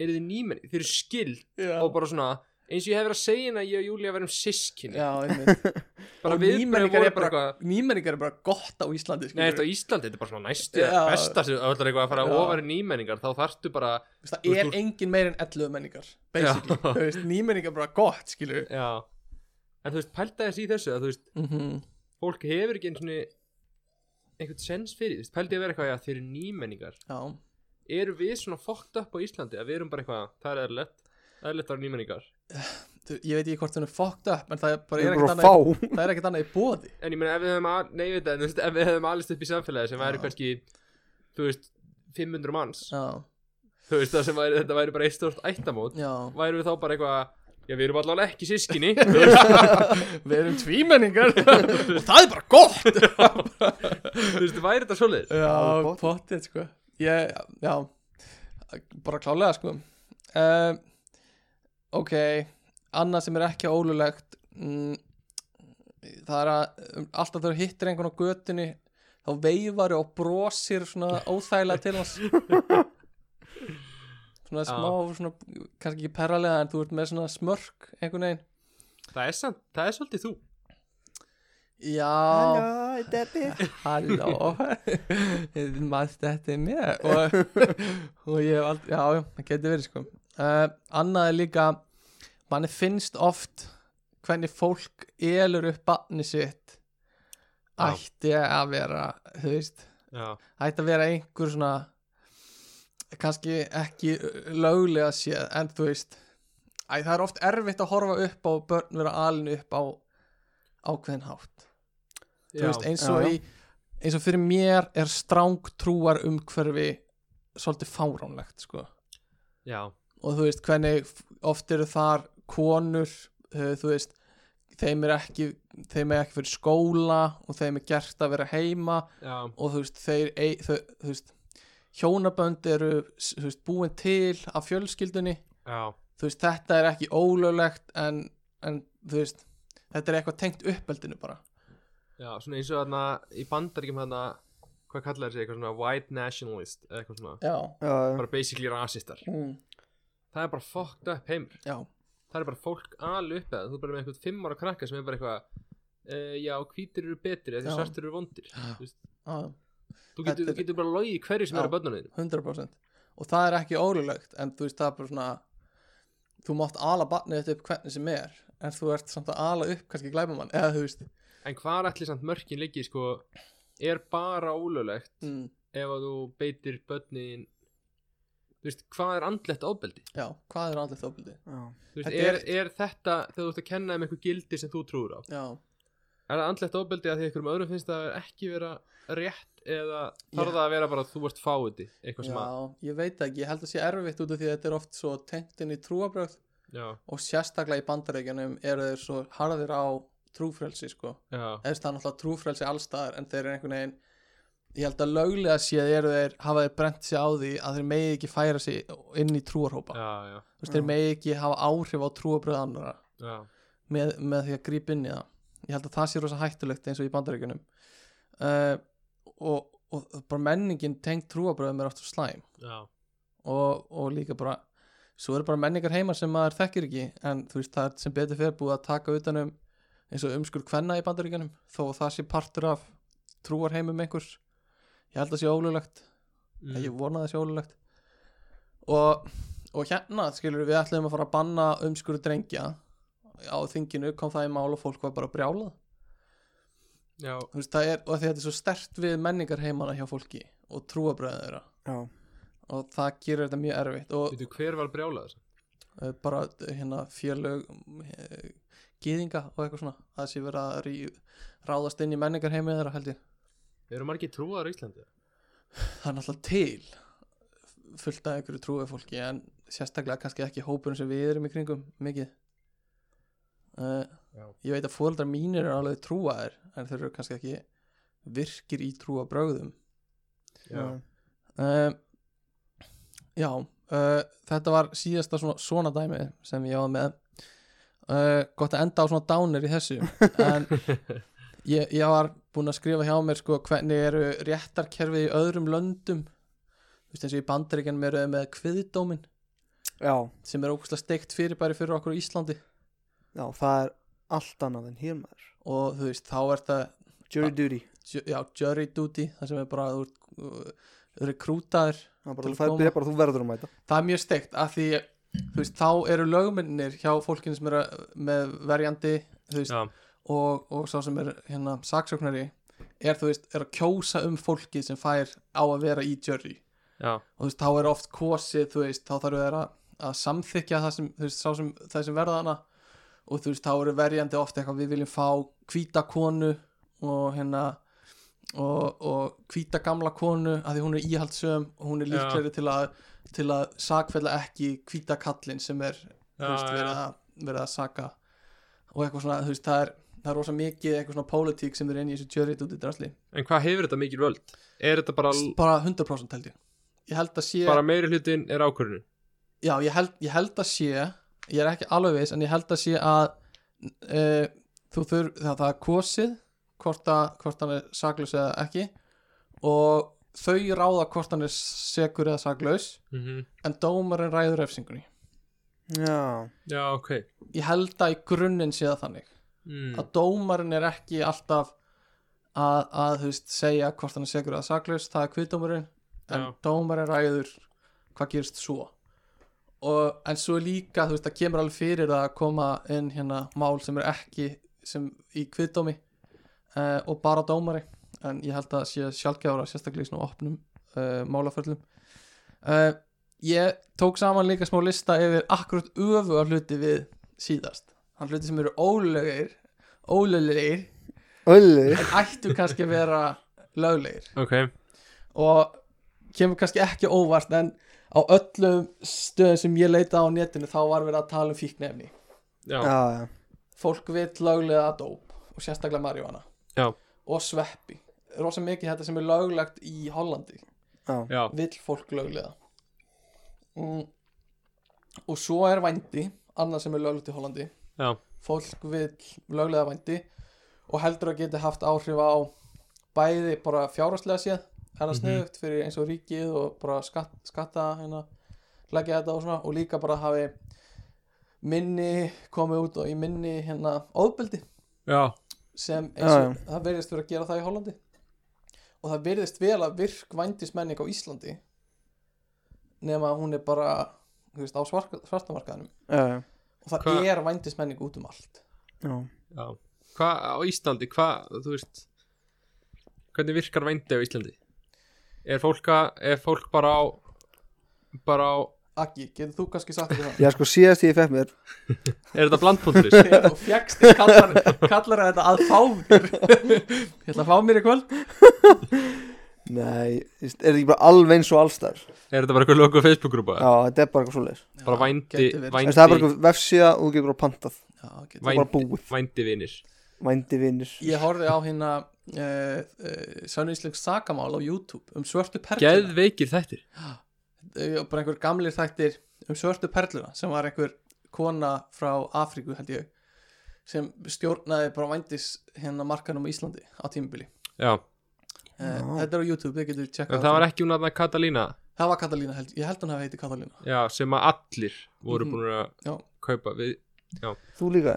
eru þið nýmenning þið eru skild já, og bara svona eins og ég hef verið að segja henni að ég og Júlia verðum sískinni já einmitt. bara Og viðbrögðin nýmenningar voru er bara bara, eitthvað nýmenningar er bara gott á Íslandi Nei, þetta skilurðu. á Íslandi, þetta er bara svona næstu Já. ja. besta sem öllar eitthvað að fara Já. ofar í nýmenningar þá þarftu bara Þú veist, þú það er veist, þú- engin meir en 11 menningar basically, Já. þú veist, nýmenningar er bara gott skilur við já. en þú veist, pælta þess í þessu að þú veist, fólk hefur ekki einhvern einhvern sens fyrir, þú veist, pælta ég að vera eitthvað já, þeir eru nýmenningar, já, eru við svona fokkt upp á Íslandi að við erum bara eitthvað, það er eðlilegt eðlilegt að vera nýmenningar, þú, ég veit ekki hvort hún er fucked up en það er Þú bara er er ekkert bara annað, að fá það er ekkert annað í bóði en ég meina ef við hefum al, nei, ég veit það, en þú veist, ef við hefum alist upp í samfélagi sem væri Já. kannski, þú veist 500 manns, já, þú veist, það sem væri, þetta væri bara eitt stort ættamót, já væri við þá bara eitthvað já, við erum allavega ekki sískinni Við erum tvímenningar Og það er bara gott Þú veist, væri þetta svolítið? Það er Já, pottþétt. pottið sko ég, Já, bara klálega sko uh, Ok Annað sem er ekki ólulegt mm, Það er að um, Alltaf þegar þú hittir einhvern á götunni Þá veifar og brosir Svona óþægilega til hans Svona smá svona, Kannski ekki perralega En þú ert með svona smörk einhvern veginn Það er, sant, það er svolítið þú Já Halló, Debbie Halló, maður þetta er mér og, og ég hef aldrei, já, já, það getur verið sko uh, Annað er líka, manni finnst oft hvernig fólk elur upp barni sitt Já. ætti að vera, þú veist, Já, ætti að vera einhver svona, kannski ekki löglega séð, en þú veist, æ, það er oft erfitt að horfa upp á börn vera alinu upp á ákveðin hátt þú veist, eins og, Já, já. Í, eins og fyrir mér er strángtrúar umhverfi svolítið fáránlegt sko. já, og þú veist hvernig f- oft eru þar konur uh, þú veist þeim er ekki, þeim er ekki fyrir skóla og þeim er gert að vera heima já, og þú veist, þeir, ei, þau, þú veist hjónabönd eru s- þú veist, búin til af fjölskyldunni já, þú veist, þetta er ekki ólöglegt en, en þú veist þetta er eitthvað tengt uppeldinu bara já Svona eins og þarna í bandaríkjum þarna Hvað kallar þessi, eitthvað svona white nationalist eða Eitthvað svona, já, Já, bara basically rasistar mm. Það er bara fucked up heimur já, Það er bara fólk alveg upp eða Þú er bara með eitthvað fimm ára krakka sem er bara eitthvað Uh, já, hvítir eru betri eða Já. svartir eru vondir Þú veist, já þú Þetta getur, er- þú getur bara logið hverju sem Já. er að börnunum 100% og það er ekki ólulegt en þú veist það er bara svona þú mátt ala barnið þetta upp hvernig sem er en þú ert samt að ala upp kannski glæbamann eða þú veist en hvað ætli samt mörkin liggi sko, er bara ólöglegt mm, ef að þú beitir börnin þú veist, hvað er andlegt ofbeldi já, hvað er andlegt ofbildi já, þú veist, Þetta er, er- er þetta þegar þú ert að kenna um einhver gildi sem þú trúir á já, er það andlegt ofbeldi að því einhverjum öðrum finnst það ekki vera rétt eða þarf það að vera bara að þú ert fáiði eitthvað sem já, að ég veit það ekki ég held að sé erfitt út af því að þetta er oft svo tengt inn í trúabröð já, og sérstaklega í bandarækjunum eru þeir svo harðir á trúfrelsi sko já, eða þú veist, það er náttúrulega trúfrelsi allstaðar en þeir eru einhvern veginn ég held að löglega séð eru þeir hafa þeir brent sig á því að þeir megi ekki færa sig inn í trúarhópa já, já, þú veist, þeir megi ekki hafa áhrif á trúabröð annara já, með, með því að grípa inn í það ég held að það sé rosa hættulegt eins og í bandaríkunum uh, og, og bara menningin tengt trúabröðum er oft svo slæm já, og, og líka bara svo eru bara menningar heima sem maður þekkir ekki en þú veist það er sem betur fyrir búið að taka utanum eins og umskur kvenna í bandaríkunum þó að það sé partur af trúarheimum einhvers ég held að sé ólulegt mm. mm, ég vona það sé ólulegt og, og hérna skilur við ætlum að fara að banna umskuru drengja á þinginu kom það í mál og fólk var bara brjálað já, Þú veist, það er, og því þetta er svo stert við menningar heimana hjá fólki og trúabröðið þeirra já og það gerir þetta mjög erfitt og veitu hver var brjálað þess uh, bara uh, hérna félög uh, gýðinga og eitthvað svona það sé verið að rí, ráðast inn í menningar heimið þeirra held ég eru margir trúar á Íslandi það er náttúrulega til fullt af einhverju trúið fólki en sérstaklega kannski ekki hópurinn sem við erum í kringum mikið uh, Já. ég veit að fóreldrar mínir eru alveg trúaðir en þeir eru kannski ekki virkir í trúa brögðum Já, uh, já uh, þetta var síðasta svona, svona dæmi sem ég áða með uh, gott að enda á svona dánir í þessu en ég, ég var búin að skrifa hjá mér sko hvernig eru réttarkerfið í öðrum löndum þú veist eins og í bandaríkjanum eru þau með kviðdómin já, sem er ógustlega steikt fyrirbæri fyrir okkur á Íslandi já, það er allt annað en hér maður og þú veist þá er þetta Jury Ah. duty, ju- já, jury duty það sem er bara að þú eh, eru krútaðir það er Til bara, að það koma. er bara þú verður um þetta það er mjög steikt af því þú veist, þá eru lögmennir hjá fólkinu sem eru með verjandi þú veist, já, og, og sá sem er hérna saksóknari er þú veist, er að kjósa um fólkið sem fær á að vera í jury já, og þú veist, þá er oft kosið þú veist, þá þarf þeir að, að samþykja það sem, þú veist, sá sem, það sem verða hana og þú veist, þá eru verjandi oft eitthvað við viljum fá hvíta konu og hérna og, og hvíta gamla konu að því hún er íhaldsöm og hún er Já. líklegri til að til að sakfella ekki hvíta kallinn sem er þú Já, veist, verið já. að verið að saka og eitthvað svona, þú veist, það er það er rosa mikið eitthvað svona pólitík sem er inn í þessu tjörið út í drasli, En hvað hefur þetta mikil völd? Er þetta bara, bara 100% held ég ég held að sé, bara meiri hlutin er ákvörðinu? já, ég held, ég held að sé ég er ekki alveg veist, en ég held að sé að e, þú þurr það, það er kosið hvort, að, hvort hann er saklaus eða ekki og þau ráða hvort hann er sekur eða saklaus Mm en dómarinn ræður refsingunni Já, Já, ok. ég held að í grunninn sé það þannig Mm. að dómarinn er ekki alltaf að, að þú veist, segja hvort hann er segur að saklaus, það er kviðdómarinn en Já. dómarinn ræður hvað gerist svo og, en svo er líka, þú veist, það kemur alveg fyrir að koma inn hérna mál sem er ekki sem í kviðdómi uh, og bara dómari en ég held að sé sjálfgjára sérstaklega í svona opnum uh, málaförlum uh, ég tók saman líka smá lista yfir akkurat öfu að hluti við síðast hann hluti sem eru ólegir ólegir öllu en ættu kannski að vera löglegir Ok. og kemur kannski ekki óvart en á öllum stöðum sem ég leita á netinu þá var verið að tala um fíknefni Já. Já. Já, já, fólk vill löglega dóp og sérstaklega marihuana Já. og sveppi rosa mikið þetta sem er löglegt í Hollandi já, Já. vill fólk löglega mm. og svo er vændi annað sem er löglegt í Hollandi Já. fólk vill löglega vændi og heldur að geti haft áhrif á bæði bara fjárhastlega séð er það Mhm. sniðugt fyrir eins og ríkið og bara skatt, skatta hérna, leggja þetta og svona og líka bara hafi minni komið út og í minni hérna ofbeldi Já. sem eins Já, og já. það verðist verið að gera það í Hollandi og það verðist vel að virk vændismenning á Íslandi nema að hún er bara þú veist, á svark- svartamarkaðanum já, já, og það Hva- er vændismenning út um allt já. Já. Hvað á Íslandi, hvað, þú veist, hvernig virkar vændi á Íslandi? Er fólk, að, er fólk bara á, bara á, Aggi, getur þú kannski sagt ekki það? Já, sko síðast ég fekk mér er þetta blandpunturis? Þegar þú fjagst þig kallar, kallar þetta að fá mér Ég ætla að fá mér í kvöld Nei, þú veist, er þetta ekki bara alveg eins og allstar Já, er þetta bara eitthvað lokuð Facebook-grúpa? þetta er bara eitthvað svoleiðis Bara vændi, gæti verið. Þú veist, Það er bara vændi, eitthvað vefsíða og þú getur bara pantað Já, getur Það Væn- er bara búið, vændi vinir. vændi vinnir Ég horfði á hérna uh, uh, Sönníslengs sakamál á YouTube um svörtu perluna Geðveikir þættir. Eh, bara einhver gamlir þættir um svörtu perluna sem var einhver kona frá Afríku held ég sem stjórnaði bara vændis hérna markanum á Íslandi á tímubili Já. uh, Já. Þetta er á YouTube, þið getur En tjekkað það var ekki hún aðna Katalína, það var Katalína, held, ég held hún hafi heiti Katalína já, sem að allir voru Mhm. búin að Já. kaupa við, Þú líka?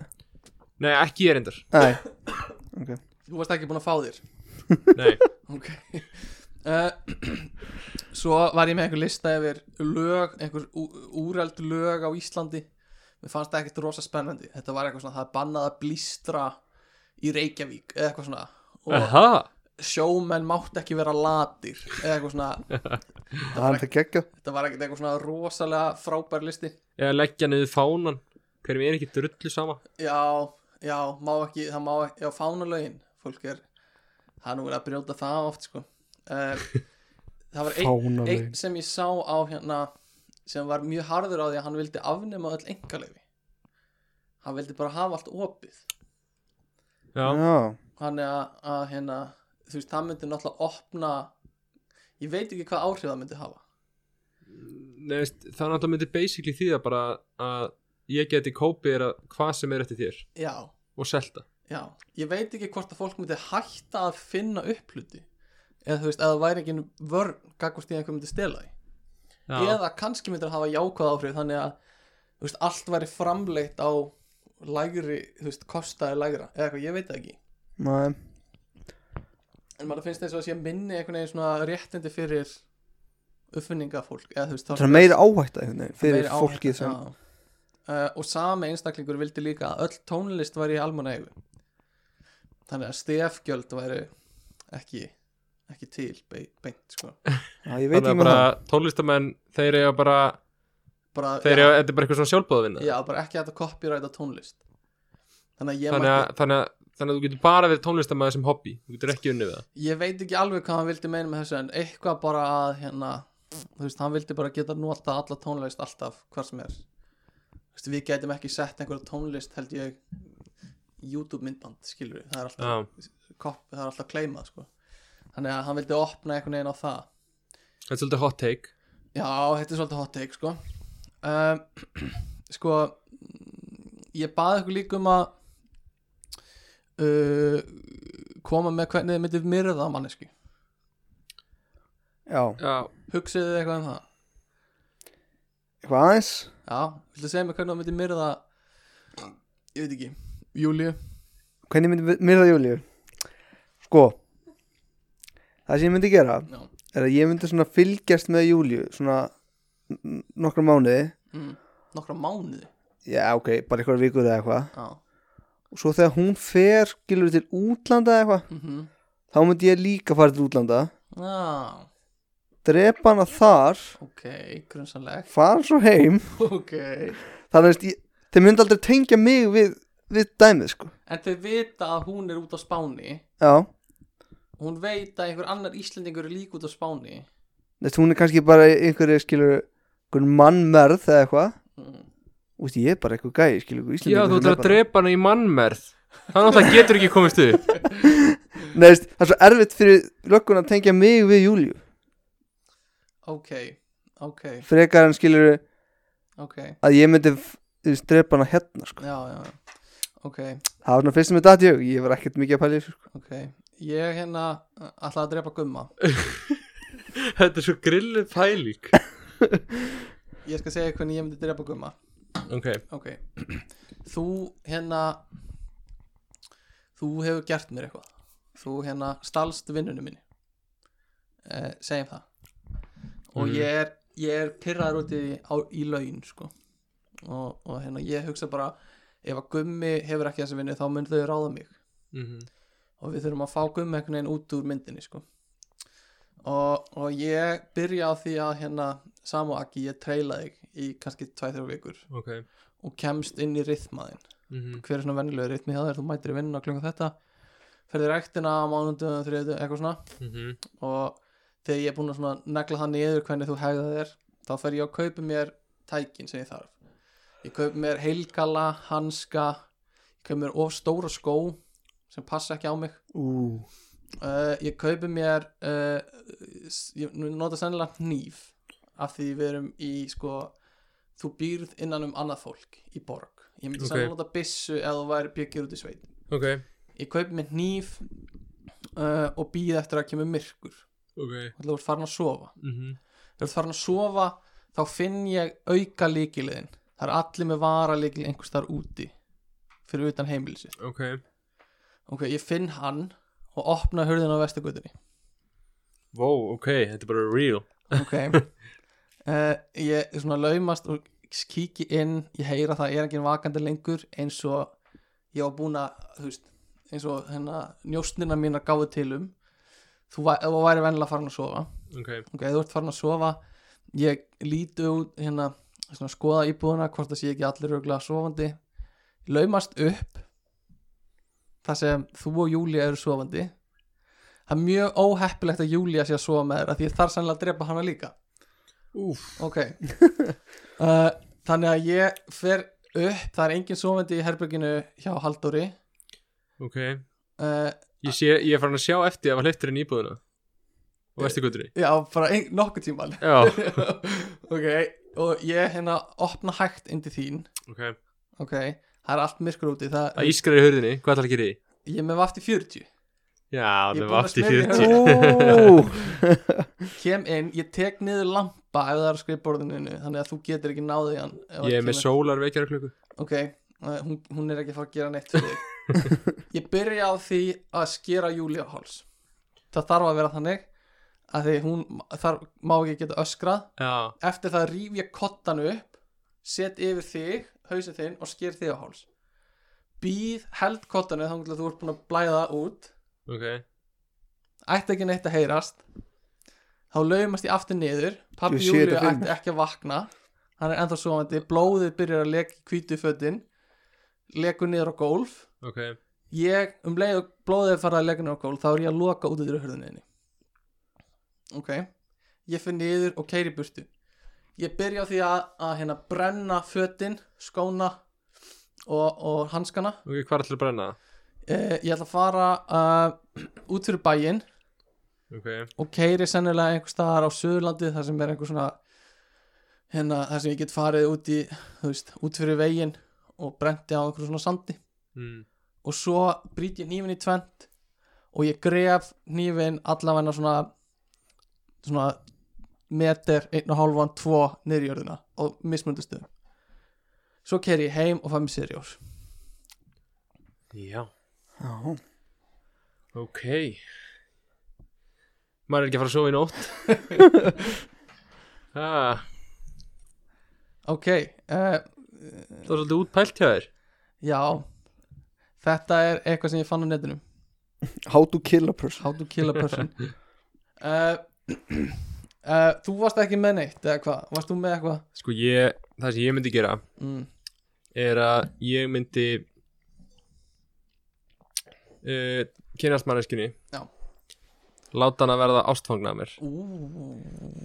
nei, ekki ég reyndar, Nei, Þú varst ekki búin að fá þér nei, Ok uh, Svo var ég með einhver lista yfir lög, einhver ú- úreld lög á Íslandi Mér fannst það ekkert rosa spennandi Þetta var eitthvað svona, það er bannað að blístra í Reykjavík eða eitthvað svona og aha, sjómenn mátt ekki vera latir eða eitthvað svona, það er þetta geggja þetta var ekkert eitthvað svona rosalega frábær listi eða leggja niður fánan, hverjum er ekki drullu sama, Já, já, má ekki, það má ekki, já, fánalögin, fólk er, það er nú verið að brjóta það oft, sko. Uh, það var einn ein Fánalögin sem ég sá á hérna, sem var mjög harður á því að hann vildi afnema öll engaleifi. Hann vildi bara hafa allt opið. já, Já, Þannig að, að hérna, þú veist, það myndi náttúrulega opna, ég veit ekki hvað áhrif það myndi hafa. Nei, veist, það er náttúrulega myndi basically því að bara að ég geti kópið þér að hvað sem er eftir þér Já, og selta já, ég veit ekki hvort að fólk myndi hætta að finna upp hluti. Eða þú veist, að það væri ekki vörn, gagvast í einhver myndi stela því. Já, eða kannski myndir að hafa jákvæð áhrif þannig að þú veist, allt væri framleitt á lægri, þú veist, kostaði lægra eða eitthvað, ég veit það ekki nei, en maður finnst eins og að sé minni einhvern veginn svona réttindi fyrir uppfinningafólk eða þú veist, það er meiri áhætta einhvern veginn fyrir meiri áhætta, fólkið sem já. Eh, og sami einstaklingur vildi líka að öll tónlist væri í almanna þannig að stefgjöld væri ekki ekki til be beint sko. Já, ég veit þannig ekki að með bara um það tólistamenn þeir eiga bara, bara, þeir já, eiga, þetta er bara eitthvað svona sjálfbóðavinna já, bara ekki hægt að copyrighta tónlist þannig að ég þannig, mætti- að- þannig, að- þannig að þú getur bara verið tónlistamæður sem hobby, þú getur ekki unnið við það ég veit ekki alveg hvað hann vildi meina með þessu en eitthvað bara að hérna þú veist, hann vildi bara geta nota alla tónlist alltaf hvar sem er Þú veist, Vist, við getum ekki sett einhverja tónlist held ég YouTube myndband skilur við, það er alltaf, Já, kopp, það er alltaf kleimað sko. þannig að hann vildi opna einhvern veginn á það þetta er svolítið hot take Já, þetta er svolítið hot take sko um, Sko mm, Ég baði ykkur líka um að uh, koma með hvernig þið myndið myrða mannesku já, Já, Hugsið þið eitthvað um það? eitthvað aðeins Já, viltu segja mér hvernig það myndið myrða ég veit ekki, Júlíu hvernig myndi myrða Júlíu sko það sem ég myndi gera Já, er að ég myndi svona fylgjast með Júlíu svona n- nokkra mánuði mm, nokkra mánuði já ok, bara eitthvað vikur eða eitthvað Já, og svo þegar hún fer gilur til útlanda eða eitthvað mhm þá myndi ég líka fara til útlanda Já, drepa hana þar ok, grunsanleg fara svo heim Ok þannig að ég- þeir myndi aldrei tengja mig við, við dæmið sko En þau vita að hún er út á Spáni já, Hún veit að einhver annar Íslendingur er líka út á Spáni þetta hún er kannski bara í einhverju skilur einhvern mannmerð eða eitthvað mm. Úst, ég er bara eitthvað gæi, skilur ykkur já Íslandingur þú ætlar að drepa hana í mannmerð Það náttúrulega getur ekki komist upp Nei, veist, það er svo erfitt fyrir löggun að tengja mig við Júlíu Ok, ok, frekar en skilur ok að ég myndi f- þú veist, drepa hana hérna sko. Já, já, ok, það var svona fyrst sem ég dati ég ég var ekkert mikið að pæla í þessu sko. ok Ég hérna uh, ætlaði að drepa gumma Þetta er svo grillu pælík Ég skal segja hvernig ég myndi drepa gumma Ok, Ok Þú hérna Þú hefur gert mér eitthvað Þú hérna stalst vinnunum minni eh, Segjum það Og Mhm. ég er Ég er pyrraður út í, á, í laun sko. og, og hérna ég hugsa bara Ef að gummi hefur ekki þessi vinnu Þá myndu þau ráða mig Mhm. og við þurfum að fá gummi einhvern veginn út úr myndinni sko. og, og ég byrja á því að hérna Samu Aki, ég treila þig í kannski 2-3 vikur ok og kemst inn í rithmaðin Mhm. hver er svona venjulegu rithmi hjá þér, þú mætir í vinnuna klunga þetta ferðir rektina á mánundum þriðu, eitthvað svona Mhm. og þegar ég er búin að svona negla það niður hvernig þú hegða þér þá fer ég að kaupa mér tækin sem ég þarf ég kaupa mér heilgala, hanska ég kaupa mér of stóra skó sem passa ekki á mig Ú, Uh, ég kaupi mér uh, s- ég nú nota sennilega hníf af því við erum í sko, þú býrð innan um annað fólk í borg, ég myndi Ok. sennilega nota byssu ef þú væri byggir út í sveit Ok, ég kaupi mér hníf uh, og býð eftir að kemur myrkur og ok þú ert farin að sofa Mhm. þegar þú ert farin að sofa þá finn ég auka líkiliðin það er allir með vara líkilið einhvers þar úti fyrir utan heimilisi Ok, ok, ég finn hann og opna hurðin á vestugutinni wow, ok, þetta er bara real ok uh, ég svona laumast og kíki inn ég heyra það er enginn vakandi lengur eins og ég var búin að þú veist, eins og hérna njóstnina mína gáði til um þú, væ- ef þú væri venlega farin að sofa Ok, ok, ef þú ert farin að sofa ég líti út hérna svona skoða íbúðuna hvort það sé ekki allir örgulega sofandi laumast upp þar sem þú og Júlia eru sofandi það er mjög óheppilegt að Júlia sé að sofa með þér af því ég þarf sannlega að drepa hana líka úf ok uh, þannig að ég fer upp það er engin sofandi í herbygginu hjá Halldóri Ok, uh, ég sé, ég er farin að sjá eftir að var hleyptur inn í íbúðuna og vestu guttunni já, bara ein, nokkuð tíman Já, ok og ég hérna opna hægt indi þín ok ok, það er allt myrkur úti það, Það ískrar í hurðinni, hvað ætlar að gera í? ég er með vaft í 40 Já, það Ég er búin var að hérna. allt í smyrja 40 í ó, kem inn, ég tek niður lampa ef það er á skrifborðinu þannig að þú getur ekki náðið hann ef Ég hann er með kemur- sólar vekjarklöku ok, eh, hún, hún er ekki að fara að gera neitt fyrir þig ég byrja á því að skera Júlíu á háls það þarf að vera þannig að því hún þar má ekki geta öskrað Já, eftir það rýf ég kottan upp set yfir þig, hausið þinn og sker þig á háls býð held kottanu þannig að þú ert búin að blæða út ok ætti ekki neitt að heyrast þá laumast ég aftur niður pappi Ég sé Júliu þetta fyrir ætti ekki að vakna hann er ennþá svovandi, blóðið byrjar að leka í hvítu fötin leku niður á gólf Ok, ég um leið og blóðið er farið að leka niður á gólf þá er ég að loka út yfir hörðuninni ok ég fyrir niður og keiri burtu ég byrja á því að, að hérna brenna fötin, skóna og, og hanskana Ok, hvað er allir að brenna? eh, ég ætla að fara uh, út fyrir bæinn Ok, og keiri sennilega einhvers staðar á Suðurlandi þar sem er einhver svona hérna þar sem ég get farið út í þú veist, út fyrir veginn og brendi á einhver svona sandi mm. og svo brýt ég nýfin í tvent og ég gref nýfin allavegna svona svona meter, einn og hálfan, tvo niður í jörðina og mismundustuðum svo keiri ég heim og fæ mér sirjós já Já, Ok Maður er ekki að fara að sofa í nótt ah, ok, uh, Það var svolítið útpælt hjá þér já þetta er eitthvað sem ég fann á netinu how to kill a person How to kill a person uh, uh, Þú varst ekki með neitt eða hvað, varst þú með eitthvað Sko ég, það sem ég myndi gera mm. er að ég myndi uh, kynast manneskinni Já. Láta hann að verða ástfangna af mér Ú,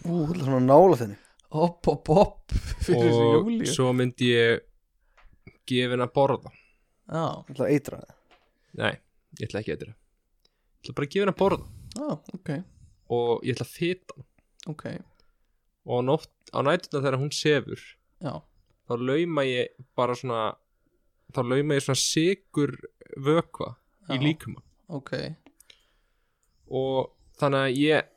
þetta er svona nála þenni Hopp, hopp, hopp fyrir þessu Og júli svo myndi ég gefa henn að borða Já, Þetta er eitra það Nei, ég ætla ekki að þetta Ég ætla bara að gefa henn að borða já, ok, og ég ætla að fita hann ok og á, nótt, á nætuna þegar hún sefur Já, þá lauma ég bara svona þá lauma ég svona sigur vökva í Já. líkuma ok og þannig að ég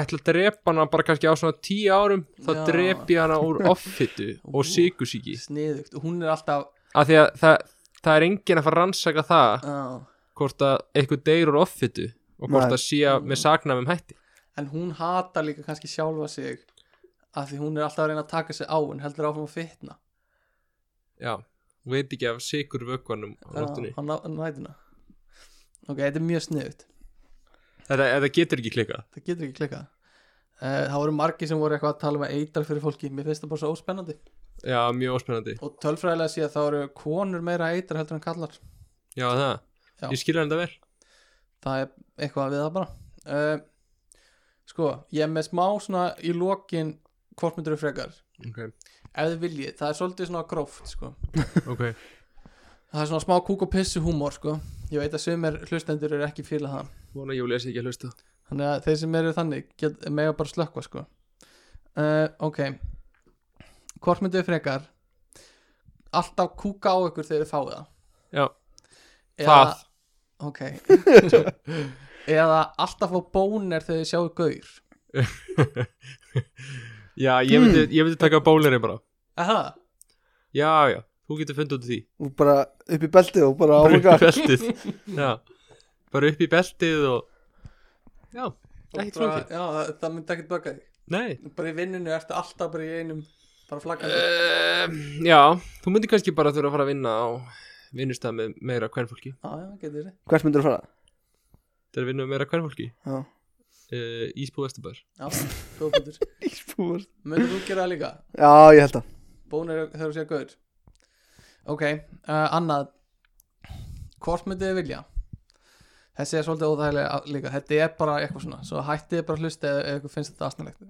ætla að drepa hana bara kannski á svona tíu árum þá Já. drep ég hana úr offitu og sigursíki Sniðugt, hún er alltaf af því að það, það er enginn að fara að rannsaka það já. hvort að eitthvað deyr úr offitu og hvort Nei. að sé að með saknafum hætti En hún hatar líka kannski sjálfa sig af því hún er alltaf að reyna að taka sig á en heldur áfram að fitna já, hún veit ekki af sigur vökvanum á Já, nóttunni á ná- á nætuna Ok, þetta er mjög sniðugt þetta, þetta getur ekki klikað það getur ekki klikkað uh, það voru margi sem voru eitthvað að tala um að eitar fyrir fólki mér finnst það bara svo óspennandi já, mjög óspennandi og tölfræðilega sé að það eru konur meira eitar heldur en kallar já, það, Já. ég skilur hann það vel það er eitthvað við það bara uh, sko, ég er með smá svona í lokin hvort myndur við frekar ok, ef þið viljið, það er svolítið svona gróft sko. ok það er svona smá kúk og pissu húmor sko. ég veit að sumir hlustendur eru ekki fíla það Vona Júli að sé ekki að hlusta þannig að þeir sem eru þannig get, mega bara slökva sko uh, ok hvort myndið þið frekar alltaf kúka á ykkur þegar þið fáið það Já, það ok eða alltaf á bónir þegar þið sjáu gaur Já, ég myndi, ég myndi taka bóleri bara eða Já, já, þú getur fundið út úr því Og bara upp í beltið og bara Bara upp í áhuga beltið Já, bara upp í beltið og Já, ekkert bara, flókið já, það, það myndi ekkert baka þig Nei bara í vinnunni ertu alltaf bara í einum bara flakkandi um, Já, þú myndir kannski bara þurfa að fara að vinna á vinnustæð með meira kvennfólki já, já, getur þið Hvert myndir þú fara? Þeir vinna með meira kvennfólki Já, uh, Ísbú Vesturbær já, góð bútur Ísbúar. myndir þú gera það líka Já, ég held það Bónir þegar þú séu gaur Ok, uh, annað Hvort myndið þið vilja? Þessi er svolítið óþægilega að- líka Þetta er bara eitthvað svona Svo hættið þið bara að hlusta eða eða ykkur finnst þetta aðsnalegt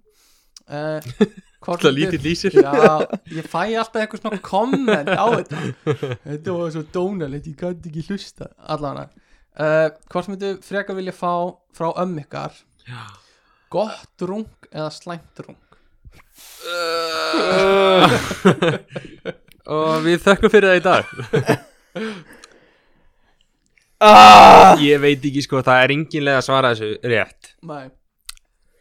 uh, Hvort Það lítið lýsir Já, ég fæ alltaf eitthvað svona komment á þetta Þetta var svo dónalegt, ég gæti ekki hlusta Allavega uh, Hvort myndið þið frekar vilja fá frá ömmu ykkar Já. Gott rung eða slæmt rung Uh. Og við þökkum fyrir það í dag ah! Ég veit ekki sko, það er enginlega að svara þessu rétt Nei,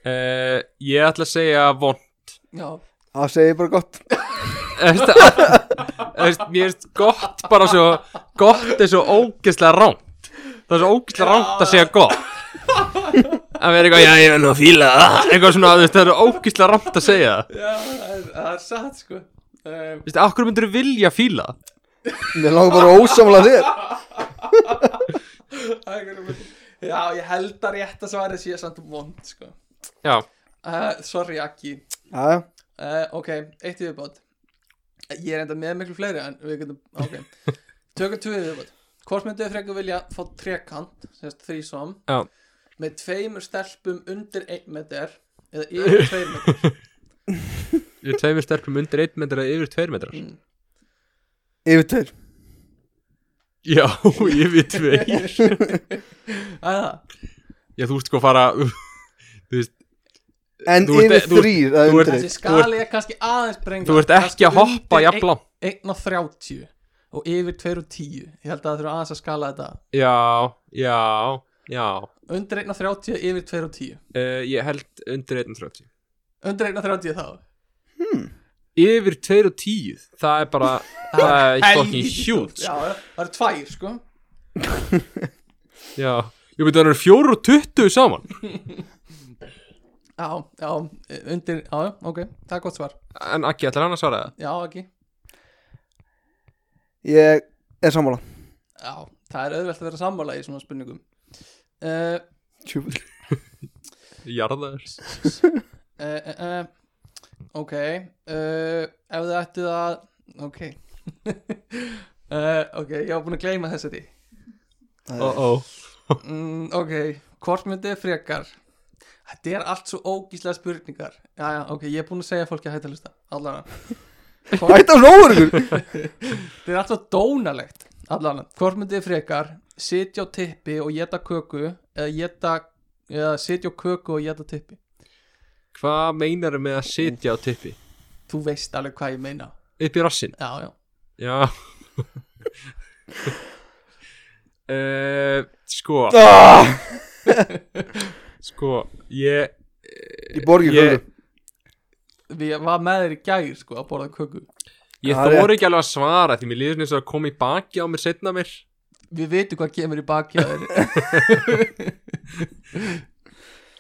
Uh, ég ætla að segja von já Það segir bara gott Eftir, að, eftir, Mér finnst gott bara svo Gott er svo ógeðslega rámt Það er svo ógeðslega rámt að segja gott Það verður eitthvað, já ég er nú að fíla það Eitthvað svona, þú veist, það er svo ógeðslega rámt að segja það Já, það er- það er satt sko um, Þú veist, af hverju myndir þú vilja fíla það? Mér langar bara ósamlega þér það er einhverjum- Já, ég held að rétt að svara sé samt vond sko Já, uh, Sorry Akki Já, já uh, Ok, eitt í viðbót Ég er enda með miklu fleiri en við getum Ok, tökum tvö í viðbót Hvort myndið þið frekar vilja fá trekant Sérst þrísom Já. Með tveimur stelpum undir einn meter Eða yfir tveimur Yfir tveimur stelpum undir 1 metra eða yfir 2 metrar Hmm. Yfir tveir Já, yfir 2 Æða Já, þú veist sko fara Þú veist, En Þú ert- yfir þú ert- þrýr að þú ert- undir Þessi eitt. skali er kannski aðeins brengla þú ert ekki að hoppa jafn langt 1 og 30 og yfir 2 og 10 Ég held að það þurfa aðeins að skala þetta Já, já, já Undir 1 og 30, yfir 2 og 10 uh, Ég held undir 1.30 Undir 1 og 30 þá Yfir 2 og 10 Það er bara Það er fucking Helvíti stórt. huge Já, já, það eru tvær sko Já Ég veit að það eru 4 og 20 saman Já, já, undir, já, já, ok Það er gott svar, En ekki, ætlar hann að svara það? já, ekki Ég er sammála Já, það er auðvelt að vera sammála í svona spurningum uh, Tjúfull. Jarðar uh, uh, uh, Ok uh, Ef þið ættu að Ok uh, Ok, ég var búin að gleyma þessari Það er- Uh-oh mm, Ok, hvort myndið er frekar Þetta er allt svo ógíslega spurningar Já, já, ok, ég er búin að segja fólki að hætta að hlusta Allara Hvort, Ætti að snóður ykkur Þetta er allt svo dónalegt Allara, hvort myndið er frekar Sitja á tippi og geta köku Eða geta Eða sitja á köku og geta tippi Hvað meinar með að sitja á tippi? Þú veist alveg hvað ég meina Upp í rassin Já, já Já uh, Sko Ah, Sko Ég Ég borgi Ég- ykkur Við var með þér í gæri sko að borða köku Ég Það er þóri ekki alveg að svara Því mér líður svona eins og að koma í baki á mér setna mér Við veitum hvað kemur í baki að þér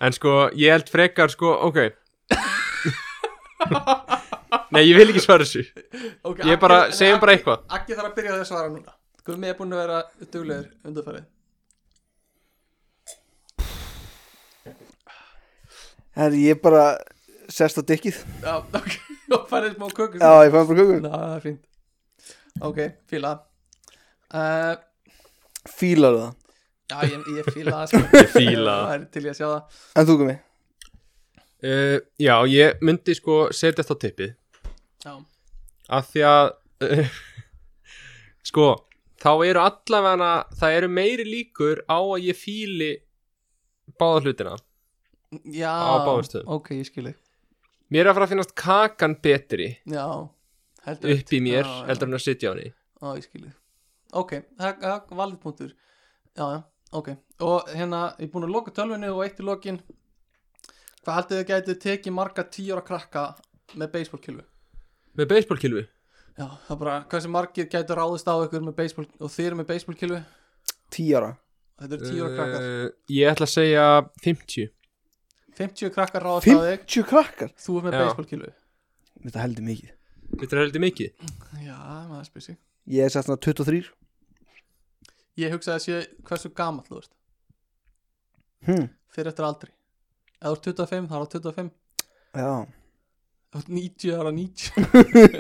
En sko, ég held frekar sko, ok Nei, ég vil ekki svara þessu okay, Ég bara, segjum bara eitthvað Akki þarf að byrja að svara núna Gummi er búin að vera duglegur undanfærið Herri, ég bara sest á dikkið Já, ok, og færið smá köku sko. Já, ég fann bara kökur Ná, það er fínt Ok, fíla uh, Fílar það Já, ég, ég fíla það sko Ég fíla það. Það er til ég að sjá það En þú komi uh, Já, ég myndi sko setja þetta á tippið Já, Af því að uh, Sko, þá eru allavega Það eru meiri líkur á að ég fíli Báða hlutina já Á báðum stöðum. Ok, ég skil þig Mér er að fara að finnast kakan betri Já, heldur Upp í mér, Já, já. heldur hann að sitja á henni Já, ég skilji Ok, það er valið punktur Já, já, ok Og hérna, ég er búin að loka tölvunni og eitt í lokin Hvað haldið þið gætið tekið marga tíóra krakka með baseballkilfu? Með baseballkilvi Já, það er bara, hversu margir gætið ráðist á ykkur með baseball og þeir eru með baseballkilfu? Tí ára Þetta eru tíóra krakkar Eh, Ég ætla að segja 50 50 krakkar ráðist á þig, 50 krakkar þú er með Já. baseballkilfu Þetta heldur mikið Þetta er heldur mikið Já, maður spyr sig Ég er sett svona 23 Ég hugsaði að sé hversu gamall þú ert hm. fyrir eftir aldri Ef þú ert 25, þá er það 25 Já Ef þú ert 90, þá er það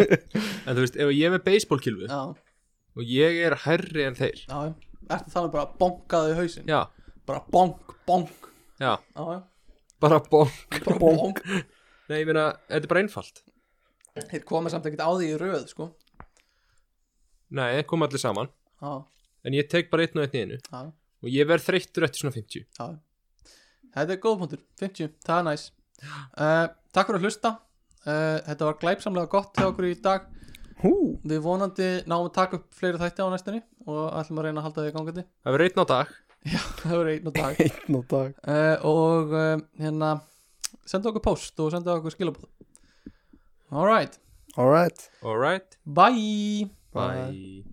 90 En þú veist, ef ég er með baseballkilvi Já, og ég er hærri en þeir já, já Ertu þannig bara að bonka þau í hausinn? já, bara bonk, bonk já, já, já, bara bong bara bonk nei, ég meina, þetta er bara einfalt þeir komið samt ekkert á því í röð sko. nei, þeir koma allir saman, já, en ég tek bara einn og einn í einu já, og ég verð þreyttur eftir svona 50 já þetta er góð punktur, 50, það er næs uh, takk fyrir að hlusta uh, þetta var glæpsamlega gott hjá okkur í dag Hú við vonandi náum að taka upp fleiri þætti á næstunni og ætlum að reyna að halda því gangandi það verður einn á dag það verður einn og dag Einn og dag uh, og uh, hérna senda okkur post og senda okkur skilabóð alright, Alright alright, bye bye